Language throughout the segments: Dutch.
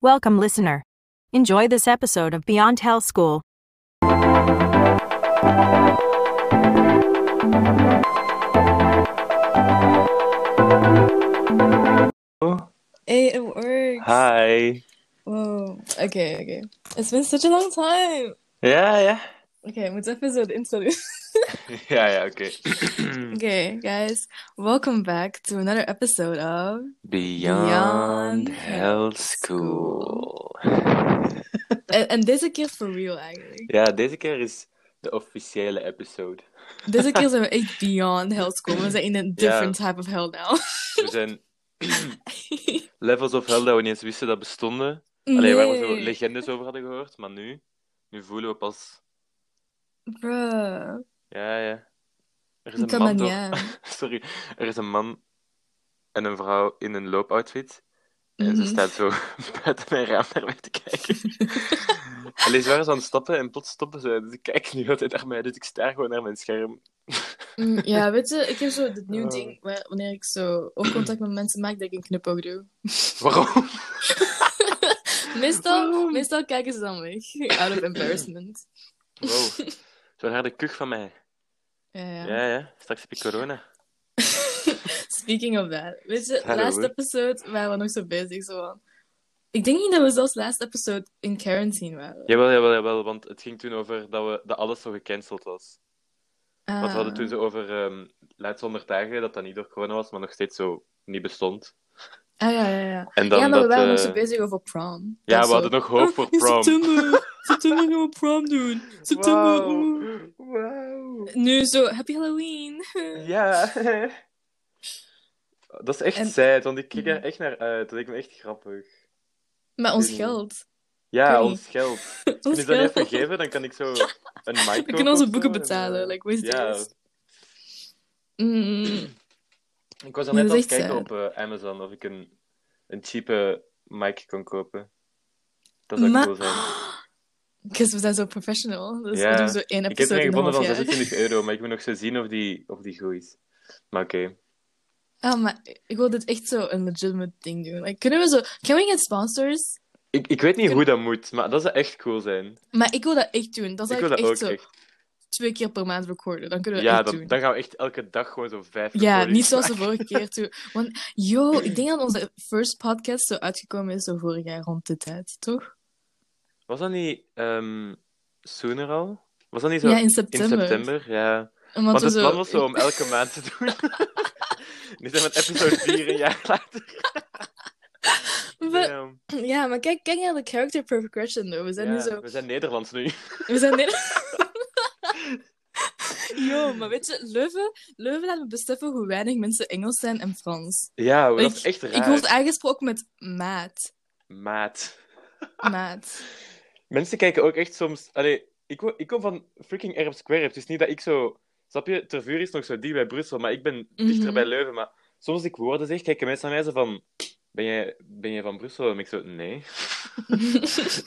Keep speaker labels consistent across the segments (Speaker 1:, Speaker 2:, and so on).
Speaker 1: Welcome, listener. Enjoy this episode of Beyond Hell School.
Speaker 2: Hey, it works.
Speaker 3: Hi.
Speaker 2: Wow. Okay, okay. It's been such a long time.
Speaker 3: Ja, ja.
Speaker 2: Okay, we moeten even zo de intro doen.
Speaker 3: Ja, ja, oké.
Speaker 2: Okay, guys. Welcome back to another episode of... Beyond
Speaker 3: Beyond
Speaker 2: Hell
Speaker 3: Hell School.
Speaker 2: En, en deze keer for real, eigenlijk.
Speaker 3: Ja, deze keer is de officiële episode.
Speaker 2: Deze keer zijn we echt beyond hell school. We zijn in een different type of hell now.
Speaker 3: We zijn levels of hell dat we niet eens wisten dat bestonden. Alleen waar we zo
Speaker 2: Nee.
Speaker 3: legendes over hadden gehoord, maar nu, nu voelen we pas.
Speaker 2: Bruh.
Speaker 3: Ja, ja. Er is
Speaker 2: Ik
Speaker 3: een
Speaker 2: kan
Speaker 3: man.
Speaker 2: dat niet
Speaker 3: door-
Speaker 2: aan.
Speaker 3: Sorry. Er is een man en een vrouw in een loopoutfit. En ze
Speaker 2: Mhm.
Speaker 3: staat zo buiten mijn raam naar mij te kijken. Alleen ze waren zo aan het stappen en plots stoppen ze. Dus ik kijk nu altijd naar mij, dus ik sta gewoon naar mijn scherm.
Speaker 2: Mm, ja, weet je, ik heb zo dit nieuwe
Speaker 3: Oh.
Speaker 2: ding waar, wanneer ik zo oogcontact met mensen maak, dat ik een knipoog doe.
Speaker 3: Waarom? Oh.
Speaker 2: Meestal, meestal kijken ze dan weg. Out of embarrassment.
Speaker 3: Wow. Zo'n harde kuch van mij.
Speaker 2: Ja, ja.
Speaker 3: Ja, ja. Straks heb ik corona.
Speaker 2: Speaking of that, weet je,
Speaker 3: Hallo.
Speaker 2: last episode waren we nog zo bezig. Zo van... Ik denk niet dat we zelfs last episode in quarantine waren.
Speaker 3: Jawel, jawel, jawel. Want het ging toen over dat, we, dat alles zo gecanceld was. Want we hadden
Speaker 2: Ah.
Speaker 3: toen zo over ehm laatst 100 dagen dat dat niet door corona was, maar nog steeds zo niet bestond.
Speaker 2: Ah, ja, ja, ja.
Speaker 3: En dan
Speaker 2: ja, maar we
Speaker 3: dat,
Speaker 2: waren
Speaker 3: eh,
Speaker 2: nog zo bezig over prom.
Speaker 3: Ja,
Speaker 2: Dat
Speaker 3: we
Speaker 2: zo-
Speaker 3: hadden nog hoop
Speaker 2: Ah,
Speaker 3: voor
Speaker 2: in
Speaker 3: prom.
Speaker 2: september. september gaan we prom doen. September. oeh.
Speaker 3: Wauw.
Speaker 2: Nu zo, happy Halloween.
Speaker 3: Ja. Dat is echt
Speaker 2: En- Mm.
Speaker 3: sad, want ik kijk daar echt naar uit. Dat lijkt me echt grappig.
Speaker 2: Met ons
Speaker 3: Mm.
Speaker 2: geld.
Speaker 3: Ja,
Speaker 2: Curry.
Speaker 3: ons geld. Als
Speaker 2: Ons
Speaker 3: je dat niet
Speaker 2: geld.
Speaker 3: even geven, dan kan ik zo een mic
Speaker 2: We kunnen onze boeken
Speaker 3: eh,
Speaker 2: betalen. Like, what is
Speaker 3: Ja,
Speaker 2: this? Mm.
Speaker 3: ik was al net
Speaker 2: Dat
Speaker 3: aan
Speaker 2: is
Speaker 3: het
Speaker 2: echt
Speaker 3: kijken
Speaker 2: sad.
Speaker 3: op eh, Amazon of ik een, een cheape mic kon kopen. Dat zou
Speaker 2: Maar-
Speaker 3: cool zijn.
Speaker 2: Because we zijn zo professional. Dus we
Speaker 3: Ja.
Speaker 2: doen zo één
Speaker 3: Ik heb er
Speaker 2: episode
Speaker 3: een
Speaker 2: in een
Speaker 3: gevonden
Speaker 2: half
Speaker 3: van
Speaker 2: jaar.
Speaker 3: 26 euro, maar ik moet nog zo zien of die, of die goed is. Maar oké.
Speaker 2: Ah, maar ik wil dit echt zo een legitimate ding doen. Like, kunnen we zo... Can we get sponsors?
Speaker 3: Ik, ik weet niet
Speaker 2: Kun-
Speaker 3: hoe dat moet, maar dat zou echt cool zijn.
Speaker 2: Maar ik wil dat echt doen. Dat
Speaker 3: ik
Speaker 2: zou ik,
Speaker 3: wil dat
Speaker 2: echt
Speaker 3: ook
Speaker 2: zo
Speaker 3: echt.
Speaker 2: twee keer per maand recorden. Dan kunnen we
Speaker 3: Ja,
Speaker 2: echt
Speaker 3: dan,
Speaker 2: doen.
Speaker 3: dan gaan we echt elke dag gewoon zo vijf
Speaker 2: Ja,
Speaker 3: recordings
Speaker 2: niet zoals de
Speaker 3: maken.
Speaker 2: vorige keer toen. Want, yo, ik denk dat onze first podcast zo uitgekomen is zo vorig jaar rond de tijd, toch?
Speaker 3: Was dat niet ehm, sooner al? Was dat niet zo
Speaker 2: ja, in
Speaker 3: in
Speaker 2: september.
Speaker 3: september? Ja.
Speaker 2: Omdat
Speaker 3: Want
Speaker 2: we
Speaker 3: het
Speaker 2: zo...
Speaker 3: plan was zo om elke maand te doen. nu zijn we met episode 4 een jaar later.
Speaker 2: We-
Speaker 3: Ja.
Speaker 2: Ja, maar kijk, kijk naar de character progression, though. We zijn
Speaker 3: Ja,
Speaker 2: nu zo...
Speaker 3: We zijn Nederlands nu.
Speaker 2: We zijn net... Yo, maar weet je, Leuven, Leuven laat me beseffen hoe weinig mensen Engels zijn en Frans.
Speaker 3: Ja, dat
Speaker 2: Ik-
Speaker 3: is echt raar.
Speaker 2: Ik word aangesproken met maat.
Speaker 3: Maat.
Speaker 2: Maat.
Speaker 3: Mensen kijken ook echt soms... Allee, ik, wo- ik kom van freaking Arab Square. Het is niet dat ik zo... Snap je? Ter vuur is nog zo dicht bij Brussel, maar ik ben dichter
Speaker 2: Mhm.
Speaker 3: bij Leuven. Maar soms als ik woorden zeg, kijken mensen naar mij zo van... Ben jij, ben jij van Brussel? En ik zo... Nee.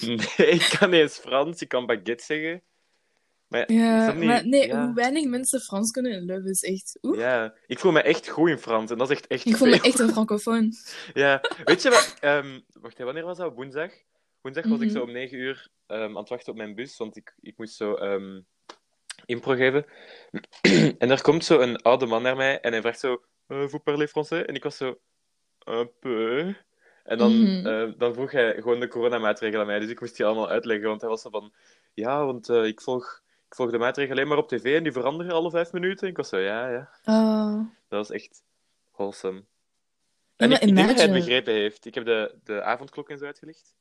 Speaker 3: nee, ik kan niet eens Frans. Ik kan baguette zeggen. Maar ik
Speaker 2: ja,
Speaker 3: snap niet-
Speaker 2: maar nee,
Speaker 3: ja.
Speaker 2: hoe weinig mensen Frans kunnen in Leuven is echt... Oeh,
Speaker 3: Ja, ik voel me echt goed in Frans en dat is echt echt
Speaker 2: ik voel me
Speaker 3: veel.
Speaker 2: echt een francofoon.
Speaker 3: Ja, weet je wat? ehm, wacht, hè, wanneer was dat? Woensdag? Woensdag was ik
Speaker 2: Mhm.
Speaker 3: zo om 9 uur ehm, aan het wachten op mijn bus, want ik, ik moest zo ehm, impro geven. en er komt zo een oude man naar mij en hij vraagt zo: eh Vous parlez français? En ik was zo: Un peu. En dan,
Speaker 2: Mhm.
Speaker 3: ehm, dan vroeg hij gewoon de coronamaatregelen aan mij, dus ik moest die allemaal uitleggen, want hij was zo van: Ja, want eh, ik, volg, ik volg de maatregelen alleen maar op tv en die veranderen alle vijf minuten. En ik was zo: Ja, ja.
Speaker 2: Oh.
Speaker 3: Dat was echt wholesome.
Speaker 2: Ja,
Speaker 3: En
Speaker 2: maar
Speaker 3: ik, ik denk dat hij het
Speaker 2: imagine.
Speaker 3: begrepen heeft. Ik heb de, de avondklok en zo uitgelegd.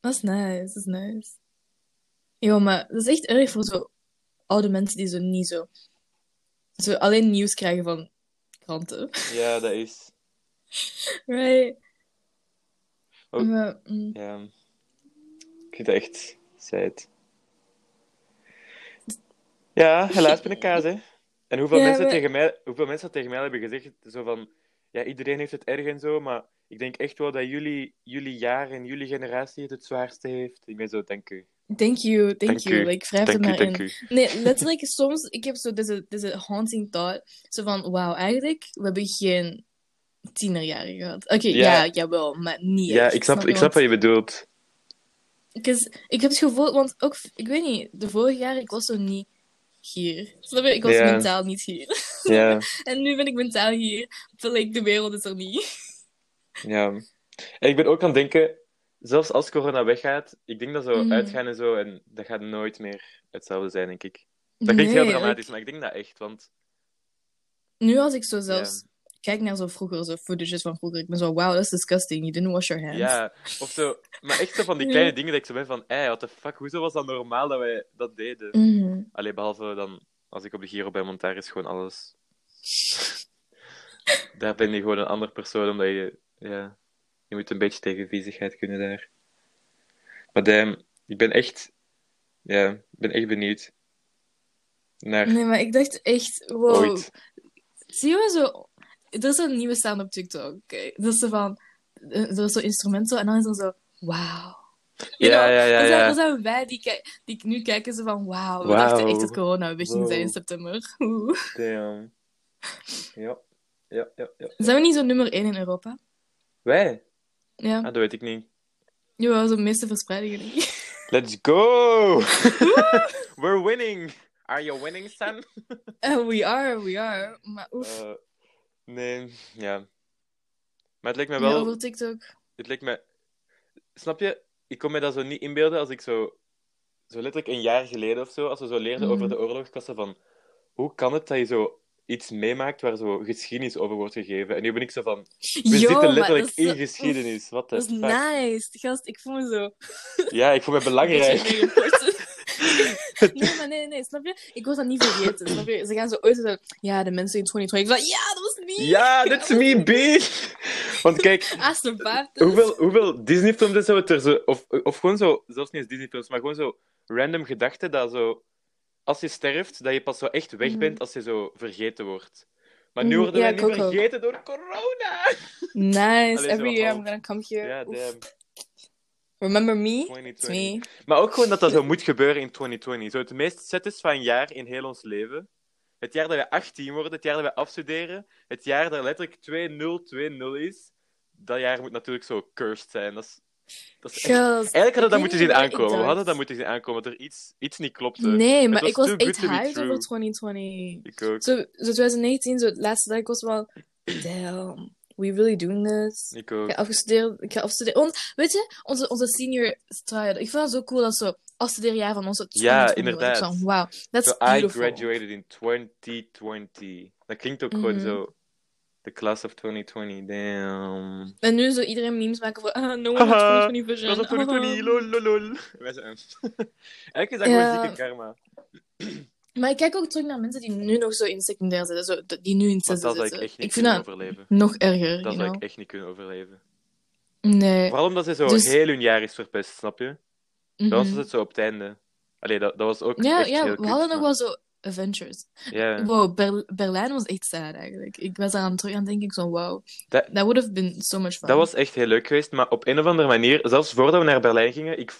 Speaker 2: Dat is nice, dat is nice. Yo, maar dat is echt erg voor zo oude mensen die zo niet zo... Zo alleen nieuws krijgen van kranten.
Speaker 3: Ja, dat is.
Speaker 2: Right?
Speaker 3: Oh.
Speaker 2: Maar, mm,
Speaker 3: Ja. Ik vind dat echt sad. Ja, helaas ben ik kaas, hè. En hoeveel,
Speaker 2: Ja,
Speaker 3: mensen
Speaker 2: maar-
Speaker 3: tegen mij, hoeveel mensen tegen mij hebben gezegd, zo van... Ja, iedereen heeft het erg en zo, maar ik denk echt wel dat jullie, jullie jaar en jullie generatie het het zwaarste heeft. Ik ben zo, dank u.
Speaker 2: thank you, thank,
Speaker 3: Dank
Speaker 2: you.
Speaker 3: u.
Speaker 2: Like, wrijf er
Speaker 3: Dank u,
Speaker 2: maar in.
Speaker 3: dank u.
Speaker 2: Nee, letterlijk, soms, ik heb zo deze, deze haunting thought. Zo van, wauw, eigenlijk, we hebben geen tienerjaren gehad. Oké,
Speaker 3: Ja.
Speaker 2: ja, jawel, maar niet
Speaker 3: Ja,
Speaker 2: echt,
Speaker 3: ik snap,
Speaker 2: snap
Speaker 3: ik
Speaker 2: je?
Speaker 3: snap wat
Speaker 2: Want
Speaker 3: je bedoelt.
Speaker 2: ik is- ik heb het gevoel, want ook, ik weet niet, de vorige jaren, ik was zo niet hier. Snap je? Ik was
Speaker 3: Ja.
Speaker 2: mentaal niet hier.
Speaker 3: Ja,
Speaker 2: En nu ben ik mentaal hier, terwijl ik de wereld is er niet.
Speaker 3: ja. En ik ben ook aan het denken, zelfs als corona weggaat, ik denk dat zo
Speaker 2: Mhm.
Speaker 3: uitgaan en zo, en dat gaat nooit meer hetzelfde zijn, denk ik. Dat klinkt heel
Speaker 2: Nee,
Speaker 3: dramatisch, maar ik denk dat echt, want...
Speaker 2: Nu als ik zo zelfs kijk naar zo vroeger, zo footages van vroeger, ik ben zo, wow, that's disgusting, you didn't wash your hands.
Speaker 3: Ja, of zo. Maar echt zo van die
Speaker 2: Ja.
Speaker 3: kleine dingen dat ik zo ben van, ey, what the fuck, hoezo was dat normaal dat wij dat deden?
Speaker 2: Mhm.
Speaker 3: Allee, behalve dan, als ik op de Giro ben, want daar is gewoon alles... daar ben je gewoon een ander persoon, omdat je... Ja, je moet een beetje tegen viezigheid kunnen daar. Maar damn, ik ben echt... Ja, ik ben echt benieuwd. Naar
Speaker 2: Nee, maar ik dacht echt, wow.
Speaker 3: ooit.
Speaker 2: Zie je zo... Er is een nieuwe staan op TikTok, oké? Dat is zo van... Er is zo'n instrument zo, en dan is er zo... Wauw. You
Speaker 3: Ja,
Speaker 2: know,
Speaker 3: ja, ja,
Speaker 2: Er zijn, er
Speaker 3: ja.
Speaker 2: zijn wij die, kijk- die nu kijken ze van... Wauw, we
Speaker 3: Wauw.
Speaker 2: dachten echt dat corona weg ging zijn in
Speaker 3: Wow.
Speaker 2: september. Oeh.
Speaker 3: Damn. Ja, ja, ja, ja.
Speaker 2: Zijn we niet zo nummer 1 in Europa?
Speaker 3: Wij?
Speaker 2: Ja.
Speaker 3: Ah, dat weet ik niet.
Speaker 2: Jawel, zo'n meeste verspreidingen niet.
Speaker 3: Let's go! We're winning! Are you winning, Sam?
Speaker 2: Eh, we are, we are. Maar oef.
Speaker 3: Eh, nee, ja. Maar het lijkt me
Speaker 2: Ja,
Speaker 3: wel...
Speaker 2: over TikTok.
Speaker 3: Het lijkt me... Snap je? Ik kon me dat zo niet inbeelden als ik zo... Zo letterlijk een jaar geleden of zo, als we zo leerden
Speaker 2: Mhm.
Speaker 3: over de oorlogskassen van... Hoe kan het dat je zo iets meemaakt waar zo geschiedenis over wordt gegeven? En nu ben ik zo van... We
Speaker 2: Yo, maar
Speaker 3: zitten
Speaker 2: dat
Speaker 3: letterlijk
Speaker 2: is zo-
Speaker 3: in
Speaker 2: oef,
Speaker 3: geschiedenis. Wat de
Speaker 2: Dat is
Speaker 3: fuck?
Speaker 2: nice. Gast, ik voel me zo...
Speaker 3: Ja, ik voel me
Speaker 2: Beetje
Speaker 3: belangrijk.
Speaker 2: neergeworpen. nee, maar nee, nee, snap je? Ik was dat niet vergeten, snap je? Ze gaan zo ooit zo... Ja, de mensen in 2020. Ik was like, ja, dat was niet.
Speaker 3: Ja, that's me, bitch! Want kijk,
Speaker 2: Alsjeblieft.
Speaker 3: Hoeveel, hoeveel Disney-films is zo, er zo of, of gewoon zo, zelfs niet eens Disney-films, maar gewoon zo random gedachten dat zo, als je sterft, dat je pas zo echt weg
Speaker 2: Mhm.
Speaker 3: bent als je zo vergeten wordt. Maar nu
Speaker 2: Mhm,
Speaker 3: worden
Speaker 2: ja,
Speaker 3: wij
Speaker 2: ik
Speaker 3: niet
Speaker 2: ook ook.
Speaker 3: vergeten door corona!
Speaker 2: Nice.
Speaker 3: zo
Speaker 2: Every year
Speaker 3: half.
Speaker 2: I'm gonna come here.
Speaker 3: Ja,
Speaker 2: Oef.
Speaker 3: damn.
Speaker 2: Remember me? It's
Speaker 3: 2020.
Speaker 2: me.
Speaker 3: Maar ook gewoon dat dat zo moet gebeuren in 2020. Zo het meest satisfying jaar in heel ons leven. Het jaar dat wij 18 worden, het jaar dat wij afstuderen, het jaar dat letterlijk 2-0-2-0 is. Dat jaar moet natuurlijk zo cursed zijn. Dat is, dat is echt
Speaker 2: Gast.
Speaker 3: Eigenlijk hadden we dat
Speaker 2: Ik
Speaker 3: moeten
Speaker 2: weet
Speaker 3: zien
Speaker 2: niet wat ik
Speaker 3: aankomen. We
Speaker 2: dacht.
Speaker 3: hadden dat moeten zien aankomen dat er iets, iets niet klopte.
Speaker 2: Nee, maar
Speaker 3: eh, was
Speaker 2: ik was
Speaker 3: too good
Speaker 2: echt
Speaker 3: to be
Speaker 2: hyped
Speaker 3: true.
Speaker 2: over 2020.
Speaker 3: Ik ook.
Speaker 2: Zo, zo 2019, zo het laatste dag, ik was wel... Damn, we really doing this?
Speaker 3: Ik ook.
Speaker 2: Ik ga afgestudeerd. Ik ga afstuderen. Want, weet je, onze, onze senior triad. Ik vind dat zo cool dat zo afstudeerjaar van onze
Speaker 3: Ja,
Speaker 2: 2020 was. Ik
Speaker 3: inderdaad.
Speaker 2: zo, Wauw, that's
Speaker 3: So, I
Speaker 2: beautiful.
Speaker 3: graduated in 2020. Dat klinkt ook gewoon
Speaker 2: Mhm.
Speaker 3: zo. The class of 2020, damn.
Speaker 2: En nu zo iedereen memes maken voor ah, no one
Speaker 3: Haha,
Speaker 2: has 2020 vision.
Speaker 3: Class of 2020,
Speaker 2: Ah.
Speaker 3: lol, lol, lol. Wij zijn- Eigenlijk is dat
Speaker 2: Ja.
Speaker 3: gewoon zieke karma.
Speaker 2: Maar ik kijk ook terug naar mensen die nu nog zo in secundair zitten. Zo, dat- die nu in het
Speaker 3: Want
Speaker 2: zesde
Speaker 3: dat zou ik
Speaker 2: zitten.
Speaker 3: echt niet
Speaker 2: ik vind
Speaker 3: kunnen
Speaker 2: dat
Speaker 3: overleven.
Speaker 2: nog erger,
Speaker 3: Dat
Speaker 2: you
Speaker 3: zou
Speaker 2: know?
Speaker 3: ik echt niet kunnen overleven.
Speaker 2: Nee.
Speaker 3: Vooral omdat ze zo
Speaker 2: Dus-
Speaker 3: heel hun jaar is verpest, snap je?
Speaker 2: mhm.
Speaker 3: Dan was het zo op het einde. Allee, dat, dat was ook
Speaker 2: Ja,
Speaker 3: echt
Speaker 2: ja
Speaker 3: heel
Speaker 2: we hadden nog
Speaker 3: kut,
Speaker 2: wel zo adventures.
Speaker 3: maar- Ja.
Speaker 2: Wow, Ber- Berlijn was echt sad eigenlijk. Ik was eraan terug aan het denken. Ik zo, wow.
Speaker 3: Dat-
Speaker 2: That would have been so much fun.
Speaker 3: Dat was echt heel leuk geweest, maar op een of andere manier, zelfs voordat we naar Berlijn gingen, ik,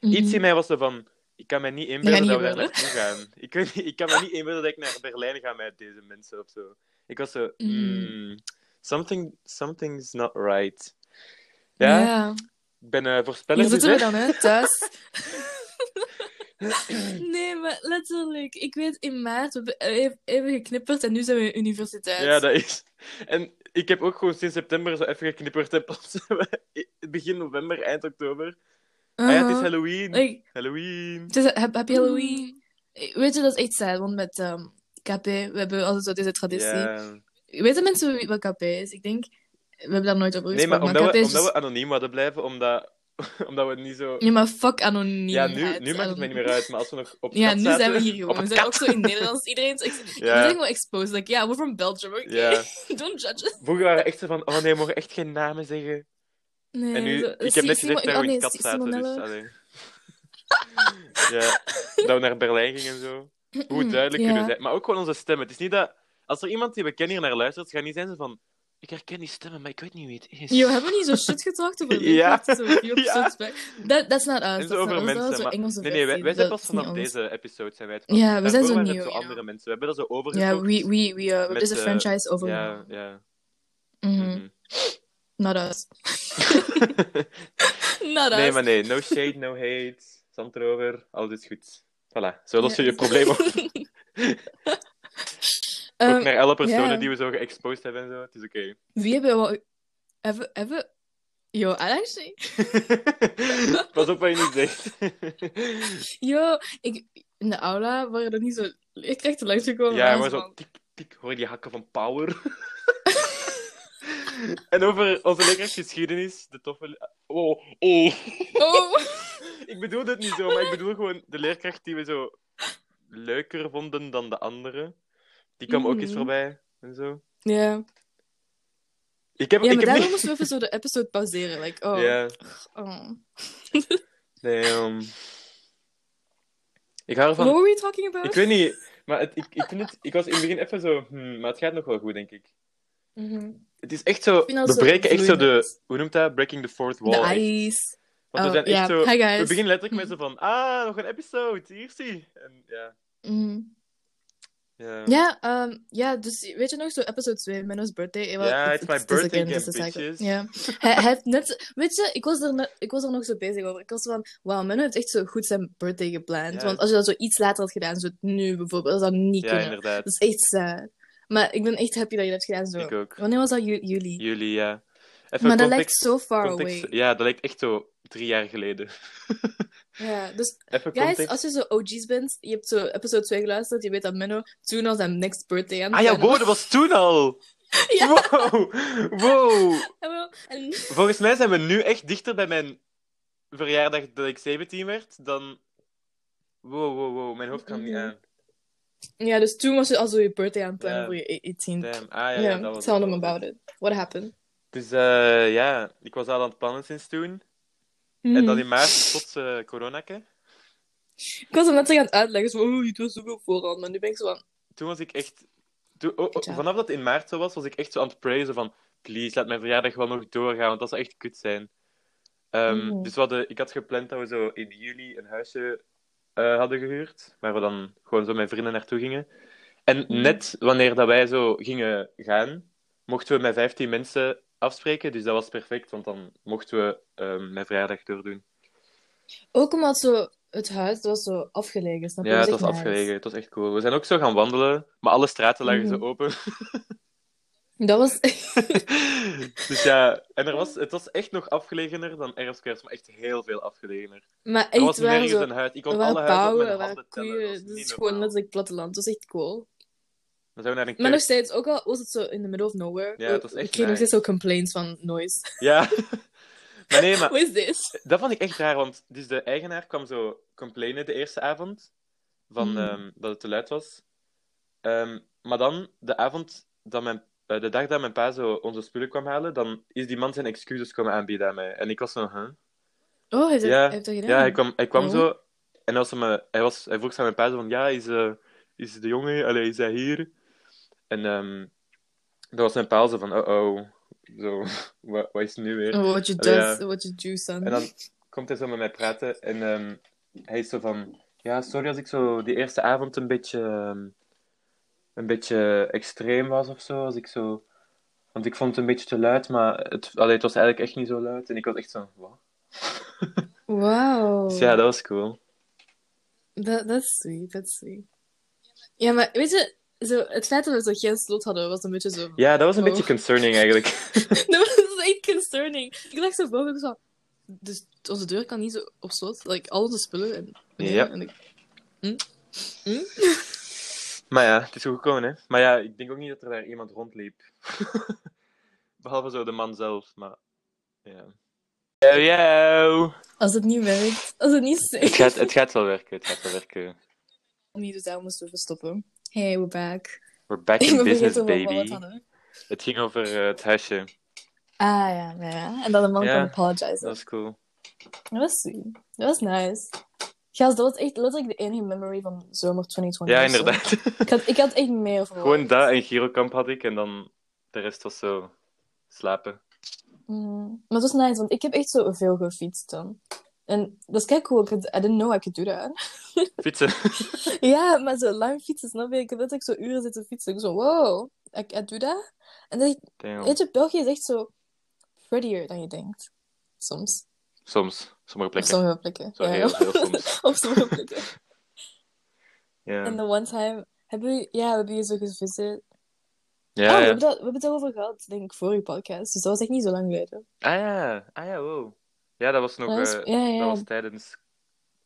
Speaker 2: Mhm.
Speaker 3: iets in mij was er van, ik kan me niet inbeelden
Speaker 2: niet
Speaker 3: dat we daar
Speaker 2: gebeuren.
Speaker 3: naartoe gaan. Ik, weet niet- ik kan me niet inbeelden dat ik naar Berlijn ga met deze mensen of zo. Ik was zo,
Speaker 2: Mm.
Speaker 3: hmm, something, something's not right. Ja,
Speaker 2: ja.
Speaker 3: ik ben eh voorspeller.
Speaker 2: Hier
Speaker 3: dus,
Speaker 2: zitten we
Speaker 3: hè.
Speaker 2: dan, hè, thuis. nee, maar letterlijk. Ik weet, in maart, we hebben even- even geknipperd en nu zijn we in universiteit.
Speaker 3: Ja, dat is. En ik heb ook gewoon sinds september zo even geknipperd en pas begin november, eind oktober. Ah ja, het is
Speaker 2: Uh-huh.
Speaker 3: Halloween.
Speaker 2: Like,
Speaker 3: Halloween.
Speaker 2: het is, heb, heb je Halloween? Eh, Weet je, dat is echt sad, want met ehm, KP, we hebben altijd zo deze traditie.
Speaker 3: Ja.
Speaker 2: Weten mensen wie- wat KP is? Ik denk, we hebben daar nooit over
Speaker 3: Nee, maar
Speaker 2: gesproken,
Speaker 3: omdat
Speaker 2: KP
Speaker 3: we,
Speaker 2: is
Speaker 3: omdat
Speaker 2: just-
Speaker 3: we anoniem hadden blijven, omdat, omdat we niet zo...
Speaker 2: Nee, maar fuck anoniem.
Speaker 3: Ja, nu, nu maakt het mij niet meer uit, maar als we nog op
Speaker 2: eh. Ja,
Speaker 3: kat
Speaker 2: nu
Speaker 3: zaten-
Speaker 2: zijn we hier,
Speaker 3: op
Speaker 2: jongen. We
Speaker 3: het
Speaker 2: zijn ook
Speaker 3: kat-
Speaker 2: zo in Nederlands. Iedereen is... ex-
Speaker 3: Ja.
Speaker 2: Iedereen wil exposed. Like, yeah, we're from Belgium, oké?
Speaker 3: Ja.
Speaker 2: Don't judge us.
Speaker 3: Vroeger waren we echt zo van, oh nee, we mogen echt geen namen zeggen.
Speaker 2: Nee,
Speaker 3: En nu,
Speaker 2: zo-
Speaker 3: ik heb
Speaker 2: Sim-
Speaker 3: net gezegd dat
Speaker 2: Simon- oh,
Speaker 3: we in
Speaker 2: nee,
Speaker 3: het kat
Speaker 2: Si-
Speaker 3: zaten, dus
Speaker 2: Simonella.
Speaker 3: allee. Ja, dat we naar Berlijn gingen en zo. Hoe duidelijk
Speaker 2: Mm, Ja.
Speaker 3: kunnen zijn. Maar ook gewoon onze stem. Het is niet dat, als er iemand die we kennen hier naar luistert, gaan niet zijn ze van, ik herken die stemmen, maar ik weet niet wie het is.
Speaker 2: Yo, hebben we niet zo shit getalkt over dit?
Speaker 3: Ja.
Speaker 2: Zo, you're
Speaker 3: Ja.
Speaker 2: so suspect. That, that's not us.
Speaker 3: En
Speaker 2: that's
Speaker 3: zo
Speaker 2: not
Speaker 3: over
Speaker 2: us. Dat was
Speaker 3: mensen,
Speaker 2: zo'n
Speaker 3: maar-
Speaker 2: Engelse
Speaker 3: Nee, nee, wij, wij
Speaker 2: versie,
Speaker 3: zijn
Speaker 2: dat
Speaker 3: pas
Speaker 2: is niet
Speaker 3: vanaf
Speaker 2: ons.
Speaker 3: deze episode zijn wij het
Speaker 2: Ja, we
Speaker 3: Daarvoor
Speaker 2: zijn zo
Speaker 3: waren het
Speaker 2: nieuw,
Speaker 3: zo
Speaker 2: ja.
Speaker 3: andere mensen. We hebben dat zo
Speaker 2: Ja,
Speaker 3: overgekocht.
Speaker 2: we, we, we, uh,
Speaker 3: Met,
Speaker 2: er is een
Speaker 3: eh,
Speaker 2: franchise over.
Speaker 3: Ja, ja.
Speaker 2: Mhm.
Speaker 3: Mhm.
Speaker 2: Not us. Not us.
Speaker 3: nee, maar nee. No shade, no hate. Zand erover. Alles is goed. Voilà. Zo lossen
Speaker 2: Ja.
Speaker 3: je probleem op.
Speaker 2: Ehm,
Speaker 3: ook naar alle personen
Speaker 2: ja.
Speaker 3: die we zo geëxposed hebben en zo. Het is oké.
Speaker 2: Ehm, wie hebben we... Hebben, hebben... Yo, actually...
Speaker 3: Pas op wat je niet zegt.
Speaker 2: Yo, ik... In de aula waren er niet zo leerkrachten langsgekomen.
Speaker 3: ja,
Speaker 2: waren
Speaker 3: maar
Speaker 2: ze
Speaker 3: zo
Speaker 2: van-
Speaker 3: tik, tik. Hoor je die hakken van power? en over onze leerkracht geschiedenis. De toffe... le- Oh, oh.
Speaker 2: Oh,
Speaker 3: Ik bedoel dit niet zo, maar ik bedoel gewoon de leerkracht die we zo leuker vonden dan de andere. Die kwam ook eens
Speaker 2: Mhm.
Speaker 3: voorbij en zo.
Speaker 2: ja.
Speaker 3: Ik heb,
Speaker 2: Ja,
Speaker 3: ik
Speaker 2: maar
Speaker 3: heb
Speaker 2: daarom
Speaker 3: niet-
Speaker 2: moesten we even zo de episode pauzeren. Like, oh,
Speaker 3: Ja,
Speaker 2: oh.
Speaker 3: nee, ehm. Ik hou
Speaker 2: What
Speaker 3: ervan.
Speaker 2: were we talking about?
Speaker 3: Ik weet niet, maar het, ik, ik vind het... Ik was in het begin even zo... hmm, maar het gaat nog wel goed, denk ik.
Speaker 2: Mhm.
Speaker 3: Het is echt zo...
Speaker 2: Ik vind dat
Speaker 3: We
Speaker 2: zo
Speaker 3: breken echt zo de...
Speaker 2: vloeiend.
Speaker 3: Hoe noemt dat? Breaking the fourth wall.
Speaker 2: De
Speaker 3: echt.
Speaker 2: ice.
Speaker 3: Want we zijn
Speaker 2: Oh,
Speaker 3: echt
Speaker 2: ja.
Speaker 3: zo...
Speaker 2: Hi, guys.
Speaker 3: We beginnen letterlijk met zo van... Ah, nog een episode. Hier zie. En ja...
Speaker 2: Mhm.
Speaker 3: Ja,
Speaker 2: Ja, ehm, ja, dus weet je nog zo episode 2, Menno's birthday? Ja,
Speaker 3: Ja, it's my
Speaker 2: dus
Speaker 3: birthday again, bitches.
Speaker 2: Ja. Hij, hij heeft net, weet je, ik was, er net, ik was er nog zo bezig over. Ik was van, wauw, Menno heeft echt zo goed zijn birthday gepland.
Speaker 3: Ja.
Speaker 2: Want als je dat zo iets later had gedaan, zo nu bijvoorbeeld, dat zou niet
Speaker 3: Ja,
Speaker 2: kunnen.
Speaker 3: inderdaad.
Speaker 2: Dat is echt sad. Maar ik ben echt happy dat je dat hebt gedaan zo.
Speaker 3: Ik ook.
Speaker 2: Wanneer was dat? Ju- Juli?
Speaker 3: Jullie, ja. Even
Speaker 2: maar dat lijkt
Speaker 3: context-
Speaker 2: zo far
Speaker 3: context-
Speaker 2: away.
Speaker 3: Ja, dat lijkt echt zo drie jaar geleden.
Speaker 2: Ja, dus
Speaker 3: Even
Speaker 2: guys,
Speaker 3: context.
Speaker 2: als je zo OG's bent, je hebt zo episode 2 geluisterd, je weet dat Menno toen al zijn next birthday aan het
Speaker 3: Ah ja,
Speaker 2: plannen
Speaker 3: wow, dat was toen al!
Speaker 2: Ja.
Speaker 3: Wow! Wow!
Speaker 2: was. En
Speaker 3: Volgens mij zijn we nu echt dichter bij mijn verjaardag dat ik 17 werd dan... Wow, wow, wow, mijn hoofd kan niet aan.
Speaker 2: Ja, dus toen was je al zo je birthday aan het plannen
Speaker 3: Ja.
Speaker 2: voor je 18. Ja,
Speaker 3: Damn, ah ja, ja, dat was
Speaker 2: tell
Speaker 3: dat
Speaker 2: them
Speaker 3: was
Speaker 2: about it. What happened?
Speaker 3: Dus eh, ja, ik was al aan het plannen sinds toen.
Speaker 2: Hmm.
Speaker 3: En dan in maart tot eh coronake.
Speaker 2: Ik was hem net zo aan het uitleggen, zo, oh, het was zoveel voorhand, maar nu ben ik zo van...
Speaker 3: toen was ik echt. Toen, oh, oh,
Speaker 2: Good job.
Speaker 3: vanaf dat het in maart zo was, was ik echt zo aan het praisen van. Please, laat mijn verjaardag wel nog doorgaan, want dat zou echt kut zijn. Ehm,
Speaker 2: Mhm.
Speaker 3: Dus we hadden, ik had gepland dat we zo in juli een huisje eh, hadden gehuurd. Waar we dan gewoon zo met vrienden naartoe gingen. En
Speaker 2: Mhm.
Speaker 3: net wanneer dat wij zo gingen gaan, mochten we met 15 mensen afspreken. Dus dat was perfect, want dan mochten we ehm, mijn verjaardag doordoen.
Speaker 2: Ook omdat zo, het huis was zo afgelegen, snap je?
Speaker 3: ja,
Speaker 2: Dat
Speaker 3: het
Speaker 2: is
Speaker 3: was
Speaker 2: echt nice.
Speaker 3: afgelegen, het was echt cool. We zijn ook zo gaan wandelen, maar alle straten lagen
Speaker 2: Mhm.
Speaker 3: zo open.
Speaker 2: Dat was...
Speaker 3: dus ja, en er was, het was echt nog afgelegener dan RF Squares, maar echt heel veel afgelegener.
Speaker 2: maar
Speaker 3: Er was
Speaker 2: echt waar,
Speaker 3: nergens
Speaker 2: zo...
Speaker 3: een huis. Ik
Speaker 2: Er
Speaker 3: kon alle
Speaker 2: waren
Speaker 3: huizen op
Speaker 2: pauwen,
Speaker 3: mijn
Speaker 2: er
Speaker 3: handen
Speaker 2: waren
Speaker 3: tellen.
Speaker 2: koeien.
Speaker 3: Dat was
Speaker 2: Dit
Speaker 3: niet
Speaker 2: is gewoon
Speaker 3: normaal.
Speaker 2: letterlijk platteland. Dat was echt cool.
Speaker 3: Dan zijn we naar een
Speaker 2: Maar nog
Speaker 3: kerk.
Speaker 2: steeds, ook al was het zo in the middle of nowhere,
Speaker 3: Ja, het was
Speaker 2: we-
Speaker 3: echt
Speaker 2: we kregen nog
Speaker 3: nice.
Speaker 2: steeds zo complaints van noise.
Speaker 3: Ja. maar nee, maar
Speaker 2: What is this?
Speaker 3: dat vond ik echt raar, want dus de eigenaar kwam zo complainen de eerste avond, van,
Speaker 2: Mhm.
Speaker 3: ehm, dat het te luid was. Ehm, maar dan, de avond, dat mijn, eh, de dag dat mijn pa zo onze spullen kwam halen, dan is die man zijn excuses komen aanbieden aan mij. En ik was zo, huh?
Speaker 2: Oh, heeft hij
Speaker 3: Ja,
Speaker 2: heeft hij dat gedaan?
Speaker 3: Ja, hij kwam, hij kwam
Speaker 2: Oh.
Speaker 3: zo. En als hij, me, hij, was, hij vroeg ze aan mijn pa zo van, ja, is, eh, is de jongen, allee, is hij hier? En ehm dan was mijn pa al zo van, oh-oh, zo, wat, wat is het nu weer?
Speaker 2: Oh, what you
Speaker 3: Allee,
Speaker 2: does, what you do, son.
Speaker 3: En dan komt hij zo met mij praten en ehm, hij is zo van, ja, sorry als ik zo die eerste avond een beetje, ehm, een beetje extreem was of zo, als ik zo... Want ik vond het een beetje te luid, maar het, allee, het was eigenlijk echt niet zo luid. En ik was echt zo, wat?
Speaker 2: Wauw.
Speaker 3: Dus ja, dat was cool.
Speaker 2: Dat, dat is sweet, dat is sweet. Ja, maar weet je, zo, het feit dat we zo geen slot hadden, was een beetje zo...
Speaker 3: Ja, dat was een
Speaker 2: Oh.
Speaker 3: beetje concerning eigenlijk.
Speaker 2: dat was echt concerning. Ik dacht zo boven, ik was van... Dus onze deur kan niet zo op slot. Like, al onze spullen en...
Speaker 3: Ja.
Speaker 2: en ik-
Speaker 3: Maar ja, het is goed gekomen, hè. Maar ja, ik denk ook niet dat er daar iemand rondliep. Behalve zo de man zelf, maar... Ja. Yo, yo!
Speaker 2: als het niet werkt, als het niet
Speaker 3: Het
Speaker 2: safe...
Speaker 3: gaat, het gaat wel werken, het gaat wel werken.
Speaker 2: Niet, dus daar moesten we verstoppen. Hey, we're back.
Speaker 3: We're back
Speaker 2: Ik
Speaker 3: in
Speaker 2: ben
Speaker 3: business,
Speaker 2: vergeten wat we wat
Speaker 3: baby.
Speaker 2: hadden.
Speaker 3: Het ging over eh, het huisje.
Speaker 2: Ah, ja, ja, ja. En dat een man
Speaker 3: Ja.
Speaker 2: kan apologizen.
Speaker 3: Dat was cool.
Speaker 2: Oh, Dat was sweet. Dat was nice. Gast, dat was echt letterlijk de enige memory van zomer 2020.
Speaker 3: Ja,
Speaker 2: of zo.
Speaker 3: inderdaad.
Speaker 2: Ik had, ik had echt meer verwacht.
Speaker 3: Gewoon dat en Girokamp had ik en dan... De rest was zo... Slapen.
Speaker 2: Mhm. Maar het was nice, want ik heb echt zo veel gefietst dan. En dat is kijk cool. Ik had- I didn't know I could do that.
Speaker 3: Fietsen.
Speaker 2: ja, maar zo lang fietsen, snap je? Ik heb net echt zo uren zitten fietsen. Ik zo, wow, I, I do that? En dat,
Speaker 3: Damn.
Speaker 2: weet je, België is echt zo prettier dan je denkt. Soms.
Speaker 3: Soms, sommige
Speaker 2: Op
Speaker 3: plekken.
Speaker 2: sommige plekken.
Speaker 3: Zo heel veel soms.
Speaker 2: Op sommige plekken.
Speaker 3: Ja,
Speaker 2: En the one time... Hebben we, ja, we hebben je zo gevisit.
Speaker 3: ja,
Speaker 2: oh, we
Speaker 3: ja.
Speaker 2: hebben, dat, we hebben het daarover gehad, denk ik, voor je podcast. Dus dat was echt niet zo lang geleden.
Speaker 3: Ah ja, ah ja, wow. Ja, dat was nog...
Speaker 2: Oh, Dat was-
Speaker 3: eh,
Speaker 2: ja, ja.
Speaker 3: Dat was tijdens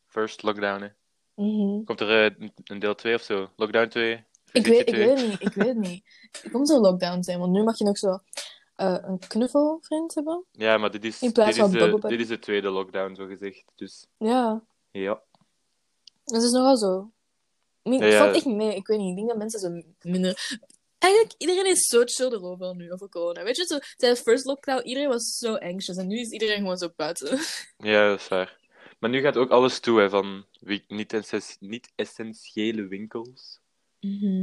Speaker 3: first lockdown, hè.
Speaker 2: Mhm.
Speaker 3: Komt er eh, een- een deel 2 of zo? Lockdown 2?
Speaker 2: Ik, weet, ik weet het niet, ik weet het niet. Er komt zo'n lockdown zijn, want nu mag je nog zo eh, een knuffelvriend hebben.
Speaker 3: Ja, maar dit is,
Speaker 2: In plaats
Speaker 3: dit, is
Speaker 2: van
Speaker 3: de,
Speaker 2: bubble bath.
Speaker 3: dit is de tweede lockdown, zo gezegd. Dus
Speaker 2: Ja,
Speaker 3: ja.
Speaker 2: dat is nogal zo. Ik, mean,
Speaker 3: Ja,
Speaker 2: ik
Speaker 3: ja.
Speaker 2: valt echt niet mee, ik weet niet. Ik denk dat mensen zo minder... Eigenlijk, iedereen is zo chill erover nu, over corona. Weet je, zo, tijdens first lockdown, iedereen was zo anxious. En nu is iedereen gewoon zo buiten.
Speaker 3: ja, dat is waar. Maar nu gaat ook alles toe, hè, van wie- niet essen- niet-essentiële winkels.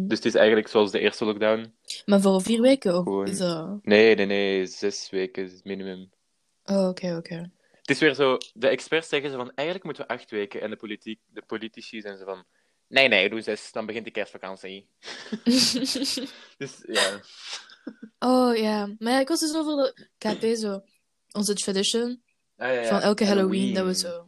Speaker 3: Dus het is eigenlijk zoals de eerste lockdown.
Speaker 2: Maar voor vier weken of
Speaker 3: Gewoon-
Speaker 2: zo?
Speaker 3: Nee, nee, nee, zes weken is het minimum.
Speaker 2: Oh, oké, oké.
Speaker 3: Het is weer zo, de experts zeggen ze van, eigenlijk moeten we acht weken. En de, politiek, de politici zijn ze van, nee, nee, doe zes, dan begint de kerstvakantie. Dus ja,
Speaker 2: oh, ja. Maar ja, ik was dus over de KP zo. Onze tradition
Speaker 3: Ah, ja, ja.
Speaker 2: van elke Halloween, dat we zo...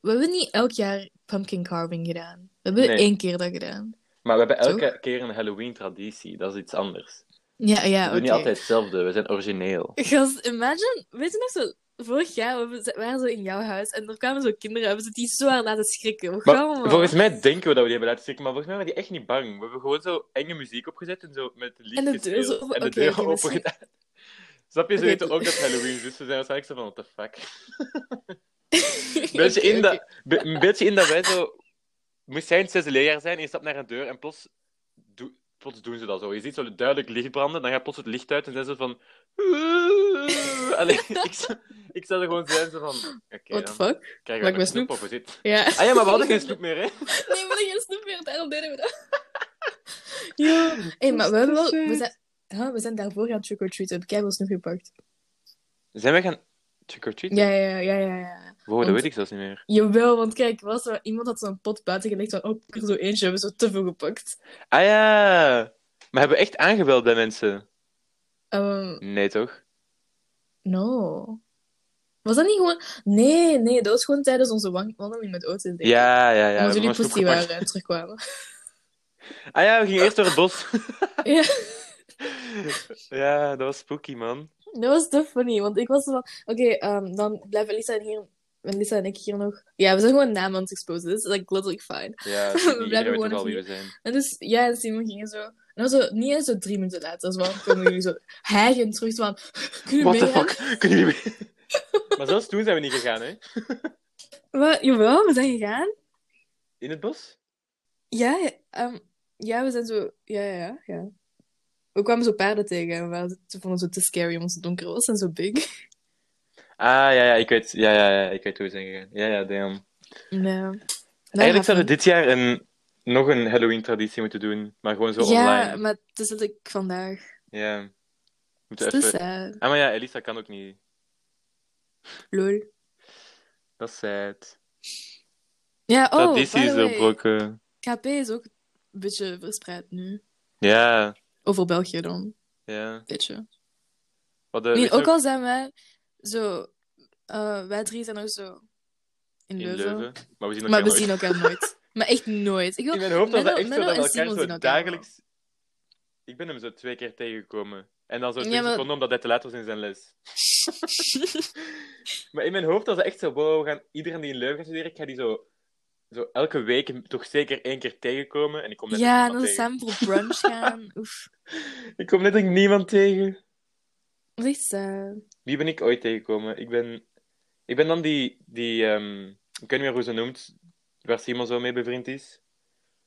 Speaker 2: We hebben niet elk jaar pumpkin carving gedaan. We hebben
Speaker 3: Nee.
Speaker 2: één keer dat gedaan.
Speaker 3: Maar we hebben elke keer een Halloween-traditie, dat is iets anders.
Speaker 2: Ja, ja,
Speaker 3: we
Speaker 2: oké.
Speaker 3: doen niet altijd hetzelfde, we zijn origineel.
Speaker 2: Gast, imagine... Weet je nog zo... Vorig jaar we waren zo in jouw huis en er kwamen zo kinderen. We hebben ze die zo hard laten schrikken. Hoe
Speaker 3: Maar
Speaker 2: gaan we?
Speaker 3: volgens mij denken we dat we die hebben laten schrikken, maar volgens mij waren die echt niet bang. We hebben gewoon zo enge muziek opgezet en zo met lied
Speaker 2: En de deur
Speaker 3: gespeeld.
Speaker 2: zo open-
Speaker 3: En de
Speaker 2: oké,
Speaker 3: deur
Speaker 2: oké,
Speaker 3: open
Speaker 2: misschien-
Speaker 3: gedaan. Snap je, ze
Speaker 2: Oké,
Speaker 3: weten
Speaker 2: dat-
Speaker 3: ook dat het Halloween is, dus we zijn waarschijnlijk zo van, what the fuck.
Speaker 2: Oké,
Speaker 3: Beeld je in
Speaker 2: oké.
Speaker 3: dat- be- Een beetje in dat wij zo... Moest jij in het zesde leerjaar zijn, en je stapt naar een deur en plots, doe- plots doen ze dat zo. Je ziet zo duidelijk licht branden, dan gaat plots het licht uit en zijn ze van... Allee, ik, zou- ik zou er gewoon zijn zo van... Oké,
Speaker 2: What the
Speaker 3: dan
Speaker 2: fuck?
Speaker 3: krijgen
Speaker 2: Maak
Speaker 3: we
Speaker 2: maar
Speaker 3: een snoep
Speaker 2: snoep.
Speaker 3: of we zitten.
Speaker 2: Ja.
Speaker 3: Ah ja, maar we hadden geen snoep meer, hè?
Speaker 2: Nee, we hadden geen snoep meer, daarom deden we dat. Ja. Hé, maar we hebben wel... We zijn, huh, we zijn daarvoor gaan trick-or-treaten. Ik heb wel snoep gepakt.
Speaker 3: Zijn wij gaan trick-or-treaten?
Speaker 2: Ja, ja, ja, ja, ja.
Speaker 3: Wow, dat
Speaker 2: want-
Speaker 3: weet ik zelfs niet meer.
Speaker 2: Jawel, want kijk, was er, iemand had zo'n pot buiten gelegd van... Oh, ik heb er zo eentje, hebben we zo te veel gepakt.
Speaker 3: Ah ja! Maar hebben we echt aangebeld bij mensen?
Speaker 2: Ehm,
Speaker 3: Nee, toch?
Speaker 2: no. Was dat niet gewoon... Nee, nee, dat was gewoon tijdens onze wang- wandeling met auto's. denk ik.
Speaker 3: Ja, ja, ja.
Speaker 2: Omdat
Speaker 3: we hebben
Speaker 2: jullie
Speaker 3: een snoep
Speaker 2: pussy
Speaker 3: gepakt.
Speaker 2: waren en terugkwamen.
Speaker 3: Ah ja, we gingen eerst door het bos.
Speaker 2: ja,
Speaker 3: ja, dat was spooky, man.
Speaker 2: dat was te funny. Want ik was zo van... Oké, ehm, dan blijven Lisa en, hier, en Lisa en ik hier nog... Ja, we zijn gewoon namen aan het exposen. dus Dat is like, literally fine.
Speaker 3: Ja,
Speaker 2: We
Speaker 3: iedereen
Speaker 2: blijven
Speaker 3: weet
Speaker 2: gewoon
Speaker 3: ook al
Speaker 2: even-
Speaker 3: wie we zijn.
Speaker 2: En dus jij en Simon gingen zo. En dan zo, niet eens zo drie minuten later, dus waarom komen jullie zo hijgend terug van. Kunnen
Speaker 3: What
Speaker 2: jullie
Speaker 3: the
Speaker 2: meegaan?
Speaker 3: fuck? Kunnen jullie mee- Maar zelfs toen zijn we niet gegaan, hè?
Speaker 2: Wat? Jawel, we zijn gegaan.
Speaker 3: In het bos?
Speaker 2: Ja, ja, ehm, ja, we zijn zo. Ja, ja, ja, ja. We kwamen zo paarden tegen en we waren- ze vonden het zo te scary omdat het donker was en zo big.
Speaker 3: Ah, ja, ja, ik weet, ja, ja, ja, ik weet hoe we zijn gegaan. Ja, ja, damn.
Speaker 2: Nee. Nou,
Speaker 3: Eigenlijk zouden
Speaker 2: Rafa.
Speaker 3: we dit jaar een, nog een Halloween-traditie moeten doen, maar gewoon zo
Speaker 2: Ja,
Speaker 3: online.
Speaker 2: maar het is dat ik vandaag.
Speaker 3: Ja. We
Speaker 2: Het
Speaker 3: moeten
Speaker 2: is te
Speaker 3: even...
Speaker 2: sad.
Speaker 3: Ah, maar ja, Elisa kan ook niet.
Speaker 2: Lol.
Speaker 3: Dat is sad.
Speaker 2: Ja, oh,
Speaker 3: Traditie
Speaker 2: by
Speaker 3: is
Speaker 2: the way,
Speaker 3: verbroken.
Speaker 2: KP is ook een beetje verspreid nu.
Speaker 3: Ja,
Speaker 2: Over België dan, een
Speaker 3: ja.
Speaker 2: beetje.
Speaker 3: Wat de,
Speaker 2: Ik
Speaker 3: Eh, weet
Speaker 2: meen,
Speaker 3: je
Speaker 2: ook al zijn wij zo, eh, wij drie zijn ook zo in
Speaker 3: nog- in
Speaker 2: Leuven,
Speaker 3: Leuven. Maar we zien elkaar
Speaker 2: maar we
Speaker 3: nooit.
Speaker 2: zien elkaar nooit. Maar echt nooit. Ik wil...
Speaker 3: In mijn hoofd was dat
Speaker 2: Menno-
Speaker 3: echt zo
Speaker 2: Menno
Speaker 3: dat we elkaar
Speaker 2: en Simon
Speaker 3: zo
Speaker 2: zien elkaar
Speaker 3: dagelijks... Ik ben hem zo twee keer tegengekomen. En dan zo
Speaker 2: Ja,
Speaker 3: twee
Speaker 2: maar-
Speaker 3: seconden omdat hij te laat was in zijn les. Maar in mijn hoofd was dat echt zo, wow, we gaan iedereen die in Leuven gaat studeren, ik ga die zo, zo elke week toch zeker één keer tegenkomen. En ik kom net ook
Speaker 2: ja, en
Speaker 3: niemand
Speaker 2: dan
Speaker 3: tegen.
Speaker 2: samen voor brunch gaan. Oef.
Speaker 3: Ik kom net ook niemand tegen.
Speaker 2: Dat is echt sad.
Speaker 3: Wie ben ik ooit tegengekomen? Ik ben, ik ben dan die. die ehm, ik weet niet meer hoe ze noemt. Waar Simon zo mee bevriend is.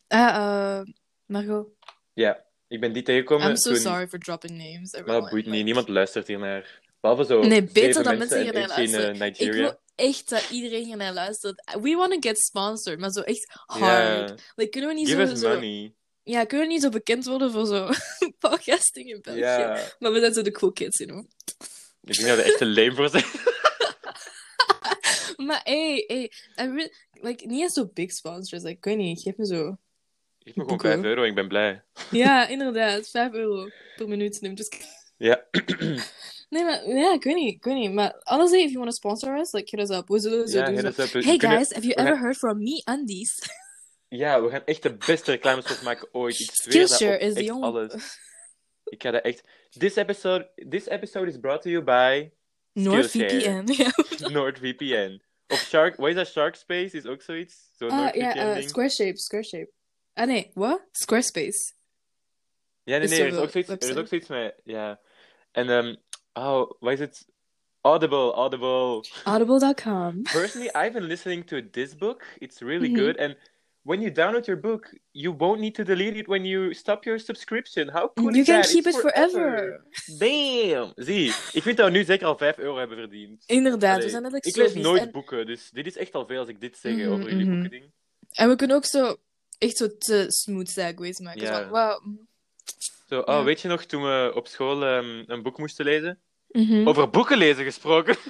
Speaker 2: Ah, eh, Margot,
Speaker 3: Ja, ik ben die tegengekomen.
Speaker 2: I'm so
Speaker 3: toen-
Speaker 2: sorry for dropping names.
Speaker 3: Maar dat
Speaker 2: everyone.
Speaker 3: boeit niet.
Speaker 2: Like,
Speaker 3: Niemand luistert hiernaar. Behalve zo.
Speaker 2: Nee, beter
Speaker 3: zeven
Speaker 2: dan mensen
Speaker 3: en
Speaker 2: hiernaar
Speaker 3: eentje in, eh,
Speaker 2: Ik
Speaker 3: Nigeria.
Speaker 2: wil echt dat iedereen hier naar luistert. We want to get sponsored, maar zo echt hard.
Speaker 3: Ja.
Speaker 2: Like, kunnen we niet
Speaker 3: Give
Speaker 2: zo,
Speaker 3: us
Speaker 2: zo-
Speaker 3: money.
Speaker 2: Ja, kunnen we niet zo bekend worden voor zo podcasting in België?
Speaker 3: Ja.
Speaker 2: Maar we zijn zo de cool kids, you know.
Speaker 3: Ik denk dat we echt te leem voor zijn.
Speaker 2: Maar hey, hey, I re- like, niet eens zo big sponsors. Like, ik weet niet, geef me zo
Speaker 3: Geef me gewoon
Speaker 2: Boeken.
Speaker 3: 5 euro, ik ben blij.
Speaker 2: Ja, inderdaad. 5 euro per minuut neemt dus
Speaker 3: Ja,
Speaker 2: Nee, maar ja, ik weet niet, ik weet niet. Maar honestly, if you want to sponsor us, like hit us up. We zullen zo
Speaker 3: ja,
Speaker 2: doen.
Speaker 3: hit
Speaker 2: zo.
Speaker 3: us up. We
Speaker 2: Hey
Speaker 3: kunnen-
Speaker 2: guys, have you
Speaker 3: we gaan-
Speaker 2: ever heard from me undies?
Speaker 3: Ja, we gaan echt de beste reclamespot maken ooit. Ik zweer dat op
Speaker 2: Skillshare is
Speaker 3: echt
Speaker 2: the only-
Speaker 3: alles. Ik ga dat echt... This episode, this episode is brought to you by
Speaker 2: NordVPN. Ja.
Speaker 3: NordVPN. Of Shark... Wat is dat? Shark Space is ook zoiets? Zo'n
Speaker 2: Ah, ja,
Speaker 3: NordVPN
Speaker 2: eh,
Speaker 3: ding.
Speaker 2: Squareshape, Squareshape. Ah nee, wat? Squarespace.
Speaker 3: Ja, nee,
Speaker 2: Is
Speaker 3: nee,
Speaker 2: er
Speaker 3: er is
Speaker 2: een
Speaker 3: ook zoiets, er is
Speaker 2: website?
Speaker 3: ook zoiets met... Ja. En, ehm oh, wat is het? Audible, Audible.
Speaker 2: Audible.com.
Speaker 3: Personally, I've been listening to this book. It's really
Speaker 2: Mhm.
Speaker 3: good. And when you download your book, you won't need to delete it when you stop your subscription. How cool
Speaker 2: You
Speaker 3: is
Speaker 2: can
Speaker 3: that?
Speaker 2: keep
Speaker 3: It's
Speaker 2: it forever.
Speaker 3: Damn! Zie, ik vind dat we nu zeker al 5 euro hebben verdiend.
Speaker 2: Inderdaad,
Speaker 3: Allee,
Speaker 2: we zijn letterlijk
Speaker 3: ik
Speaker 2: zo
Speaker 3: lees
Speaker 2: vies.
Speaker 3: nooit
Speaker 2: En,
Speaker 3: boeken, dus dit is echt al veel als ik dit zeg
Speaker 2: Mhm,
Speaker 3: over jullie
Speaker 2: mhm.
Speaker 3: boekending.
Speaker 2: en we kunnen ook zo echt zo te smooth segues maken.
Speaker 3: Ja.
Speaker 2: Zo, wauw.
Speaker 3: Zo, oh,
Speaker 2: Ja.
Speaker 3: weet je nog toen we op school ehm, een boek moesten lezen?
Speaker 2: Mhm.
Speaker 3: Over boeken lezen gesproken.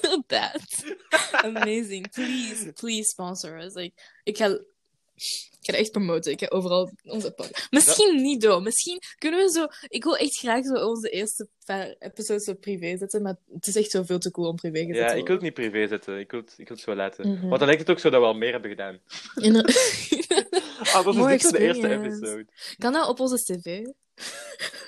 Speaker 2: Inderdaad. Amazing. Please, please sponsor us. Like, ik ga... Ik ga dat echt promoten. Ik ga overal onze podcast. Misschien niet door. Misschien kunnen we zo. Ik wil echt graag zo onze eerste paar episodes zo privé zetten. Maar het is echt zo veel te cool om privé gezet
Speaker 3: Ja,
Speaker 2: te
Speaker 3: ik wil
Speaker 2: worden.
Speaker 3: het niet privé zetten. Ik wil het, ik wil het zo laten.
Speaker 2: Mhm.
Speaker 3: Want dan lijkt het ook zo dat we al meer hebben gedaan.
Speaker 2: Inder-
Speaker 3: Ah, dat is
Speaker 2: More
Speaker 3: dit zo de eerste
Speaker 2: experience.
Speaker 3: episode.
Speaker 2: kan dat op onze cv?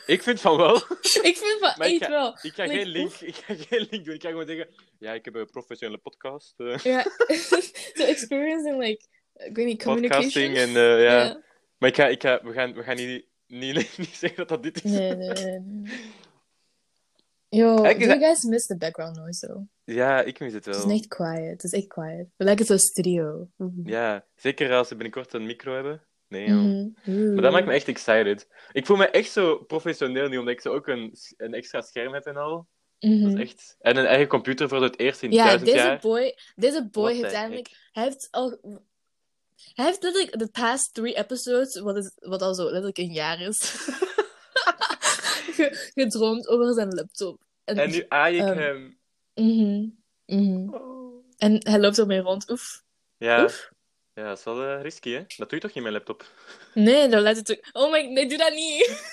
Speaker 3: Ik vind van wel.
Speaker 2: Ik vind van
Speaker 3: Maar ik
Speaker 2: echt
Speaker 3: ga-
Speaker 2: wel.
Speaker 3: Ik ga,
Speaker 2: Like,
Speaker 3: geen link, ik ga geen link doen. Ik ga gewoon zeggen... Ja, ik heb een professionele podcast. eh,
Speaker 2: Ja. zo experience in like, ik weet niet, communication.
Speaker 3: podcasting en... eh, ja.
Speaker 2: Ja.
Speaker 3: Maar ik ga, ik ga, we gaan, we gaan niet, niet, niet zeggen dat dat dit is.
Speaker 2: Nee, nee, nee, nee. Yo, do
Speaker 3: Eigenlijk is
Speaker 2: you guys miss the background noise though?
Speaker 3: Ja, ik mis het
Speaker 2: Het
Speaker 3: wel.
Speaker 2: is echt quiet. Het is echt quiet. We lijken zo'n studio.
Speaker 3: Ja, zeker als ze binnenkort een micro hebben. Nee, joh.
Speaker 2: Mhm.
Speaker 3: Maar dat maakt me echt excited. Ik voel me echt zo professioneel nu, omdat ik zo ook een, een extra scherm heb en al. Dat
Speaker 2: Mhm.
Speaker 3: is echt... En een eigen computer voor het eerst in
Speaker 2: Ja,
Speaker 3: duizend
Speaker 2: deze
Speaker 3: jaar.
Speaker 2: boy, deze boy
Speaker 3: What
Speaker 2: heeft
Speaker 3: the
Speaker 2: eigenlijk, hij heeft al, hij heeft letterlijk de past three episodes, wat, is, wat al zo letterlijk een jaar is, ge- gedroomd over zijn laptop. En,
Speaker 3: En nu aai ik
Speaker 2: Ehm,
Speaker 3: hem.
Speaker 2: Mhm. Mhm. en hij loopt ermee rond. Oef.
Speaker 3: Ja.
Speaker 2: Oef.
Speaker 3: ja, dat is wel eh, risky, hè? Dat doe je toch niet met mijn laptop?
Speaker 2: Nee, dan laat het ook. Oh my, nee, doe dat niet.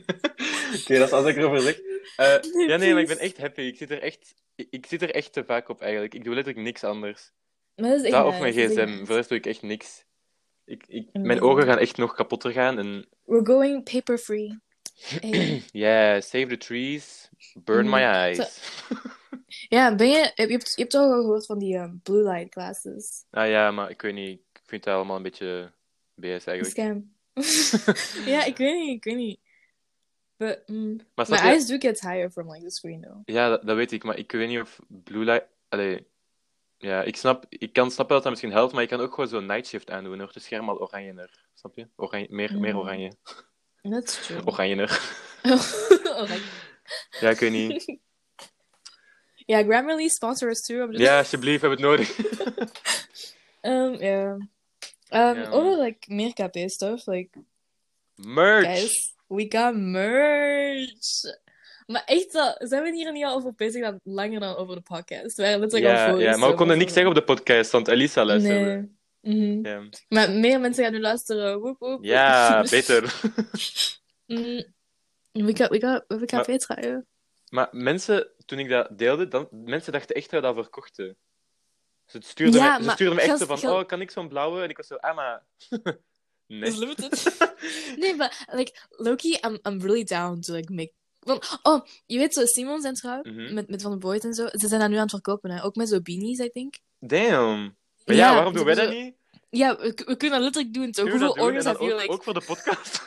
Speaker 3: Oké, dat is als ik erover zeg. Eh, ja, nee, maar ik ben
Speaker 2: please.
Speaker 3: echt happy. Ik zit, er echt, ik, ik zit er echt te vaak op eigenlijk. Ik doe letterlijk niks anders.
Speaker 2: Maar dat is echt
Speaker 3: Dat of
Speaker 2: nice,
Speaker 3: mijn
Speaker 2: dat is echt
Speaker 3: gsm.
Speaker 2: nice.
Speaker 3: Voor de rest doe ik echt niks. Ik, ik, mijn
Speaker 2: Amazing.
Speaker 3: ogen gaan echt nog kapotter gaan. En
Speaker 2: We're going paper free. Hey.
Speaker 3: yeah, save the trees, burn
Speaker 2: Mhm.
Speaker 3: my eyes.
Speaker 2: Ja, ben je, heb- je, hebt, je hebt toch al gehoord van die eh, blue light glasses.
Speaker 3: ah ja, maar ik weet niet. Ik vind dat allemaal een beetje BS
Speaker 2: Een
Speaker 3: eigenlijk.
Speaker 2: scam. ja, ik weet niet, ik weet niet. But, mm,
Speaker 3: Maar snap
Speaker 2: my
Speaker 3: je-
Speaker 2: eyes do get tired from like the screen though.
Speaker 3: Ja, dat, dat weet ik, maar ik weet niet of Blue Light. Allee, ja, ik snap, ik kan snappen dat dat misschien helpt, maar je kan ook gewoon zo'n night shift aandoen. Dan wordt het scherm al oranjener. Snap je? Oranje, meer, meer
Speaker 2: Mm.
Speaker 3: oranje.
Speaker 2: That's true.
Speaker 3: Oh.
Speaker 2: Oh,
Speaker 3: Oranjener.
Speaker 2: Oranje.
Speaker 3: Ja, ik weet niet.
Speaker 2: Ja, Grammarly sponsor us too. I'm just-
Speaker 3: Ja, alsjeblieft, we hebben het nodig.
Speaker 2: Um, yeah. Um,
Speaker 3: Ja,
Speaker 2: Over like meer KP stuff, like
Speaker 3: Merch!
Speaker 2: guys, we got merch. Maar echt, wel, zijn we hier niet al over bezig dan langer dan over de podcast? We waren letterlijk al
Speaker 3: ja,
Speaker 2: voor
Speaker 3: ja, maar we konden niks zeggen op de podcast, want Elisa luisterde.
Speaker 2: Nee. Mhm.
Speaker 3: Ja,
Speaker 2: Maar meer mensen gaan nu luisteren. Woep, woep.
Speaker 3: Ja, beter.
Speaker 2: Mm. We gaan, we gaan, we gaan
Speaker 3: Maar-
Speaker 2: wegdraaien.
Speaker 3: Maar mensen, toen ik dat deelde, dan, mensen dachten echt dat we dat verkochten. Ze stuurden
Speaker 2: Ja,
Speaker 3: me, ze
Speaker 2: maar
Speaker 3: stuurden me echt
Speaker 2: gast,
Speaker 3: zo van,
Speaker 2: gast-
Speaker 3: oh, kan ik zo'n blauwe? En ik was zo, ah, maar... nee.
Speaker 2: Dat is limited. nee, maar like, Loki, I'm, I'm really down to like make. Want, oh, je weet zo, Simon zijn trouw
Speaker 3: Mhm.
Speaker 2: met, met Van de Boys en zo. Ze zijn dat nu aan het verkopen, hè? ook met zo beanies, I think.
Speaker 3: Damn. Maar ja, waarom doen wij
Speaker 2: zo-
Speaker 3: dat niet?
Speaker 2: Ja, dus we, we kunnen dat letterlijk doen. Zo.
Speaker 3: Kunnen we
Speaker 2: Hoeveel
Speaker 3: dat doen? En
Speaker 2: orders
Speaker 3: dan
Speaker 2: have you?
Speaker 3: ook,
Speaker 2: Like,
Speaker 3: ook voor de podcast.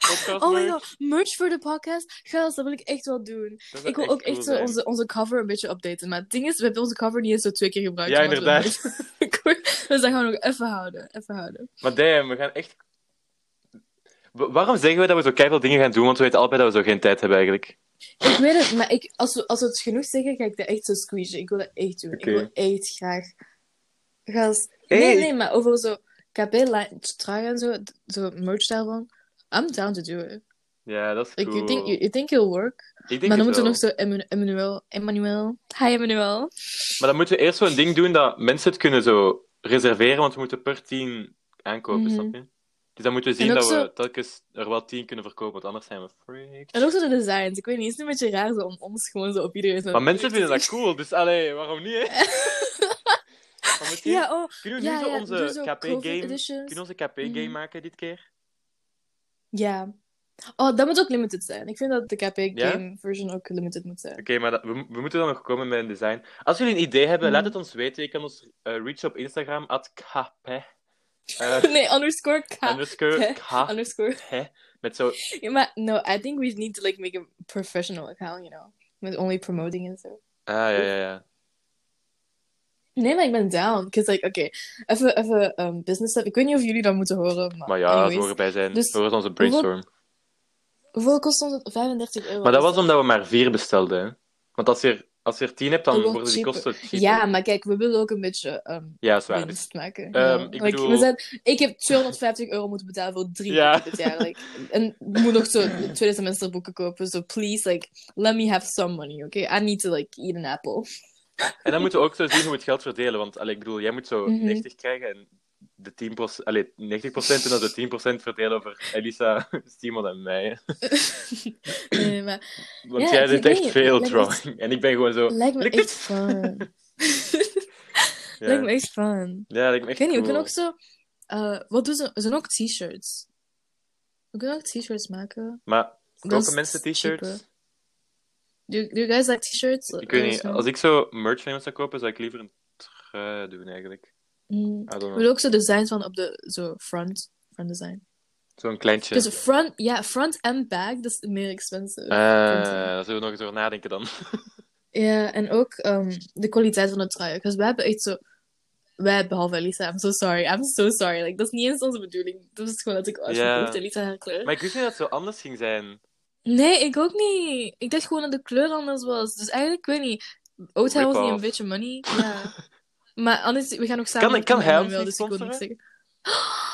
Speaker 3: podcast
Speaker 2: oh my
Speaker 3: merch.
Speaker 2: god, merch voor de podcast? Gast, dat wil ik echt wel doen.
Speaker 3: Dat zou
Speaker 2: Ik wil ook echt
Speaker 3: cool
Speaker 2: zo
Speaker 3: zijn.
Speaker 2: onze, onze cover een beetje updaten. Maar het ding is, we hebben onze cover niet eens zo twee keer gebruikt.
Speaker 3: Ja,
Speaker 2: omdat we-
Speaker 3: inderdaad.
Speaker 2: dus dat gaan we nog even houden. Even houden.
Speaker 3: Maar damn, we gaan echt... Wa- Waarom zeggen we dat we zo keihard dingen gaan doen? Want we weten altijd dat we zo geen tijd hebben, eigenlijk.
Speaker 2: Ik weet het, maar ik, als, we, als we het genoeg zeggen, ga ik dat echt zo squeezen. Ik wil dat echt doen.
Speaker 3: Oké.
Speaker 2: Ik wil echt graag. Gast.
Speaker 3: Hey,
Speaker 2: Nee,
Speaker 3: ik-
Speaker 2: nee, maar over zo kb lijn trui en zo, d- zo merch daarvan. I'm down to do it.
Speaker 3: Ja, dat is
Speaker 2: Like,
Speaker 3: cool.
Speaker 2: you, think, you, you think it'll work?
Speaker 3: Ik denk
Speaker 2: maar dan
Speaker 3: het
Speaker 2: moeten
Speaker 3: wel.
Speaker 2: we nog zo Emma- Emmanuel. Emmanuel. Hi, Emmanuel.
Speaker 3: Maar dan moeten we eerst zo'n ding doen dat mensen het kunnen zo reserveren, want we moeten per tien aankopen,
Speaker 2: Mhm.
Speaker 3: snap je? Dus dan moeten we
Speaker 2: En
Speaker 3: zien
Speaker 2: ook
Speaker 3: dat we
Speaker 2: zo-
Speaker 3: telkens er wel tien kunnen verkopen, want anders zijn we freaks.
Speaker 2: En ook zo de designs. Ik weet niet, is het een beetje raar zo om ons gewoon zo op iedereen te
Speaker 3: Maar mensen vinden dat cool, dus allee, waarom niet, hè? Maar misschien
Speaker 2: Ja, oh.
Speaker 3: kunnen we nu
Speaker 2: Ja,
Speaker 3: zo
Speaker 2: ja,
Speaker 3: onze
Speaker 2: doe zo COVID
Speaker 3: KP-game
Speaker 2: editions.
Speaker 3: kunnen we onze KP-game
Speaker 2: Mhm.
Speaker 3: maken dit keer?
Speaker 2: Ja. Oh, dat moet ook limited zijn. Ik vind dat de KP
Speaker 3: Ja?
Speaker 2: game version ook limited moet zijn.
Speaker 3: Oké, maar dat- we, we moeten dan nog komen met een design. Als jullie een idee hebben,
Speaker 2: Mhm.
Speaker 3: laat het ons weten. Je kan ons eh, reachen op Instagram, at KP. eh,
Speaker 2: nee, underscore K.
Speaker 3: underscore K.
Speaker 2: Underscore.
Speaker 3: Met zo Ah,
Speaker 2: Ja, maar no, I think we need to like make a professional account, you know. With only promoting and zo.
Speaker 3: Ah, ja, ja, ja.
Speaker 2: Nee, maar ik ben down. Because like, oké, even, even um, business stuff. Ik weet niet of jullie dat moeten horen, maar,
Speaker 3: Maar ja,
Speaker 2: anyways.
Speaker 3: ze horen bij zijn.
Speaker 2: Dus-
Speaker 3: horen ze onze brainstorm.
Speaker 2: Hoeveel kost ons het? 35 euro. Dus-
Speaker 3: Maar dat
Speaker 2: is
Speaker 3: was omdat we maar vier bestelden, hè? Want als je er, als je er tien hebt, dan
Speaker 2: Ook wel
Speaker 3: worden die
Speaker 2: cheaper.
Speaker 3: kosten cheaper.
Speaker 2: Ja, maar kijk, we willen ook een beetje um,
Speaker 3: ja is waar. Dus-
Speaker 2: winst maken.
Speaker 3: Ehm,
Speaker 2: Ja.
Speaker 3: ik
Speaker 2: Like,
Speaker 3: bedoel-
Speaker 2: we zijn, ik heb 250 euro moeten betalen voor drie
Speaker 3: Ja.
Speaker 2: boeken dit jaar. Like, en ik moet nog zo tweede semester boeken kopen. So please, like, let me have some money, okay? I need to, like, eat an apple.
Speaker 3: En dan moeten we ook zo zien hoe we het geld verdelen. Want allee, ik bedoel, jij moet zo
Speaker 2: Mhm.
Speaker 3: 90 krijgen en de 10%, allee, 90% en dan de 10% verdelen over Elisa, Simon en mij. hè.
Speaker 2: Nee, maar
Speaker 3: Want
Speaker 2: Ja,
Speaker 3: jij
Speaker 2: ik
Speaker 3: doet
Speaker 2: weet
Speaker 3: echt
Speaker 2: niet,
Speaker 3: veel
Speaker 2: lijkt me
Speaker 3: drawing. En Oh, ik ben gewoon zo.
Speaker 2: lijkt me
Speaker 3: Lijkt
Speaker 2: echt
Speaker 3: het?
Speaker 2: fun.
Speaker 3: Ja,
Speaker 2: Lijkt me echt fun.
Speaker 3: ja lijkt me echt
Speaker 2: Ik weet niet, we
Speaker 3: cool.
Speaker 2: kunnen ook zo... eh, wat doen ze? Er zijn ook t-shirts. We kunnen ook t-shirts maken.
Speaker 3: Maar
Speaker 2: Dat is
Speaker 3: kopen mensen
Speaker 2: cheaper.
Speaker 3: t-shirts?
Speaker 2: Do, do you guys like t-shirts?
Speaker 3: Ik weet
Speaker 2: Let us
Speaker 3: niet.
Speaker 2: know.
Speaker 3: Als ik zo merch van iemand zou kopen, zou ik liever een trui doen eigenlijk.
Speaker 2: Mm.
Speaker 3: I don't
Speaker 2: Ik
Speaker 3: know.
Speaker 2: wil ook zo designs van op de zo front, front design.
Speaker 3: Zo'n kleintje.
Speaker 2: Dus front, ja, front en back, dat is meer expensive.
Speaker 3: Eh,
Speaker 2: Front en-
Speaker 3: daar zullen we nog eens over nadenken dan.
Speaker 2: Ja, en ook ehm, de kwaliteit van de truien. Dus we hebben echt zo, wij behalve Elisa, I'm so sorry, I'm so sorry. Like, dat is niet eens onze bedoeling. Dat is gewoon dat ik uitverkocht Elisa haar kleur.
Speaker 3: Maar ik wist niet dat het zo anders ging zijn.
Speaker 2: Nee, ik ook niet. Ik dacht gewoon dat de kleur anders was. Dus eigenlijk, ik weet niet, owed hij ons niet een
Speaker 3: Rip-off.
Speaker 2: beetje money. Ja. maar anders, we gaan ook samen
Speaker 3: Kan-
Speaker 2: met
Speaker 3: kan
Speaker 2: hem
Speaker 3: hij
Speaker 2: en
Speaker 3: ons
Speaker 2: wel,
Speaker 3: niet
Speaker 2: dus ik wil niks
Speaker 3: sponsoren?
Speaker 2: zeggen.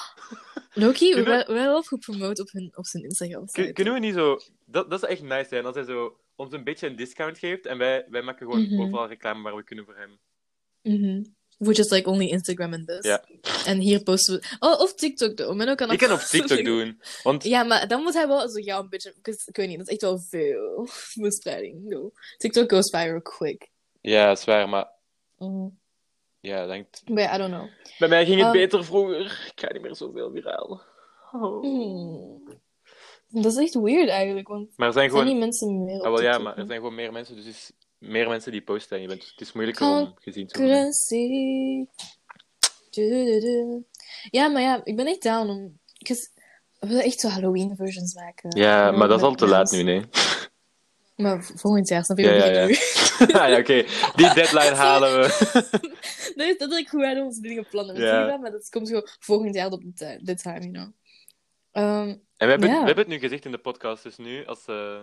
Speaker 2: Loki, we
Speaker 3: Kunnen we-
Speaker 2: hebben wel gepromoot op, hun, op zijn Instagram.
Speaker 3: Kun- kunnen we niet zo... Dat, dat zou echt nice zijn als hij zo ons een beetje een discount geeft en wij, wij maken gewoon
Speaker 2: Mhm.
Speaker 3: overal reclame waar we kunnen voor hem.
Speaker 2: Mhm. Which is like only Instagram and this.
Speaker 3: Ja.
Speaker 2: En hier posten we. Oh, of TikTok doen. Maar ook aan
Speaker 3: Ik kan op TikTok doen, want
Speaker 2: Ja, maar dan moet hij wel zo jou een beetje. because Ik weet niet, dat is echt wel veel verspreiding. No. TikTok goes viral quick.
Speaker 3: Ja, dat is waar, maar
Speaker 2: Mhm.
Speaker 3: ja, denkt...
Speaker 2: Maar ja, I don't know.
Speaker 3: Bij mij ging het
Speaker 2: Ehm.
Speaker 3: beter vroeger. Ik ga niet meer zoveel viraal. Oh.
Speaker 2: Hmm. Dat is echt weird eigenlijk, want
Speaker 3: Maar er zijn
Speaker 2: er zijn
Speaker 3: gewoon...
Speaker 2: niet mensen meer. Op
Speaker 3: Ah, wel, ja,
Speaker 2: TikTok,
Speaker 3: maar
Speaker 2: hè?
Speaker 3: er zijn gewoon meer mensen, dus het is meer mensen die posten en je bent, het is moeilijker
Speaker 2: Kan-
Speaker 3: om gezien te worden.
Speaker 2: Currency. Du-du-du. Ja, maar ja, ik ben echt down om. 'cause We willen echt zo Halloween versions maken.
Speaker 3: Ja, maar dat is al te laat
Speaker 2: nu
Speaker 3: nu, nee.
Speaker 2: Maar v- volgend jaar snap je
Speaker 3: Ja,
Speaker 2: wat ik
Speaker 3: ja, ja.
Speaker 2: bedoel?
Speaker 3: Ah, ja, oké. Die deadline halen we.
Speaker 2: Dat is letterlijk hoe wij onze dingen plannen. We
Speaker 3: Ja.
Speaker 2: doen dat, maar dat komt gewoon volgend jaar op de, ti- de time, you know. Ehm,
Speaker 3: En we hebben,
Speaker 2: Ja.
Speaker 3: we hebben het nu gezegd in de podcast, dus nu, als, eh, als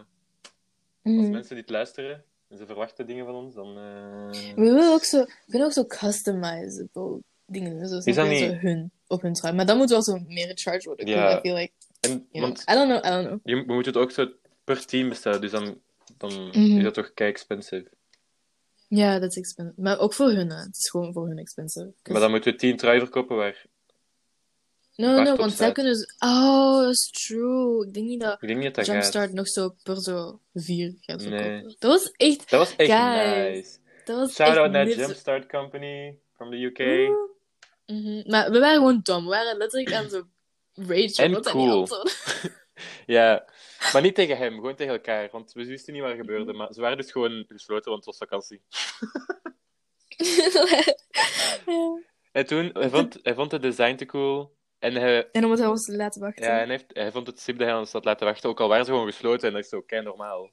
Speaker 2: mhm.
Speaker 3: mensen dit luisteren en ze verwachten dingen van ons, dan... eh,
Speaker 2: We willen ook zo, we kunnen ook zo customizable dingen doen. Zo, snap
Speaker 3: dat
Speaker 2: je?
Speaker 3: niet-
Speaker 2: Zo hun, op hun trui. Maar dat moet wel zo meer gecharged worden.
Speaker 3: Ja.
Speaker 2: Yeah. I feel like,
Speaker 3: en,
Speaker 2: you
Speaker 3: want
Speaker 2: know. I don't know, I don't know.
Speaker 3: je, we moeten het ook zo per team bestellen, dus dan, dan
Speaker 2: Mhm. Dus
Speaker 3: is dat toch kei expensive.
Speaker 2: Ja, that's expensive. Maar ook voor hun, hè. Het is gewoon voor hun expensive. 'Cause-
Speaker 3: Maar dan moeten we tien trui verkopen waar...
Speaker 2: No,
Speaker 3: Wacht
Speaker 2: no,
Speaker 3: op
Speaker 2: want zij
Speaker 3: tijd.
Speaker 2: kunnen... z- Oh, that's true. Ik denk niet dat
Speaker 3: Ik denk niet dat dat
Speaker 2: Jumpstart
Speaker 3: gaat.
Speaker 2: nog zo per zo vier gaat
Speaker 3: Nee.
Speaker 2: verkopen. Dat was echt...
Speaker 3: Dat was echt
Speaker 2: Guys,
Speaker 3: nice.
Speaker 2: Dat was echt
Speaker 3: Shout-out naar
Speaker 2: nips-
Speaker 3: Jumpstart Company from the UK.
Speaker 2: Mhm. Maar we waren gewoon dom. We waren letterlijk aan zo rage.
Speaker 3: En
Speaker 2: omdat hij
Speaker 3: cool.
Speaker 2: niet antwoordde.
Speaker 3: Ja, maar niet tegen hem, gewoon tegen elkaar. Want we wisten niet wat er gebeurde. Maar ze waren dus gewoon gesloten, want het was vakantie.
Speaker 2: ja.
Speaker 3: En toen, hij vond, hij vond het design te cool. En hij,
Speaker 2: En omdat hij ons laten wachten.
Speaker 3: ja, en hij, heeft, hij vond het sip dat hij ons had laten wachten. Ook al waren ze gewoon gesloten en dat is zo kei normaal.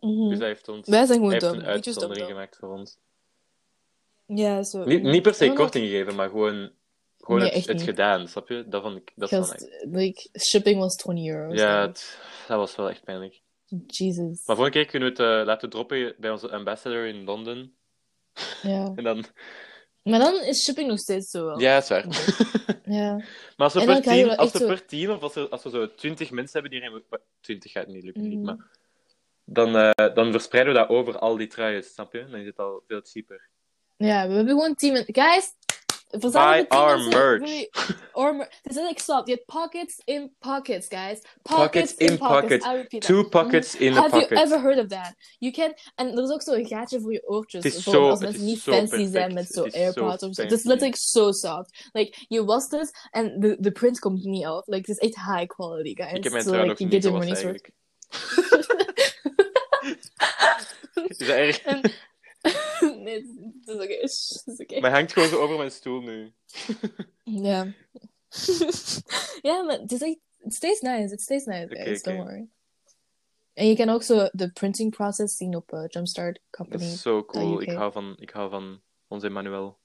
Speaker 2: Mhm.
Speaker 3: Dus hij heeft ons
Speaker 2: Wij zijn
Speaker 3: hij
Speaker 2: gewoon
Speaker 3: heeft
Speaker 2: dom.
Speaker 3: een
Speaker 2: Beetje dom.
Speaker 3: uitzondering
Speaker 2: dom.
Speaker 3: gemaakt voor ons.
Speaker 2: Ja, zo.
Speaker 3: Niet, niet per
Speaker 2: En
Speaker 3: se
Speaker 2: dan
Speaker 3: korting gegeven, maar gewoon, gewoon
Speaker 2: Nee,
Speaker 3: het,
Speaker 2: echt
Speaker 3: het
Speaker 2: niet.
Speaker 3: gedaan, snap je? Dat vond ik, dat
Speaker 2: had-
Speaker 3: vond ik.
Speaker 2: like, shipping was 20 euro.
Speaker 3: Ja,
Speaker 2: so-
Speaker 3: het- dat was wel echt pijnlijk.
Speaker 2: Jesus.
Speaker 3: Maar volgende keer kunnen we het eh, laten droppen bij onze ambassador in Londen.
Speaker 2: Ja.
Speaker 3: En dan...
Speaker 2: Maar dan is shipping nog steeds zo wel.
Speaker 3: Ja, is waar.
Speaker 2: Ja.
Speaker 3: Maar als we,
Speaker 2: En dan
Speaker 3: per
Speaker 2: krijg je
Speaker 3: team,
Speaker 2: wel
Speaker 3: als
Speaker 2: echt
Speaker 3: we
Speaker 2: zo-
Speaker 3: per team, of als, er, als we zo twintig mensen hebben die erin... 20 gaat niet lukken,
Speaker 2: Mhm.
Speaker 3: niet, maar... Dan, eh, dan verspreiden we dat over al die truien, snap je? Dan is het al veel cheaper.
Speaker 2: Ja, we hebben gewoon team... Guys, verzamel
Speaker 3: Buy
Speaker 2: de
Speaker 3: our
Speaker 2: dingen zo-
Speaker 3: merch.
Speaker 2: Wait, our mer- Het is net, ik snap. Je hebt pockets in pockets, guys. Pockets,
Speaker 3: Pockets
Speaker 2: in
Speaker 3: in
Speaker 2: pockets.
Speaker 3: pockets.
Speaker 2: I repeat that.
Speaker 3: Two pockets in a
Speaker 2: Have
Speaker 3: pocket.
Speaker 2: you ever heard of that? You can... En er is ook zo'n gaatje voor je oortjes.
Speaker 3: Het is
Speaker 2: voor
Speaker 3: zo-
Speaker 2: als
Speaker 3: het
Speaker 2: mensen
Speaker 3: is
Speaker 2: niet
Speaker 3: zo
Speaker 2: fancy
Speaker 3: perfect.
Speaker 2: zijn met zo'n
Speaker 3: Het is zo
Speaker 2: AirPods of zo. Het is
Speaker 3: fancy.
Speaker 2: letterlijk zo soft. Like, je wast het en de, de print komt niet af. Like, het is echt high quality, guys.
Speaker 3: Ik heb mijn
Speaker 2: So,
Speaker 3: trui
Speaker 2: like,
Speaker 3: nog
Speaker 2: you
Speaker 3: niet
Speaker 2: get your
Speaker 3: gewassen,
Speaker 2: money's worth.
Speaker 3: eigenlijk. Is dat erg?
Speaker 2: nee, het is- het is oké. Het is oké.
Speaker 3: Maar hij hangt gewoon zo over mijn stoel nu.
Speaker 2: Ja. ja, maar het is echt... It stays nice. It stays nice,
Speaker 3: Oké,
Speaker 2: guys. Don't
Speaker 3: oké.
Speaker 2: worry. En je kan ook zo de printing process zien op eh, Jumpstart
Speaker 3: Dat
Speaker 2: Company.
Speaker 3: is zo cool.
Speaker 2: UK.
Speaker 3: Ik hou van, ik hou van onze Emmanuel.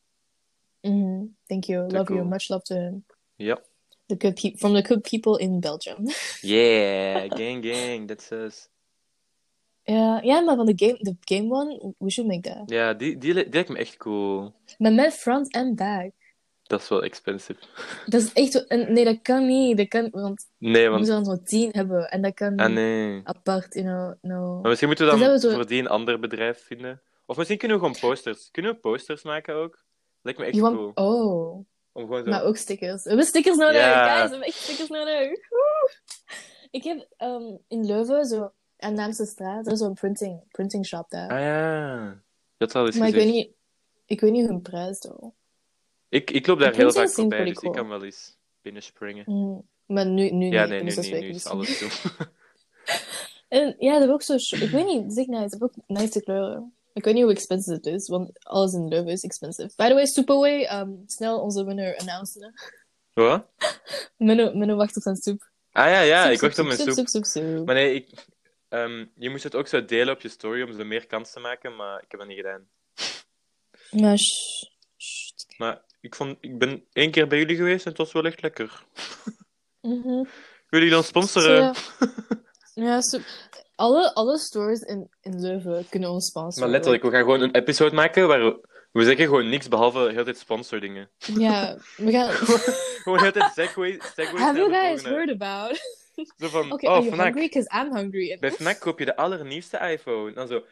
Speaker 2: Mhm. Thank you.
Speaker 3: Te
Speaker 2: Love you.
Speaker 3: cool.
Speaker 2: Much love to him.
Speaker 3: Ja.
Speaker 2: The good peop from the good people in Belgium.
Speaker 3: Yeah, gang gang, that's us.
Speaker 2: Ja, ja, maar van de game, the game one, we should make that.
Speaker 3: Ja, die, die, li- die lijkt me echt cool.
Speaker 2: Maar met front en back.
Speaker 3: Dat is wel expensive.
Speaker 2: Dat is echt... zo- en- Nee, dat kan niet. Dat kan, want
Speaker 3: Nee,
Speaker 2: we
Speaker 3: want...
Speaker 2: moeten dan zo'n tien hebben. En dat kan niet
Speaker 3: Ah, nee. Oh,
Speaker 2: apart, you know. No.
Speaker 3: Maar misschien moeten
Speaker 2: Dus
Speaker 3: we dan
Speaker 2: Oh. dat we zo-
Speaker 3: voor die een ander bedrijf vinden. Of misschien kunnen we gewoon posters. Kunnen we posters maken ook? Lijkt me echt
Speaker 2: You want...
Speaker 3: cool.
Speaker 2: Oh.
Speaker 3: Om gewoon zo...
Speaker 2: Maar ook stickers. We hebben stickers nodig,
Speaker 3: Ja.
Speaker 2: guys. We hebben echt stickers nodig. Woe! Ik heb ehm, in Leuven, zo aan Naamse straat, er is zo'n printing, printing shop daar.
Speaker 3: Ah ja. Dat zal eens
Speaker 2: maar ik
Speaker 3: gezien.
Speaker 2: weet, niet, ik weet niet hun prijs, though.
Speaker 3: Ik, ik loop daar
Speaker 2: Prinses
Speaker 3: heel vaak
Speaker 2: zien
Speaker 3: voorbij,
Speaker 2: pretty
Speaker 3: dus ik
Speaker 2: cool.
Speaker 3: kan wel eens binnenspringen.
Speaker 2: Mm, Maar nu, nu
Speaker 3: Ja,
Speaker 2: niet.
Speaker 3: nee,
Speaker 2: om
Speaker 3: nu,
Speaker 2: zes
Speaker 3: niet, nu
Speaker 2: weken
Speaker 3: is
Speaker 2: misschien.
Speaker 3: alles zo.
Speaker 2: En ja, dat heb ik ook zo... sh- Ik weet niet, zeg nou, het heb ook nice kleuren. Ik weet niet hoe expensive het is, want alles in Leuven is expensive. By the way, Superway, ehm, snel onze winner announcen.
Speaker 3: Wat?
Speaker 2: Menno, Menno wacht op zijn soep.
Speaker 3: Ah ja, ja,
Speaker 2: Soep,
Speaker 3: ik wacht op
Speaker 2: soep,
Speaker 3: mijn
Speaker 2: soep,
Speaker 3: soep.
Speaker 2: soep, soep, soep.
Speaker 3: Maar nee, ik, ehm, je moest het ook zo delen op je story om ze meer kans te maken, maar ik heb dat niet gedaan.
Speaker 2: Maar sh- sh-
Speaker 3: Maar ik, vond, ik ben één keer bij jullie geweest en het was wel echt lekker.
Speaker 2: Mhm.
Speaker 3: Willen jullie dan sponsoren?
Speaker 2: Ja, zo- alle, alle stores in, in Leuven kunnen ons sponsoren.
Speaker 3: maar letterlijk, we gaan gewoon een episode maken waar we, we zeggen gewoon niks behalve heel de tijd sponsordingen.
Speaker 2: Ja, we gaan...
Speaker 3: Gewoon heel de tijd segway, segways
Speaker 2: Have
Speaker 3: naar
Speaker 2: you
Speaker 3: de
Speaker 2: guys
Speaker 3: volgende.
Speaker 2: heard about?
Speaker 3: Oh, Zo van,
Speaker 2: Okay,
Speaker 3: oh,
Speaker 2: are you
Speaker 3: Fnac.
Speaker 2: hungry? Because I'm hungry.
Speaker 3: Bij Fnac koop je de allernieuwste iPhone. Dan zo,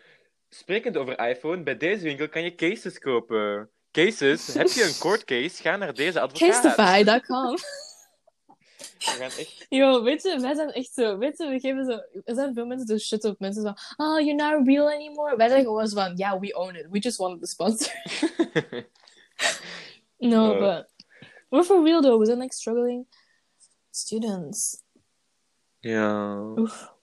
Speaker 3: sprekend over iPhone, bij deze winkel kan je cases kopen. Cases, heb je een court case? Ga naar deze advocaat.
Speaker 2: Casetify.com.
Speaker 3: We gaan echt...
Speaker 2: Yo, weet je, wij zijn echt zo... Weet je, we geven zo... Er zijn veel mensen die shit op mensen van... Oh, you're not real anymore. Wij zijn gewoon zo van... Yeah, we own it. We just wanted the sponsor. No,
Speaker 3: Eh.
Speaker 2: but... We're for real, though. We zijn like struggling students.
Speaker 3: ja.
Speaker 2: Oef.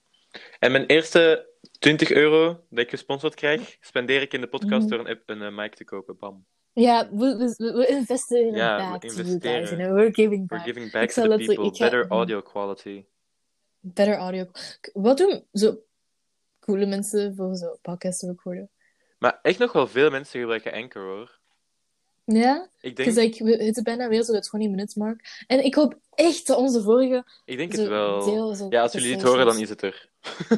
Speaker 3: En mijn eerste 20 euro dat ik gesponsord krijg, spendeer ik in de podcast
Speaker 2: Mhm.
Speaker 3: door een, app- een eh, mic te kopen. Bam.
Speaker 2: Ja, we, we, we- we investeren in
Speaker 3: Ja, we
Speaker 2: back to you guys. You
Speaker 3: investeren.
Speaker 2: know, we're giving
Speaker 3: We're
Speaker 2: back.
Speaker 3: giving back
Speaker 2: Ik
Speaker 3: to
Speaker 2: zou
Speaker 3: the
Speaker 2: dat zo-
Speaker 3: people.
Speaker 2: ik ga-
Speaker 3: Better audio quality.
Speaker 2: Better audio. K- Wat doen zo coole mensen voor zo podcasts te recorden?
Speaker 3: Maar echt nog wel veel mensen gebruiken Anchor, hoor.
Speaker 2: Ja,
Speaker 3: Ik denk,
Speaker 2: because like, we zitten bijna weer zo de 20 minutes mark. En ik hoop echt dat onze vorige
Speaker 3: ik denk
Speaker 2: zo
Speaker 3: het wel.
Speaker 2: deel zo
Speaker 3: Ja, als jullie het horen, dan is het er.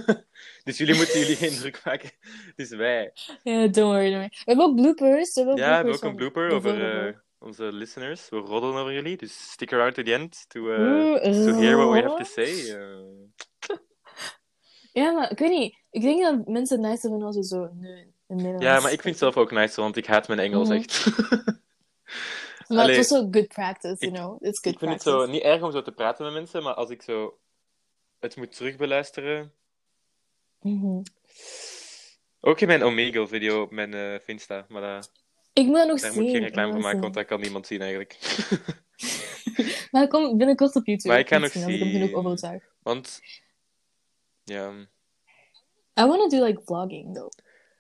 Speaker 3: dus jullie moeten jullie geen druk maken. Het is wij.
Speaker 2: Ja, don't worry, don't worry. We hebben ook bloopers. We hebben ook
Speaker 3: Ja, we hebben ook
Speaker 2: bloopers
Speaker 3: een
Speaker 2: van
Speaker 3: blooper
Speaker 2: de
Speaker 3: over
Speaker 2: vorige.
Speaker 3: eh, onze listeners. We roddelen over jullie, dus stick around to the end to, eh,
Speaker 2: Oeh,
Speaker 3: to hear what we have to
Speaker 2: roddelen?
Speaker 3: say. eh.
Speaker 2: Ja, maar ik weet niet. Ik denk dat mensen het nicer vinden als we zo nu in het Nederlands
Speaker 3: ja, maar ik vind
Speaker 2: spreken.
Speaker 3: het zelf ook nice, want ik haat mijn Engels
Speaker 2: Mhm.
Speaker 3: echt.
Speaker 2: Maar
Speaker 3: Allee,
Speaker 2: het was ook good practice, you
Speaker 3: ik-
Speaker 2: know. It's good
Speaker 3: ik vind het
Speaker 2: practice.
Speaker 3: zo niet erg om zo te praten met mensen, maar als ik zo het moet terugbeluisteren.
Speaker 2: Mhm.
Speaker 3: Ook in mijn Omegle-video op mijn eh Finsta, maar daar,
Speaker 2: Ik moet dat nog
Speaker 3: daar
Speaker 2: zien.
Speaker 3: moet ik geen
Speaker 2: ik moet
Speaker 3: reclame voor maken,
Speaker 2: dat zien.
Speaker 3: want dat kan niemand zien eigenlijk.
Speaker 2: Maar ik kom binnenkort op YouTube.
Speaker 3: Maar ik ga
Speaker 2: Misschien
Speaker 3: nog
Speaker 2: als Ik hem
Speaker 3: zien.
Speaker 2: genoeg overtuig.
Speaker 3: want, ja...
Speaker 2: I want to do like vlogging though.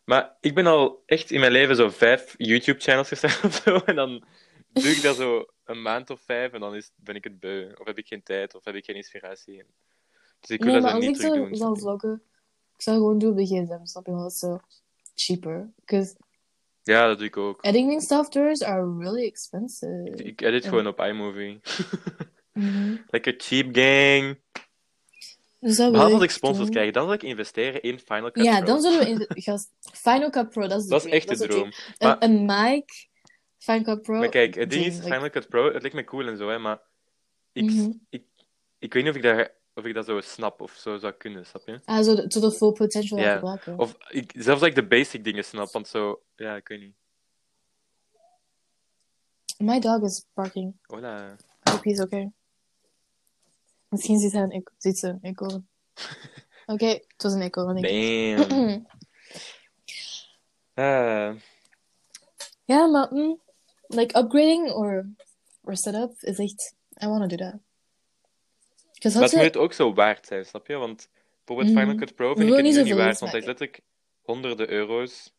Speaker 3: Maar ik ben al echt in mijn leven zo vijf YouTube-channels gestart of zo. En dan doe ik dat zo een maand of vijf en dan is, ben ik het beu. Of heb ik geen tijd, of heb ik geen inspiratie. En- Dus ik wil
Speaker 2: nee,
Speaker 3: dat
Speaker 2: maar
Speaker 3: zo
Speaker 2: als ik
Speaker 3: niet terug
Speaker 2: zou,
Speaker 3: doen. snap
Speaker 2: zou
Speaker 3: je?
Speaker 2: vloggen, ik zou gewoon doen op de gsm, snap je? Want dat is zo cheaper. Because
Speaker 3: Ja, dat doe ik ook.
Speaker 2: editing softwares are really expensive.
Speaker 3: Ik- Ik edit
Speaker 2: en-
Speaker 3: gewoon op iMovie.
Speaker 2: Mhm.
Speaker 3: Lekker cheap, gang.
Speaker 2: Dus dat wil
Speaker 3: Behalve als ik sponsors
Speaker 2: doen.
Speaker 3: krijg, dan zal ik investeren in Final Cut
Speaker 2: Ja,
Speaker 3: Pro.
Speaker 2: dan zullen we in de- gast, Final Cut Pro, dat is de
Speaker 3: Dat is
Speaker 2: dream,
Speaker 3: echt de
Speaker 2: dat
Speaker 3: droom.
Speaker 2: dream.
Speaker 3: Maar-
Speaker 2: Een, een mic, Final Cut Pro.
Speaker 3: Maar kijk, het ding
Speaker 2: dream,
Speaker 3: is,
Speaker 2: like-
Speaker 3: Final Cut Pro, het lijkt me cool en zo, hè, maar ik,
Speaker 2: Mhm.
Speaker 3: ik, ik weet niet of ik, daar, of ik dat zo snap of zo zou kunnen, snap je?
Speaker 2: Ah, zo de- tot de full potential
Speaker 3: Ja.
Speaker 2: gebruiken.
Speaker 3: Of ik, zelfs dat ik de basic dingen snap, want zo, ja, ik weet niet.
Speaker 2: My dog is barking.
Speaker 3: Hola.
Speaker 2: I hope he's okay. Misschien ziet, hij een eco- ziet ze een eekhoorn. Oké, het was een eekhoorn. ik-
Speaker 3: Damn.
Speaker 2: Mm-hmm.
Speaker 3: Ah,
Speaker 2: Ja, maar mm, like upgrading or, or setup is echt. I want to do that. Because
Speaker 3: Ah, maar het
Speaker 2: had
Speaker 3: moet
Speaker 2: ze,
Speaker 3: het ook zo waard zijn, snap je? Want bijvoorbeeld
Speaker 2: Mhm.
Speaker 3: Final Cut Pro
Speaker 2: We
Speaker 3: vind ik
Speaker 2: willen
Speaker 3: het
Speaker 2: niet
Speaker 3: nu niet
Speaker 2: zoveel
Speaker 3: waard, want hij is
Speaker 2: maken.
Speaker 3: letterlijk honderden euro's.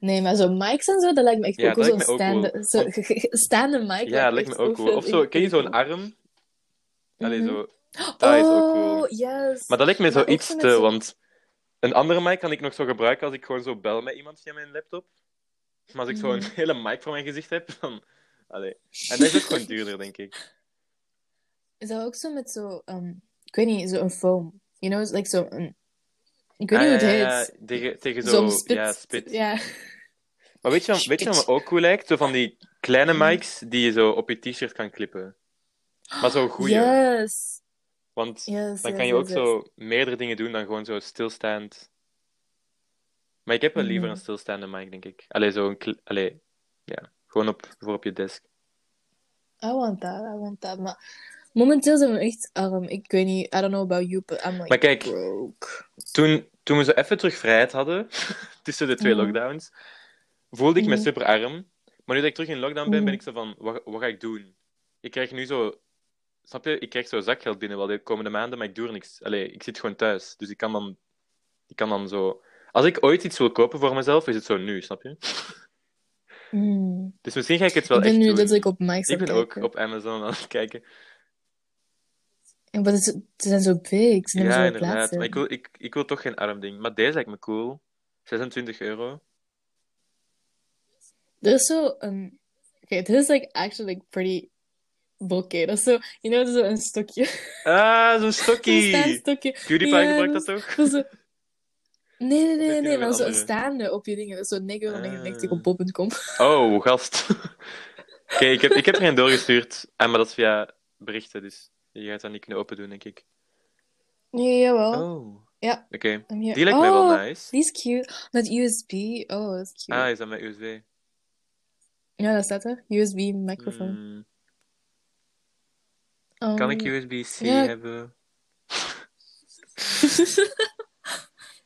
Speaker 2: nee, maar zo mics en zo, dat lijkt me echt
Speaker 3: Ja,
Speaker 2: ook
Speaker 3: dat
Speaker 2: wel zo'n
Speaker 3: lijkt me ook
Speaker 2: staande,
Speaker 3: wel.
Speaker 2: zo, staande mic.
Speaker 3: Ja, lijkt me
Speaker 2: echt Oh,
Speaker 3: ook cool. Of
Speaker 2: zoveel
Speaker 3: zo, ken je zo'n
Speaker 2: ingewikkelder.
Speaker 3: arm? Allee,
Speaker 2: Mhm.
Speaker 3: zo. Dat is ook cool.
Speaker 2: Oh, yes.
Speaker 3: Maar dat lijkt me
Speaker 2: Maar
Speaker 3: zo
Speaker 2: ook
Speaker 3: iets
Speaker 2: zo met
Speaker 3: te,
Speaker 2: zo'n-
Speaker 3: want een andere mic kan ik nog zo gebruiken als ik gewoon zo bel met iemand via mijn laptop. Maar als ik zo
Speaker 2: Mhm.
Speaker 3: een hele mic voor mijn gezicht heb, dan... Allee. En dat is ook gewoon duurder, denk ik.
Speaker 2: Is dat ook zo met zo, ehm ik weet niet, zo'n foam? You know, it's like zo een... Ik weet
Speaker 3: Ah,
Speaker 2: niet hoe
Speaker 3: ja,
Speaker 2: het
Speaker 3: ja,
Speaker 2: heet.
Speaker 3: ja, tegen, tegen zo...
Speaker 2: Zo'n spit.
Speaker 3: Ja, spit.
Speaker 2: Ja.
Speaker 3: Maar weet je, wat- weet je wat me ook cool lijkt? Zo van die kleine
Speaker 2: Mm.
Speaker 3: mics die je zo op je t-shirt kan klippen. Maar zo'n goeie.
Speaker 2: Yes.
Speaker 3: Want
Speaker 2: Yes,
Speaker 3: dan
Speaker 2: yes,
Speaker 3: kan je
Speaker 2: yes,
Speaker 3: ook
Speaker 2: yes.
Speaker 3: zo meerdere dingen doen dan gewoon zo stilstaand. Maar ik heb wel liever
Speaker 2: Mhm.
Speaker 3: een stilstaande mic, denk ik. Allee, zo een... kle- Allee, ja. Gewoon op, voor op je desk.
Speaker 2: I want that, I want that. Maar momenteel zijn we echt arm. Ik weet niet, I don't know about you, but I'm like
Speaker 3: Maar kijk,
Speaker 2: broke.
Speaker 3: toen, toen we zo even terug vrijheid hadden, tussen de twee
Speaker 2: Mhm.
Speaker 3: lockdowns, voelde ik me
Speaker 2: Mhm.
Speaker 3: super arm. Maar nu dat ik terug in lockdown ben,
Speaker 2: Mhm.
Speaker 3: ben ik zo van, wat, wat ga ik doen? Ik krijg nu zo, snap je, ik krijg zo zakgeld binnen wel de komende maanden, maar ik doe er niks. Allee, ik zit gewoon thuis, dus ik kan dan, ik kan dan zo... Als ik ooit iets wil kopen voor mezelf, is het zo nu, snap je?
Speaker 2: Mm.
Speaker 3: Dus misschien ga ik het wel
Speaker 2: Ik ben
Speaker 3: echt
Speaker 2: nu
Speaker 3: doen.
Speaker 2: letterlijk op Mike's
Speaker 3: Ik
Speaker 2: aan
Speaker 3: ben
Speaker 2: het
Speaker 3: ook
Speaker 2: kijken.
Speaker 3: op Amazon aan het kijken.
Speaker 2: Ja, Maar het is- ze zijn zo big, ze nemen
Speaker 3: Ja,
Speaker 2: zoveel plaats
Speaker 3: inderdaad. Maar
Speaker 2: in.
Speaker 3: ik wil, ik, ik wil toch geen arm ding. Maar deze lijkt me cool. 26 euro.
Speaker 2: Er is zo een... Oké, dit is like actually like, pretty bulky. Dat is zo, you know, zo een stokje.
Speaker 3: Ah, zo'n
Speaker 2: Zo'n
Speaker 3: stokkie!
Speaker 2: staanstokje.
Speaker 3: PewDiePie
Speaker 2: Ja,
Speaker 3: gebruikt dat
Speaker 2: dat
Speaker 3: toch?
Speaker 2: Dat is zo- Nee, nee,
Speaker 3: Dit
Speaker 2: nee,
Speaker 3: kennen we
Speaker 2: nee, maar zo'n
Speaker 3: andere.
Speaker 2: staande op je dingen. Dat is zo'n 999
Speaker 3: Ah.
Speaker 2: op bol.com.
Speaker 3: Oh, gast. Oké, ik, heb, ik heb er een doorgestuurd. Ah, maar dat is via berichten, dus je gaat dat niet kunnen open doen, denk ik.
Speaker 2: Nee, jawel.
Speaker 3: Oh.
Speaker 2: Ja.
Speaker 3: Oké,
Speaker 2: I'm here.
Speaker 3: die lijkt mij
Speaker 2: Oh,
Speaker 3: wel nice.
Speaker 2: Die is cute. Met USB. Oh, dat is cute.
Speaker 3: Ah, is dat met USB?
Speaker 2: Ja, dat staat er. USB microfoon.
Speaker 3: Hmm,
Speaker 2: Um,
Speaker 3: Kan ik USB-C
Speaker 2: ja.
Speaker 3: hebben?
Speaker 2: I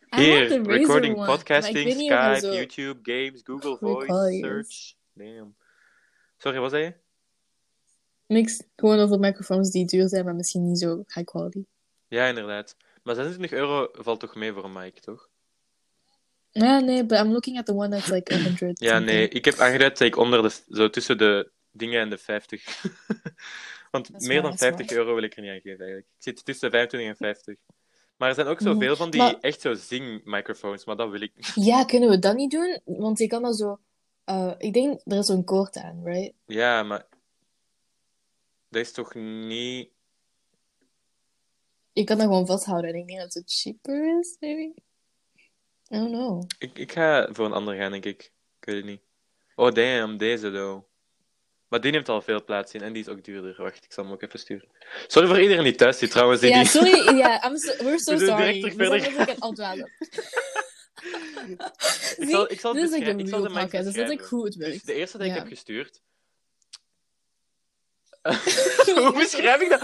Speaker 2: want
Speaker 3: Hier,
Speaker 2: the Razer
Speaker 3: recording,
Speaker 2: one, maar ik
Speaker 3: podcasting,
Speaker 2: weet niet of hij
Speaker 3: Skype,
Speaker 2: zo
Speaker 3: YouTube, games, Google
Speaker 2: goede
Speaker 3: Voice,
Speaker 2: kwaliteit is.
Speaker 3: search. Damn. Sorry, wat zei je?
Speaker 2: Niks. Gewoon over microfoons die duur zijn, maar misschien niet zo high quality.
Speaker 3: Ja, inderdaad. Maar 26 euro valt toch mee voor een mic, toch?
Speaker 2: Nee, nee, but I'm looking at the one that's like 100.
Speaker 3: Ja,
Speaker 2: something.
Speaker 3: nee, ik heb aangeduid dat ik onder de, zo tussen de dingen en de 50. Want
Speaker 2: Dat is
Speaker 3: meer dan
Speaker 2: waar, dat is
Speaker 3: 50 euro wil ik er niet aan geven eigenlijk. Ik zit tussen 25 en 50. Maar er zijn ook
Speaker 2: Mhm.
Speaker 3: zoveel van die
Speaker 2: Maar-
Speaker 3: echt zo zingmicrofoons, maar dat wil ik niet.
Speaker 2: Ja, kunnen we dat niet doen? Want je kan dan zo. eh, ik denk, er is zo'n koord aan, right?
Speaker 3: Ja, maar dat is toch niet.
Speaker 2: Je kan dat gewoon vasthouden en ik denk dat het cheaper is, maybe. I don't know.
Speaker 3: Ik, ik ga voor een ander gaan, denk ik. Ik weet het niet. Oh, damn, deze though. Maar die neemt al veel plaats in en die is ook duurder. Wacht, ik zal hem ook even sturen. Sorry voor iedereen die thuis zit trouwens. Die
Speaker 2: Ja,
Speaker 3: die-
Speaker 2: sorry. Ja, I'm so- we're so
Speaker 3: We zijn
Speaker 2: sorry.
Speaker 3: direct terug
Speaker 2: We zijn
Speaker 3: verder.
Speaker 2: letterlijk aan het dwalen.
Speaker 3: Ik zal, ik zal
Speaker 2: Dit
Speaker 3: het
Speaker 2: is like
Speaker 3: beschrijven.
Speaker 2: een
Speaker 3: Ik zal
Speaker 2: real
Speaker 3: de mic
Speaker 2: podcast. Dat is like
Speaker 3: beschrijven.
Speaker 2: hoe het
Speaker 3: Dus
Speaker 2: werkt.
Speaker 3: de eerste die ik
Speaker 2: Ja.
Speaker 3: heb gestuurd. Hoe beschrijf ik dat?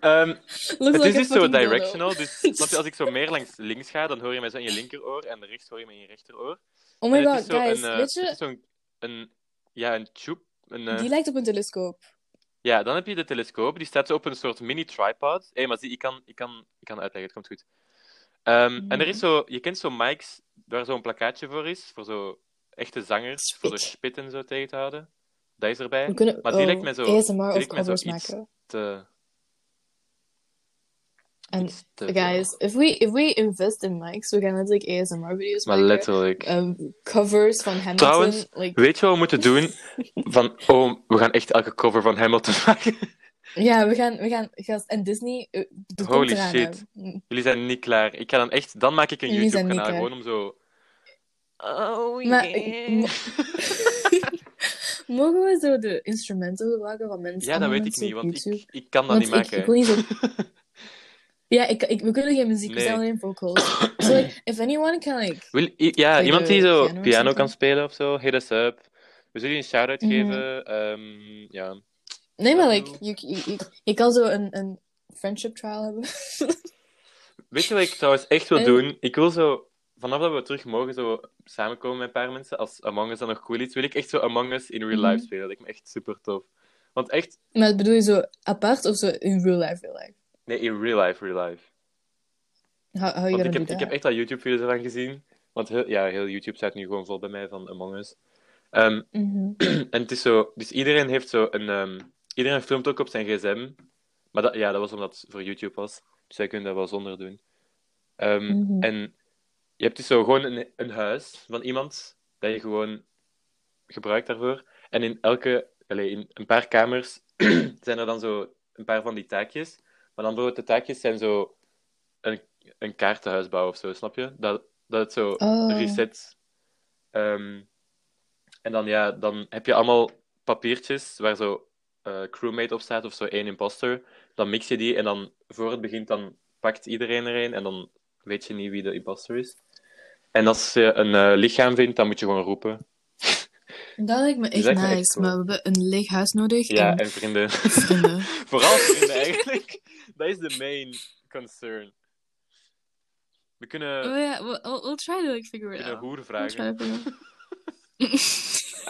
Speaker 3: Ehm,
Speaker 2: Looks
Speaker 3: het
Speaker 2: like
Speaker 3: is
Speaker 2: a
Speaker 3: dus zo
Speaker 2: fucking dildo.
Speaker 3: directional. Dus snap je, als ik zo meer langs links ga, dan hoor je mij zo in je linkeroor en rechts hoor je mij in je rechteroor.
Speaker 2: Oh my
Speaker 3: En
Speaker 2: god,
Speaker 3: het is zo
Speaker 2: guys.
Speaker 3: een, eh,
Speaker 2: weet
Speaker 3: het is
Speaker 2: je,
Speaker 3: zo'n een, ja, een tube. Een, eh,
Speaker 2: die lijkt op een telescoop.
Speaker 3: Ja, dan heb je de telescoop. Die staat zo op een soort mini-tripod. Hé, maar zie, ik kan, ik, kan, ik kan uitleggen, het komt goed. Ehm, En er is zo, je kent zo'n mics waar zo'n plakkaatje voor is, voor zo echte zangers, voor zo
Speaker 2: Spit.
Speaker 3: spit en zo tegen te houden. Dat is erbij.
Speaker 2: We kunnen
Speaker 3: Maar die
Speaker 2: oh,
Speaker 3: lijkt mij zo-
Speaker 2: ASMR
Speaker 3: die
Speaker 2: of
Speaker 3: lijkt mij zo
Speaker 2: covers
Speaker 3: iets
Speaker 2: maken.
Speaker 3: Te,
Speaker 2: En
Speaker 3: iets te
Speaker 2: guys, if we, if we invest in mics, we gaan letterlijk ASMR video's
Speaker 3: veel. Maar
Speaker 2: maken.
Speaker 3: letterlijk.
Speaker 2: Ehm, covers van Hamilton.
Speaker 3: Trouwens,
Speaker 2: like,
Speaker 3: Weet je wat we moeten doen? Van, oh, we gaan echt elke cover van Hamilton maken.
Speaker 2: ja, we gaan, we gaan, gast, en Disney, eh, die
Speaker 3: Holy
Speaker 2: komt eraan,
Speaker 3: shit.
Speaker 2: hè. Mm,
Speaker 3: Jullie zijn niet klaar. Ik ga dan echt, dan maak ik een
Speaker 2: Jullie zijn niet
Speaker 3: YouTube-kanaal
Speaker 2: klaar.
Speaker 3: gewoon om zo. Oh,
Speaker 2: Maar
Speaker 3: yeah.
Speaker 2: ik- Mogen we zo de instrumenten gebruiken van mensen?
Speaker 3: Ja, dat
Speaker 2: allemaal
Speaker 3: weet ik
Speaker 2: mensen
Speaker 3: niet,
Speaker 2: op
Speaker 3: want
Speaker 2: YouTube?
Speaker 3: ik, ik kan dat
Speaker 2: Want
Speaker 3: niet
Speaker 2: ik-
Speaker 3: maken.
Speaker 2: ik wil niet zo- Ja, ik, ik, we kunnen geen muziek, we
Speaker 3: Nee.
Speaker 2: zijn alleen vocals. so, like, if anyone can, like...
Speaker 3: Wil, i- ja,
Speaker 2: Kan je
Speaker 3: iemand die
Speaker 2: de
Speaker 3: zo
Speaker 2: piano
Speaker 3: piano,
Speaker 2: of zo
Speaker 3: kan
Speaker 2: doen?
Speaker 3: spelen of zo, hit us up. We zullen je een shout-out
Speaker 2: Mhm.
Speaker 3: geven. ehm, ja.
Speaker 2: Nee, maar
Speaker 3: Oh.
Speaker 2: like, je, je, je, je kan zo een, een friendship trial hebben.
Speaker 3: Weet je wat ik trouwens echt wil
Speaker 2: Eh.
Speaker 3: doen? Ik wil zo, vanaf dat we terug mogen zo samenkomen met een paar mensen, als Among Us dan nog cool is, wil ik echt zo Among Us in real life
Speaker 2: Mhm.
Speaker 3: spelen. Dat lijkt me echt super tof. Want echt,
Speaker 2: maar bedoel je zo apart of zo in real life, real life?
Speaker 3: nee, in real life, real life.
Speaker 2: How, how you
Speaker 3: Want
Speaker 2: gonna
Speaker 3: ik
Speaker 2: do
Speaker 3: heb, ik
Speaker 2: that?
Speaker 3: heb echt dat YouTube-video's ervan gezien. Want heel, ja, heel YouTube staat nu gewoon vol bij mij van Among Us. Ehm,
Speaker 2: Mhm.
Speaker 3: en het is zo, dus iedereen heeft zo een. ehm, iedereen filmt ook op zijn gsm. Maar dat, ja, dat was omdat het voor YouTube was. Dus zij kunnen dat wel zonder doen. Ehm,
Speaker 2: Mhm.
Speaker 3: En je hebt dus zo gewoon een, een huis van iemand dat je gewoon gebruikt daarvoor. En in elke, allee, in een paar kamers zijn er dan zo een paar van die taakjes. Maar dan bijvoorbeeld de taakjes zijn zo een, een kaartenhuis bouwen of zo, snap je? Dat, dat het zo
Speaker 2: Oh.
Speaker 3: reset. Ehm, en dan, ja, dan heb je allemaal papiertjes waar zo eh, crewmate op staat of zo één imposter. Dan mix je die en dan voor het begint dan pakt iedereen er een en dan weet je niet wie de imposter is. En als je een eh, lichaam vindt, dan moet je gewoon roepen.
Speaker 2: Dat lijkt me echt
Speaker 3: lijkt me
Speaker 2: nice,
Speaker 3: echt cool.
Speaker 2: maar we hebben een leeg huis nodig
Speaker 3: Ja,
Speaker 2: en
Speaker 3: en vrienden.
Speaker 2: vrienden.
Speaker 3: Vooral vrienden eigenlijk. Dat is de main concern. We kunnen,
Speaker 2: Oh
Speaker 3: we
Speaker 2: ja, we'll, we'll, we'll try to like figure it
Speaker 3: kunnen
Speaker 2: out.
Speaker 3: hoeren
Speaker 2: We'll try
Speaker 3: vragen.
Speaker 2: to figure it out.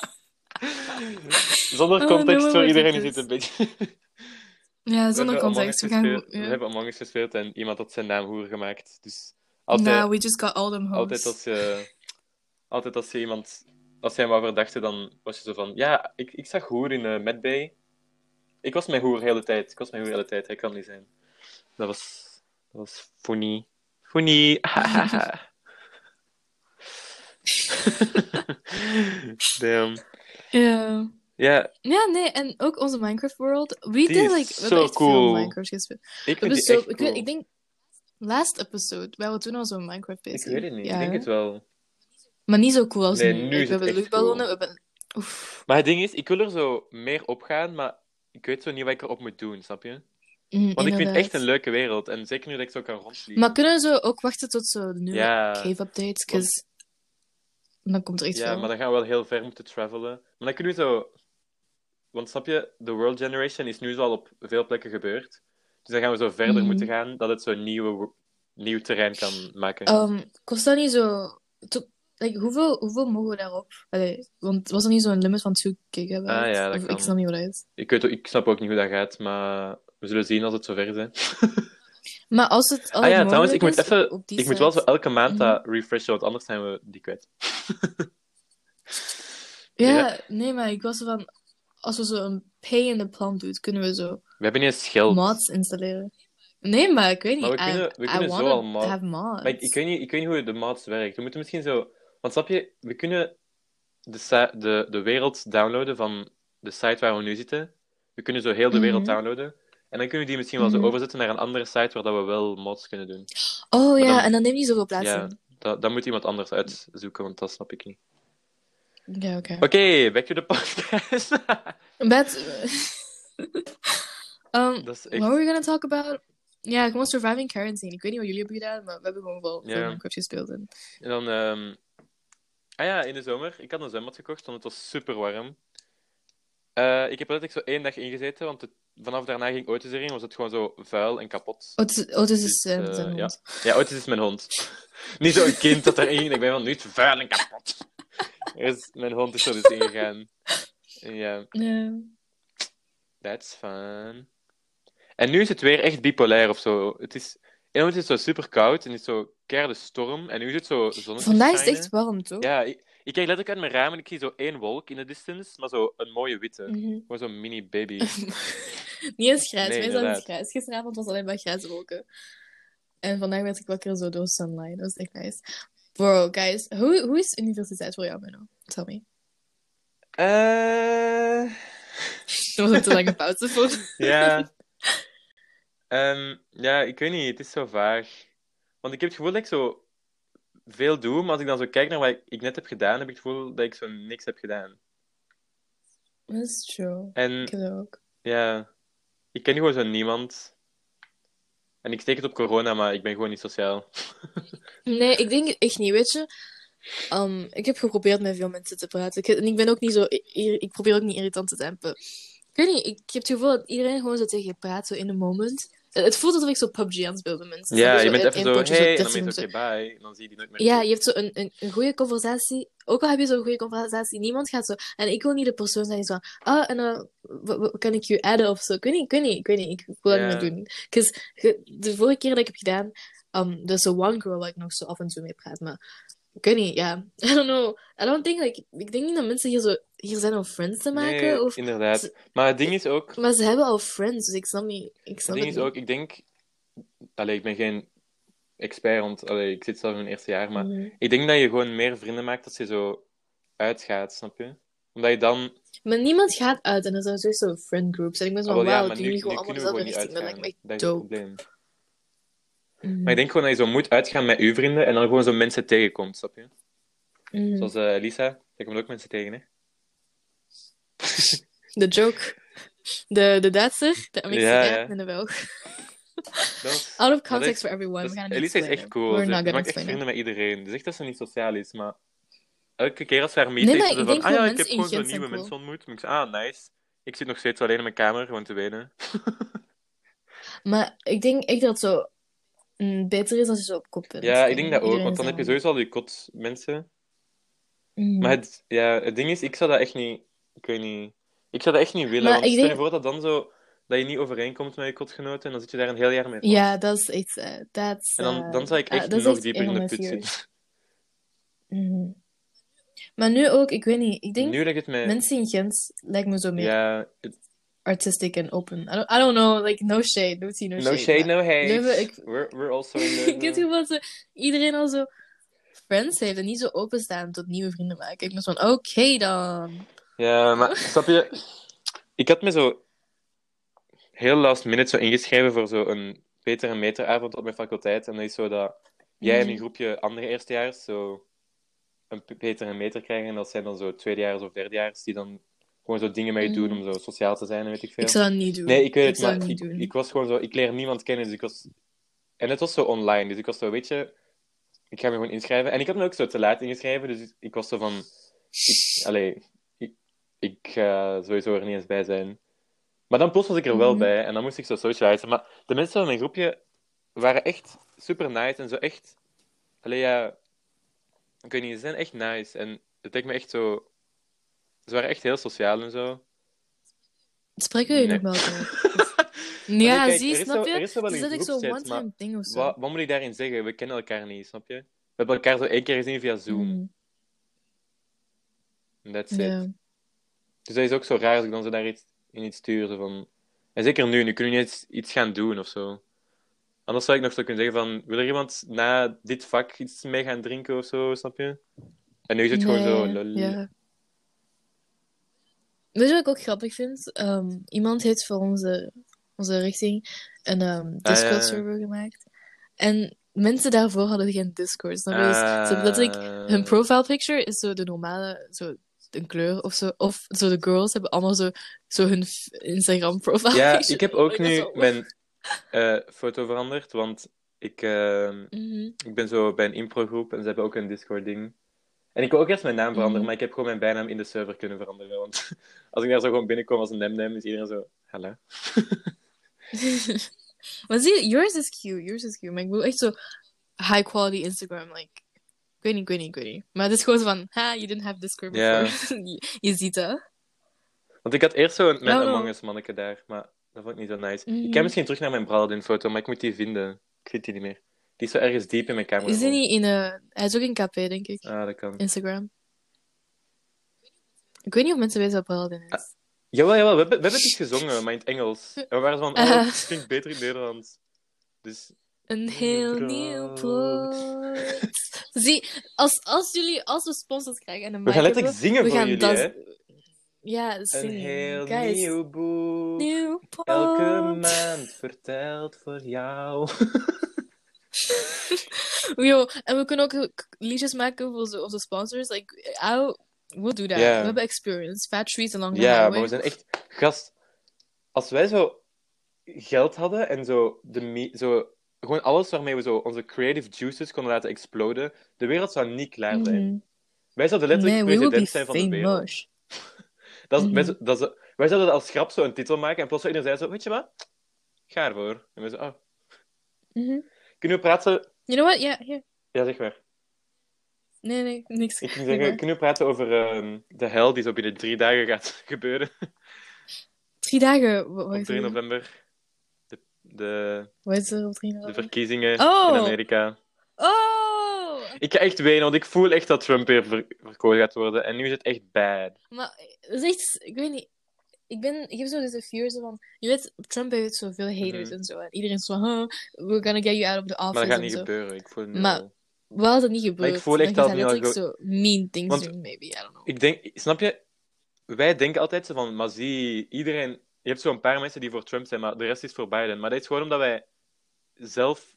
Speaker 3: Zonder
Speaker 2: Oh,
Speaker 3: context
Speaker 2: no,
Speaker 3: voor
Speaker 2: wat
Speaker 3: iedereen
Speaker 2: het
Speaker 3: is dit
Speaker 2: is.
Speaker 3: een beetje.
Speaker 2: ja, zonder
Speaker 3: We hebben
Speaker 2: context. We
Speaker 3: Among Us
Speaker 2: gaan...
Speaker 3: gespeeld- We
Speaker 2: ja.
Speaker 3: hebben Among Us gespeeld en iemand had zijn naam hoer gemaakt. Dus altijd,
Speaker 2: Nah, Nou, we just got all them hoes.
Speaker 3: altijd, als, je, altijd als je iemand... Als jij hem wou verdachten, dan was je zo van... Ja, ik, ik zag hoer in eh Medbay. Ik was mijn hoer de hele tijd. Ik was mijn hoer de hele tijd. Hij kan niet zijn. Dat was... Dat was funny. Funny. Damn.
Speaker 2: Ja.
Speaker 3: Ja,
Speaker 2: Ja, nee, en ook onze Minecraft world. We
Speaker 3: Die
Speaker 2: did
Speaker 3: is
Speaker 2: like... We
Speaker 3: zo
Speaker 2: hebben echt
Speaker 3: cool.
Speaker 2: veel Minecraft gespeeld. We
Speaker 3: ik vind
Speaker 2: hebben
Speaker 3: die
Speaker 2: zo...
Speaker 3: echt
Speaker 2: Ik,
Speaker 3: cool.
Speaker 2: weet, ik denk... Last episode, wij waren toen al zo'n Minecraft
Speaker 3: Ik
Speaker 2: bezig.
Speaker 3: weet het niet.
Speaker 2: Ja,
Speaker 3: Ik denk het wel.
Speaker 2: Maar niet zo cool als
Speaker 3: Nee,
Speaker 2: nu.
Speaker 3: nu
Speaker 2: Like,
Speaker 3: is het
Speaker 2: we hebben
Speaker 3: echt
Speaker 2: luchtballonnen,
Speaker 3: cool.
Speaker 2: we hebben... Oef.
Speaker 3: Maar het ding is, ik wil er zo meer op gaan, maar ik weet zo niet wat ik erop moet doen, snap je? Want
Speaker 2: Mm,
Speaker 3: ik vind het echt
Speaker 2: inderdaad.
Speaker 3: een leuke wereld. En zeker nu dat ik zo kan rondvliegen.
Speaker 2: Maar kunnen we zo ook wachten tot zo de nieuwe
Speaker 3: Ja.
Speaker 2: cave updates?
Speaker 3: Want-
Speaker 2: 'Cause Dan komt er iets
Speaker 3: ja, maar dan gaan we wel heel ver moeten travelen. Maar dan kunnen we zo... Want snap je, de World Generation is nu zo al op veel plekken gebeurd. Dus dan gaan we zo verder
Speaker 2: Mhm.
Speaker 3: moeten gaan, dat het zo nieuwe, wo- nieuw terrein kan maken.
Speaker 2: Ehm, kost dat niet zo... tot- like, hoeveel, hoeveel mogen we daarop? Allee, want was er niet zo'n limit van 2 gigabyte?
Speaker 3: Ah, ja, dat
Speaker 2: Of
Speaker 3: kan.
Speaker 2: Ik snap niet wat dat is.
Speaker 3: Ik, weet, ik snap ook niet hoe dat gaat, maar we zullen zien als het zover is. Hè.
Speaker 2: Maar als het al
Speaker 3: Ah ja, trouwens, ik moet
Speaker 2: mogelijk is,
Speaker 3: even...
Speaker 2: op die
Speaker 3: Ik moet
Speaker 2: site-
Speaker 3: wel zo elke maand dat refreshen, want anders zijn we die kwijt.
Speaker 2: Ja,
Speaker 3: ja.
Speaker 2: nee, maar ik was van... Als we zo een pay in the plan doen, kunnen we zo
Speaker 3: We hebben niet eens geld.
Speaker 2: mods installeren. Nee, maar ik weet niet.
Speaker 3: Maar we
Speaker 2: I-
Speaker 3: kunnen- we
Speaker 2: I
Speaker 3: kunnen zo
Speaker 2: wanna
Speaker 3: al mod-
Speaker 2: have mods.
Speaker 3: Maar ik, ik, weet niet, ik weet niet hoe de mods werkt. We moeten misschien zo... Want snap je, we kunnen de, sa- de, de wereld downloaden van de site waar we nu zitten. We kunnen zo heel de wereld
Speaker 2: Mhm.
Speaker 3: downloaden. En dan kunnen we die misschien wel zo
Speaker 2: Mhm.
Speaker 3: overzetten naar een andere site waar dat we wel mods kunnen doen.
Speaker 2: Oh ja,
Speaker 3: dan-
Speaker 2: en dan neemt niet zoveel plaats
Speaker 3: Ja,
Speaker 2: in.
Speaker 3: dat, dat moet iemand anders uitzoeken, want dat snap ik niet.
Speaker 2: Ja, oké.
Speaker 3: Oké, back to the podcast.
Speaker 2: But... um,
Speaker 3: dat is
Speaker 2: What were
Speaker 3: echt...
Speaker 2: we gonna talk about? Ja, gewoon surviving quarantine. Ik weet niet wat jullie hebben gedaan, maar we hebben gewoon wel
Speaker 3: Ja.
Speaker 2: veel Minecraft gespeeld. En...
Speaker 3: En dan... ehm, Ah ja, in de zomer. Ik had een zwembad gekocht, want het was super warm. Eh, ik heb er letterlijk zo één dag ingezeten, want het- vanaf daarna ging Otis erin, was het gewoon zo vuil en kapot.
Speaker 2: Otis, Otis is
Speaker 3: Dus,
Speaker 2: eh,
Speaker 3: eh,
Speaker 2: zijn
Speaker 3: ja.
Speaker 2: hond.
Speaker 3: Ja, ooit is het mijn hond. Niet zo'n kind dat erin ging. Ik ben van nu is het vuil en kapot. Dus mijn hond is er dus ingegaan. En Ja,
Speaker 2: Ja.
Speaker 3: that's fun. En nu is het weer echt bipolair of zo. Het is, en dan is het zo super koud en is zo keiharde storm. En nu is het zo zonnetje.
Speaker 2: Vandaag is het
Speaker 3: schijnen.
Speaker 2: echt warm, toch?
Speaker 3: Ja, ik, ik kijk letterlijk uit mijn raam en ik zie zo één wolk in de distance, maar zo een mooie witte.
Speaker 2: Mhm.
Speaker 3: Gewoon zo'n mini baby.
Speaker 2: niet eens
Speaker 3: Nee,
Speaker 2: grijs. Wij zijn
Speaker 3: inderdaad.
Speaker 2: niet grijs. Gisteravond was alleen maar grijze wolken. En vandaag werd ik wakker zo door sunlight. Dat was echt nice. Bro, guys. Hoe, hoe is universiteit voor jou, Menno? Tell me.
Speaker 3: Eh.
Speaker 2: Dat was een te lange pauze voor.
Speaker 3: Ja. Ehm, ja, ik weet niet, het is zo vaag. Want ik heb het gevoel dat ik zo veel doe, maar als ik dan zo kijk naar wat ik, ik net heb gedaan, heb ik het gevoel dat ik zo niks heb gedaan.
Speaker 2: Dat is true. Ik
Speaker 3: En
Speaker 2: heb dat ook.
Speaker 3: ja, ik ken gewoon zo niemand. En ik steek het op corona, maar ik ben gewoon niet sociaal.
Speaker 2: Nee, ik denk het echt niet. Weet je, Ehm, ik heb geprobeerd met veel mensen te praten. Ik, en ik ben ook niet zo... Ik, ik probeer ook niet irritant te tempen. Ik weet niet, ik heb het gevoel dat iedereen gewoon zo tegen je praat, zo in de moment. Eh, Het voelt alsof ik zo PUBG aan het spelen ben. Snap
Speaker 3: Ja, je
Speaker 2: Zo
Speaker 3: bent
Speaker 2: in-
Speaker 3: even
Speaker 2: in
Speaker 3: zo,
Speaker 2: potjes,
Speaker 3: hey, en dan
Speaker 2: 13
Speaker 3: ben je
Speaker 2: minuten.
Speaker 3: zo, oké, bye. En dan zie je die nooit meer.
Speaker 2: Ja, je hebt zo een, een, een goede conversatie. Ook al heb je zo'n goede conversatie, niemand gaat zo. En ik wil niet de persoon zijn die zo. Ah, en dan wa- wa- kan ik je adden of zo. Ik weet niet, ik weet niet, ik weet niet. Ik wil dat niet
Speaker 3: Ja.
Speaker 2: meer doen. 'Cause ge- de vorige keer dat ik heb gedaan, um, dat is zo one girl waar ik nog zo af en toe mee praat. Maar ik weet niet, ja. I don't know. I don't think, like, ik denk niet dat mensen hier zo hier zijn om friends te
Speaker 3: Nee,
Speaker 2: maken. of,
Speaker 3: inderdaad. Maar het ding is ook,
Speaker 2: maar ze hebben al friends, dus ik snap niet. Ik
Speaker 3: het
Speaker 2: snap
Speaker 3: ding
Speaker 2: het
Speaker 3: is
Speaker 2: niet.
Speaker 3: ook, ik denk, allee, ik ben geen expert, want allee, ik zit zelf in mijn eerste jaar, maar
Speaker 2: Mhm.
Speaker 3: ik denk dat je gewoon meer vrienden maakt als je zo uitgaat, snap je? Omdat je dan
Speaker 2: Maar niemand gaat uit en er zijn sowieso friend groups. En ik ben zo,
Speaker 3: Ah, wel, ja,
Speaker 2: wauw,
Speaker 3: maar nu,
Speaker 2: doen jullie
Speaker 3: nu
Speaker 2: gewoon allemaal
Speaker 3: kunnen we gewoon
Speaker 2: dezelfde
Speaker 3: niet
Speaker 2: richting. Dat
Speaker 3: uitgaan.
Speaker 2: lijkt me
Speaker 3: Dat is het
Speaker 2: echt dope.
Speaker 3: probleem.
Speaker 2: Mhm.
Speaker 3: Maar ik denk gewoon dat je zo moet uitgaan met je vrienden en dan gewoon zo mensen tegenkomt, snap je?
Speaker 2: Mhm.
Speaker 3: Zoals eh, Lisa, daar komen ook mensen tegen, hè?
Speaker 2: De joke. De, de Duitser, de Amerikaan
Speaker 3: ja.
Speaker 2: en de Belg.
Speaker 3: Dat is-
Speaker 2: Out of
Speaker 3: dat
Speaker 2: context
Speaker 3: is-
Speaker 2: for everyone.
Speaker 3: dat
Speaker 2: We
Speaker 3: is-
Speaker 2: gaan het niet
Speaker 3: Lisa Dus is echt
Speaker 2: explainen.
Speaker 3: cool.
Speaker 2: We're
Speaker 3: Ze
Speaker 2: not
Speaker 3: ze
Speaker 2: gonna
Speaker 3: maakt echt
Speaker 2: explain it.
Speaker 3: vrienden met iedereen. Ze zegt dat ze niet sociaal is, maar elke keer als ze haar meet,
Speaker 2: Nee,
Speaker 3: heeft
Speaker 2: maar
Speaker 3: ze
Speaker 2: ik
Speaker 3: van,
Speaker 2: denk
Speaker 3: ah
Speaker 2: wel
Speaker 3: ja, ik
Speaker 2: mensen
Speaker 3: heb
Speaker 2: in
Speaker 3: gewoon zo
Speaker 2: Gent zijn
Speaker 3: nieuwe
Speaker 2: cool."
Speaker 3: mensen ontmoet. En ik zeg, ah, nice. Ik zit nog steeds alleen in mijn kamer, gewoon te wenen.
Speaker 2: Maar ik denk echt dat het zo mm, beter is als je zo op kop bent.
Speaker 3: Ja, ik denk dat ook,
Speaker 2: Iedereen
Speaker 3: want
Speaker 2: is
Speaker 3: dan heb je
Speaker 2: allemaal-
Speaker 3: sowieso al die kot mensen.
Speaker 2: Mhm.
Speaker 3: Maar het, ja, het ding is, ik zou dat echt niet. Ik weet niet. Ik zou dat echt niet willen.
Speaker 2: Maar
Speaker 3: want
Speaker 2: ik
Speaker 3: stel je
Speaker 2: denk-
Speaker 3: voor dat dan zo. dat je niet overeenkomt met je kotgenoten. en dan zit je daar een heel jaar mee. vast.
Speaker 2: Ja, dat is echt... eh, that's,
Speaker 3: En dan, dan
Speaker 2: eh,
Speaker 3: zou ik
Speaker 2: ah,
Speaker 3: echt
Speaker 2: dat is
Speaker 3: nog
Speaker 2: echt
Speaker 3: dieper in
Speaker 2: een
Speaker 3: de
Speaker 2: van mijn
Speaker 3: put
Speaker 2: theories.
Speaker 3: zitten.
Speaker 2: Mhm. Maar nu ook, ik weet niet. Ik denk
Speaker 3: Nu lijkt het mij.
Speaker 2: mensen in Gent lijkt me zo meer
Speaker 3: Ja, het-
Speaker 2: artistic en open. I don't, I don't know, like no shade. No tea, no,
Speaker 3: no
Speaker 2: shade.
Speaker 3: shade,
Speaker 2: maar-
Speaker 3: no hate.
Speaker 2: Leuven, ik-
Speaker 3: We're, we're also in
Speaker 2: ik heb het
Speaker 3: Leuven.
Speaker 2: gevoel dat ze- iedereen al zo friends heeft en niet zo openstaan tot nieuwe vrienden maken. Ik ben zo van, oké dan.
Speaker 3: Ja, maar snap je? Ik had me zo. heel last minute zo ingeschreven voor zo'n Peter en Meteravond op mijn faculteit. En dat is zo dat jij
Speaker 2: Mhm.
Speaker 3: en een groepje andere eerstejaars zo een p- Peter en Meter krijgen. En dat zijn dan zo tweedejaars of derdejaars die dan gewoon zo dingen mee
Speaker 2: Mhm.
Speaker 3: doen om zo sociaal te zijn en weet ik veel.
Speaker 2: Ik zou dat niet doen.
Speaker 3: Nee, ik weet
Speaker 2: Ik
Speaker 3: het,
Speaker 2: zou
Speaker 3: maar
Speaker 2: het niet
Speaker 3: ik,
Speaker 2: doen.
Speaker 3: ik was gewoon zo... Ik leer niemand kennen, dus ik was... En het was zo online, dus ik was zo, weet je... Ik ga me gewoon inschrijven. En ik had me ook zo te laat ingeschreven, dus ik was zo van... Ik, allee, ik, ik ga sowieso er niet eens bij zijn. Maar dan plots was ik er wel
Speaker 2: Mhm.
Speaker 3: bij, en dan moest ik zo socializen. Maar de mensen van mijn groepje waren echt super nice, en zo echt... Allee, ja... Ik weet niet, ze zijn echt nice, en het lijkt me echt zo... Ze waren echt heel sociaal en zo.
Speaker 2: Spreken jullie
Speaker 3: Nee.
Speaker 2: nog wel over?
Speaker 3: nee,
Speaker 2: Ja,
Speaker 3: kijk,
Speaker 2: zie,
Speaker 3: er is
Speaker 2: snap
Speaker 3: wel-
Speaker 2: je?
Speaker 3: er is wel
Speaker 2: Het
Speaker 3: een
Speaker 2: is dat ik zo'n
Speaker 3: groepschat,
Speaker 2: one-time
Speaker 3: maar
Speaker 2: ding of zo.
Speaker 3: Wat, wat moet ik daarin zeggen? We kennen elkaar niet, snap je? We hebben elkaar zo één keer gezien via Zoom.
Speaker 2: Mhm.
Speaker 3: That's it.
Speaker 2: Ja.
Speaker 3: Dus dat is ook zo raar als ik dan zo daar iets in iets stuur. Zo van... En zeker nu, nu kunnen we niet eens iets gaan doen of zo. Anders zou ik nog zo kunnen zeggen van... Wil er iemand na dit vak iets mee gaan drinken of zo, snap je? En nu is het
Speaker 2: Nee,
Speaker 3: gewoon zo... Lol.
Speaker 2: ja. Weet je wat ik ook grappig vind? Ehm, iemand heeft voor onze, onze richting een
Speaker 3: Ah,
Speaker 2: ehm,
Speaker 3: ja.
Speaker 2: Discord-server gemaakt. En mensen daarvoor hadden geen Discord. Snap je? Dus ze hebben letterlijk hun
Speaker 3: Ah.
Speaker 2: profile picture is zo de normale, zo een kleur of zo. Of zo de girls hebben allemaal zo, zo hun f- Instagram profile
Speaker 3: Ja,
Speaker 2: picture.
Speaker 3: ik heb ook
Speaker 2: Dat is
Speaker 3: nu
Speaker 2: wel-
Speaker 3: mijn eh, foto veranderd, want ik... eh,
Speaker 2: Mhm.
Speaker 3: Ik ben zo bij een improgroep en ze hebben ook een Discord-ding. En ik wil ook eerst mijn naam veranderen,
Speaker 2: Mhm.
Speaker 3: maar ik heb gewoon mijn bijnaam in de server kunnen veranderen. Want als ik daar zo gewoon binnenkom als een nemnem, is iedereen zo... Hallo?
Speaker 2: maar zie, je, yours is cute, yours is cute. Maar ik bedoel echt zo high quality Instagram, like. Ik weet niet, ik weet niet, ik weet niet. Maar het is gewoon zo van, ha, you didn't have Discord
Speaker 3: Ja.
Speaker 2: before. je, je ziet dat.
Speaker 3: Want ik had eerst zo'n mijn
Speaker 2: Oh, no.
Speaker 3: Among Us-manneke daar, maar dat vond ik niet zo nice. Ik
Speaker 2: Mhm.
Speaker 3: kan misschien terug naar mijn Braladin-foto, maar ik moet die vinden. Ik vind die niet meer. Die is zo ergens diep in mijn camera.
Speaker 2: Is hij niet in eh Hij is ook in KP, denk ik.
Speaker 3: Ah, dat kan.
Speaker 2: Instagram. Ik weet niet of mensen weten wat Paladin
Speaker 3: Uh,
Speaker 2: is.
Speaker 3: Jawel, jawel, we hebben, we hebben het niet gezongen, maar in het Engels. En we waren zo van, oh,
Speaker 2: Ah.
Speaker 3: het klinkt beter in het Nederlands. Dus
Speaker 2: Een heel
Speaker 3: brood.
Speaker 2: nieuw brood. Zie, als, als jullie, als we sponsors krijgen en een
Speaker 3: we gaan
Speaker 2: mic
Speaker 3: letterlijk
Speaker 2: hebben,
Speaker 3: zingen
Speaker 2: we
Speaker 3: voor
Speaker 2: gaan
Speaker 3: jullie,
Speaker 2: dans-
Speaker 3: hè.
Speaker 2: Ja,
Speaker 3: Een
Speaker 2: zingen.
Speaker 3: heel
Speaker 2: Guys,
Speaker 3: nieuw boek.
Speaker 2: nieuw brood.
Speaker 3: Elke maand verteld voor jou.
Speaker 2: Yo, en we kunnen ook k- liedjes maken voor onze, onze sponsors. Like, I'll, we'll do that.
Speaker 3: Ja.
Speaker 2: We hebben experience. Fat trees along the
Speaker 3: Ja, maar
Speaker 2: highway.
Speaker 3: we zijn echt gast. Als wij zo geld hadden en zo, de me- zo gewoon alles waarmee we zo onze creative juices konden laten exploden, de wereld zou niet klaar zijn. Wij zouden letterlijk
Speaker 2: Mhm. Hmm. Nee, we will be
Speaker 3: president zijn van de wereld.
Speaker 2: famous.
Speaker 3: Dat is,
Speaker 2: Mhm.
Speaker 3: wij, dat is- wij zouden als grap zo een titel maken en plots zou iedereen zei zo, weet je wat? Ga ervoor. En we zo, oh.
Speaker 2: Mhm.
Speaker 3: Kunnen we praten?
Speaker 2: You know what? Ja, hier.
Speaker 3: Ja, zeg maar.
Speaker 2: Nee, nee, niks.
Speaker 3: Ik ging zeggen, kunnen we praten over ehm, de hel die zo binnen drie dagen gaat gebeuren?
Speaker 2: Drie dagen. wa-
Speaker 3: Op
Speaker 2: Wacht
Speaker 3: 3
Speaker 2: even.
Speaker 3: november. De, de,
Speaker 2: Wat is er op 3
Speaker 3: de
Speaker 2: november?
Speaker 3: verkiezingen
Speaker 2: Oh.
Speaker 3: in Amerika.
Speaker 2: Oh!
Speaker 3: Ik ga echt wenen, want ik voel echt dat Trump weer ver- verkozen gaat worden. En nu is het echt bad.
Speaker 2: Maar dat is echt, ik weet niet. Ik, ben, ik heb zo deze fear zo van. Je weet, Trump heeft zoveel haters
Speaker 3: Mhm.
Speaker 2: en zo. En iedereen is van, huh, we're gonna get you out of the
Speaker 3: Maar
Speaker 2: office.
Speaker 3: dat gaat
Speaker 2: en
Speaker 3: niet
Speaker 2: zo.
Speaker 3: gebeuren. Ik voel het nu
Speaker 2: Maar-
Speaker 3: al.
Speaker 2: Wel dat niet gebeurt.
Speaker 3: voel echt
Speaker 2: dan
Speaker 3: dat
Speaker 2: gaat
Speaker 3: het
Speaker 2: hij
Speaker 3: nu al
Speaker 2: letterlijk zo mean things
Speaker 3: Want-
Speaker 2: doen, maybe. I don't know.
Speaker 3: Ik denk, snap je? Wij denken altijd zo van, maar zie, iedereen... Je hebt zo'n paar mensen die voor Trump zijn, maar de rest is voor Biden. Maar dat is gewoon omdat wij zelf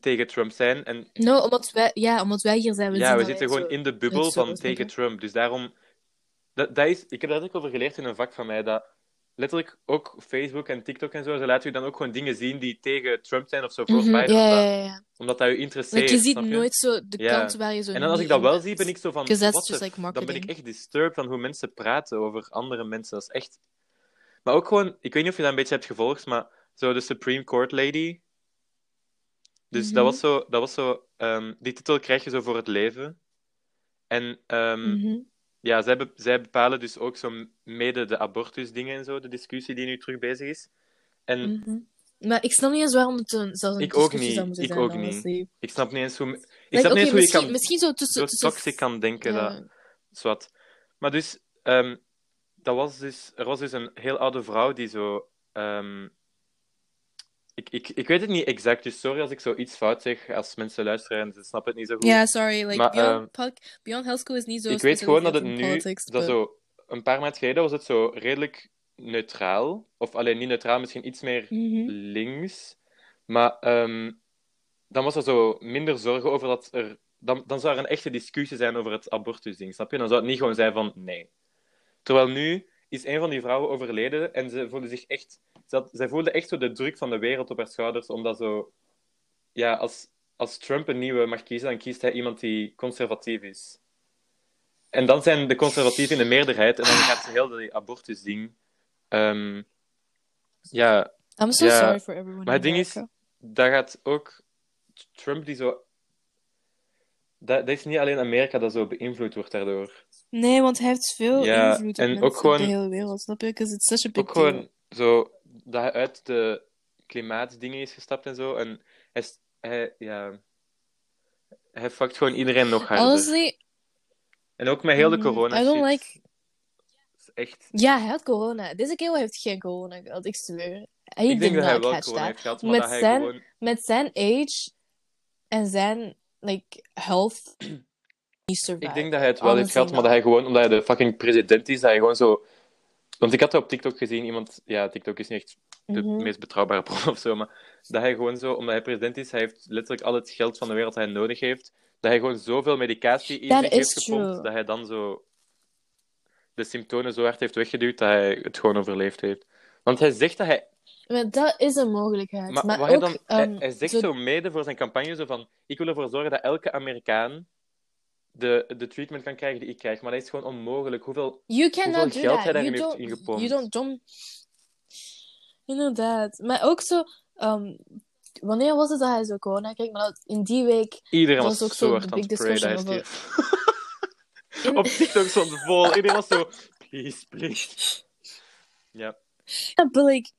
Speaker 3: tegen Trump zijn. En
Speaker 2: No, omdat wij, ja, omdat wij hier zijn. We zien
Speaker 3: ja, we
Speaker 2: dat
Speaker 3: zitten
Speaker 2: wij
Speaker 3: gewoon
Speaker 2: zo-
Speaker 3: in de bubbel
Speaker 2: het zo
Speaker 3: van
Speaker 2: is, snap
Speaker 3: tegen
Speaker 2: je?
Speaker 3: Trump. Dus daarom... Dat, dat is, ik heb daar ook over geleerd in een vak van mij, dat letterlijk ook Facebook en TikTok en zo, ze laten je dan ook gewoon dingen zien die tegen Trump zijn of zo voor
Speaker 2: Mhm,
Speaker 3: Biden.
Speaker 2: ja, ja,
Speaker 3: omdat-
Speaker 2: ja. ja.
Speaker 3: Omdat dat je
Speaker 2: Like,
Speaker 3: interesseert.
Speaker 2: je ziet
Speaker 3: snap je?
Speaker 2: nooit zo de
Speaker 3: Ja.
Speaker 2: kant waar je zo.
Speaker 3: En dan als ik
Speaker 2: niet
Speaker 3: dat
Speaker 2: in
Speaker 3: wel
Speaker 2: bent.
Speaker 3: zie, ben ik zo van,
Speaker 2: Because
Speaker 3: what
Speaker 2: that's
Speaker 3: the
Speaker 2: just dus, like
Speaker 3: dan ben
Speaker 2: marketing.
Speaker 3: ik echt disturbed van hoe mensen praten over andere mensen. Dat is echt. Maar ook gewoon, ik weet niet of je dat een beetje hebt gevolgd, maar zo de Supreme Court Lady. Dus
Speaker 2: Mhm.
Speaker 3: dat was zo, dat was zo ehm, die titel krijg je zo voor het leven. En ehm,
Speaker 2: Mhm.
Speaker 3: ja, zij, be- zij bepalen dus ook zo mede de abortusdingen en zo, de discussie die nu terug bezig is. En
Speaker 2: Mhm. Maar ik snap niet eens waarom het een, zelfs een
Speaker 3: Ik ook
Speaker 2: discussie
Speaker 3: niet,
Speaker 2: zou moeten
Speaker 3: ik
Speaker 2: zijn.
Speaker 3: ook
Speaker 2: dan,
Speaker 3: niet.
Speaker 2: honestly.
Speaker 3: ik snap niet eens hoe, ik
Speaker 2: Like,
Speaker 3: snap niet
Speaker 2: oké,
Speaker 3: eens hoe je
Speaker 2: misschien,
Speaker 3: kan,
Speaker 2: misschien zo
Speaker 3: zo
Speaker 2: tussen... tussen
Speaker 3: toxic kan denken.
Speaker 2: ja.
Speaker 3: Dat, Zwat. Maar dus, ehm, dat was dus, er was dus een heel oude vrouw die zo. ehm, ik, ik, ik weet het niet exact, dus sorry als ik zoiets fout zeg, als mensen luisteren en ze snappen het niet zo goed.
Speaker 2: Ja, sorry. Like,
Speaker 3: Maar,
Speaker 2: Beyond,
Speaker 3: ehm,
Speaker 2: Puck- Beyond High School is niet zo
Speaker 3: ik weet gewoon dat het nu,
Speaker 2: specialiseerd in politics,
Speaker 3: dat
Speaker 2: but-
Speaker 3: zo, een paar maanden geleden was het zo redelijk neutraal. Of alleen niet neutraal, misschien iets meer
Speaker 2: Mhm.
Speaker 3: links. Maar ehm, dan was er zo minder zorgen over dat er. Dan, dan zou er een echte discussie zijn over het abortusding, snap je? Dan zou het niet gewoon zijn van nee. Terwijl nu is een van die vrouwen overleden en ze voelde zich echt. Ze had- zij voelde echt zo de druk van de wereld op haar schouders, omdat zo. Ja, als, als Trump een nieuwe mag kiezen, dan kiest hij iemand die conservatief is. En dan zijn de conservatieven in de meerderheid en dan gaat ze heel die abortusding. ehm, ja,
Speaker 2: I'm so
Speaker 3: ja,
Speaker 2: sorry for everyone
Speaker 3: maar het
Speaker 2: in
Speaker 3: ding is,
Speaker 2: America.
Speaker 3: daar gaat ook Trump die zo. Dat, dat is niet alleen Amerika dat zo beïnvloed wordt daardoor.
Speaker 2: Nee, want hij heeft veel
Speaker 3: Ja,
Speaker 2: invloed op
Speaker 3: en ook
Speaker 2: mensen op de
Speaker 3: gewoon-
Speaker 2: hele wereld, snap je? Because it's such a big
Speaker 3: Ook gewoon zo dat hij uit de klimaatdingen is gestapt en zo. En hij, is- hij, ja, hij fuckt gewoon iedereen nog
Speaker 2: deal.
Speaker 3: harder.
Speaker 2: Honestly,
Speaker 3: En ook met heel de
Speaker 2: mm,
Speaker 3: corona.
Speaker 2: I don't
Speaker 3: shit.
Speaker 2: like...
Speaker 3: Dat is Echt.
Speaker 2: Ja, hij had corona. Deze kerel heeft geen corona gehad, ik zweer. Hij
Speaker 3: ik denk
Speaker 2: did
Speaker 3: dat hij
Speaker 2: not
Speaker 3: wel
Speaker 2: catch
Speaker 3: corona
Speaker 2: that.
Speaker 3: heeft gehad, maar
Speaker 2: Met
Speaker 3: dat hij
Speaker 2: zijn-
Speaker 3: gewoon.
Speaker 2: met zijn age en zijn like health niet survive.
Speaker 3: Ik denk dat hij het wel heeft
Speaker 2: Honestly
Speaker 3: gehad, maar dat hij gewoon, omdat hij de fucking president is, dat hij gewoon zo. Want ik had dat op TikTok gezien, iemand. Ja, TikTok is niet echt de
Speaker 2: Mhm.
Speaker 3: meest betrouwbare bron of zo, maar dat hij gewoon zo, omdat hij president is, hij heeft letterlijk al het geld van de wereld dat hij nodig heeft, dat hij gewoon zoveel medicatie in
Speaker 2: Dat
Speaker 3: zich
Speaker 2: is
Speaker 3: heeft
Speaker 2: true.
Speaker 3: gepompt, dat hij dan zo de symptomen zo hard heeft weggeduwd dat hij het gewoon overleefd heeft. Want hij zegt dat hij...
Speaker 2: Maar dat is een mogelijkheid.
Speaker 3: Maar,
Speaker 2: Maar,
Speaker 3: wat
Speaker 2: ook,
Speaker 3: hij, dan, hij,
Speaker 2: ehm,
Speaker 3: hij zegt
Speaker 2: zo-
Speaker 3: zo... mede voor zijn campagne zo van, ik wil ervoor zorgen dat elke Amerikaan de, de treatment kan krijgen die ik krijg, maar dat is gewoon onmogelijk. Hoeveel...
Speaker 2: you cannot do
Speaker 3: hoeveel geld
Speaker 2: that.
Speaker 3: hij daarin
Speaker 2: You
Speaker 3: heeft
Speaker 2: don't,
Speaker 3: ingepompt.
Speaker 2: you don't dom- Inderdaad. Maar ook zo, ehm, wanneer was het dat hij zo corona kreeg? Maar dat, in die week.
Speaker 3: Iedereen
Speaker 2: Dat
Speaker 3: was,
Speaker 2: was ook
Speaker 3: zo
Speaker 2: zo'n
Speaker 3: hard aan het
Speaker 2: big
Speaker 3: sprayen dat hij
Speaker 2: discussion
Speaker 3: stierf.
Speaker 2: in-
Speaker 3: Op TikTok stond het vol. Iedereen was zo, please, please.
Speaker 2: Ja, but like,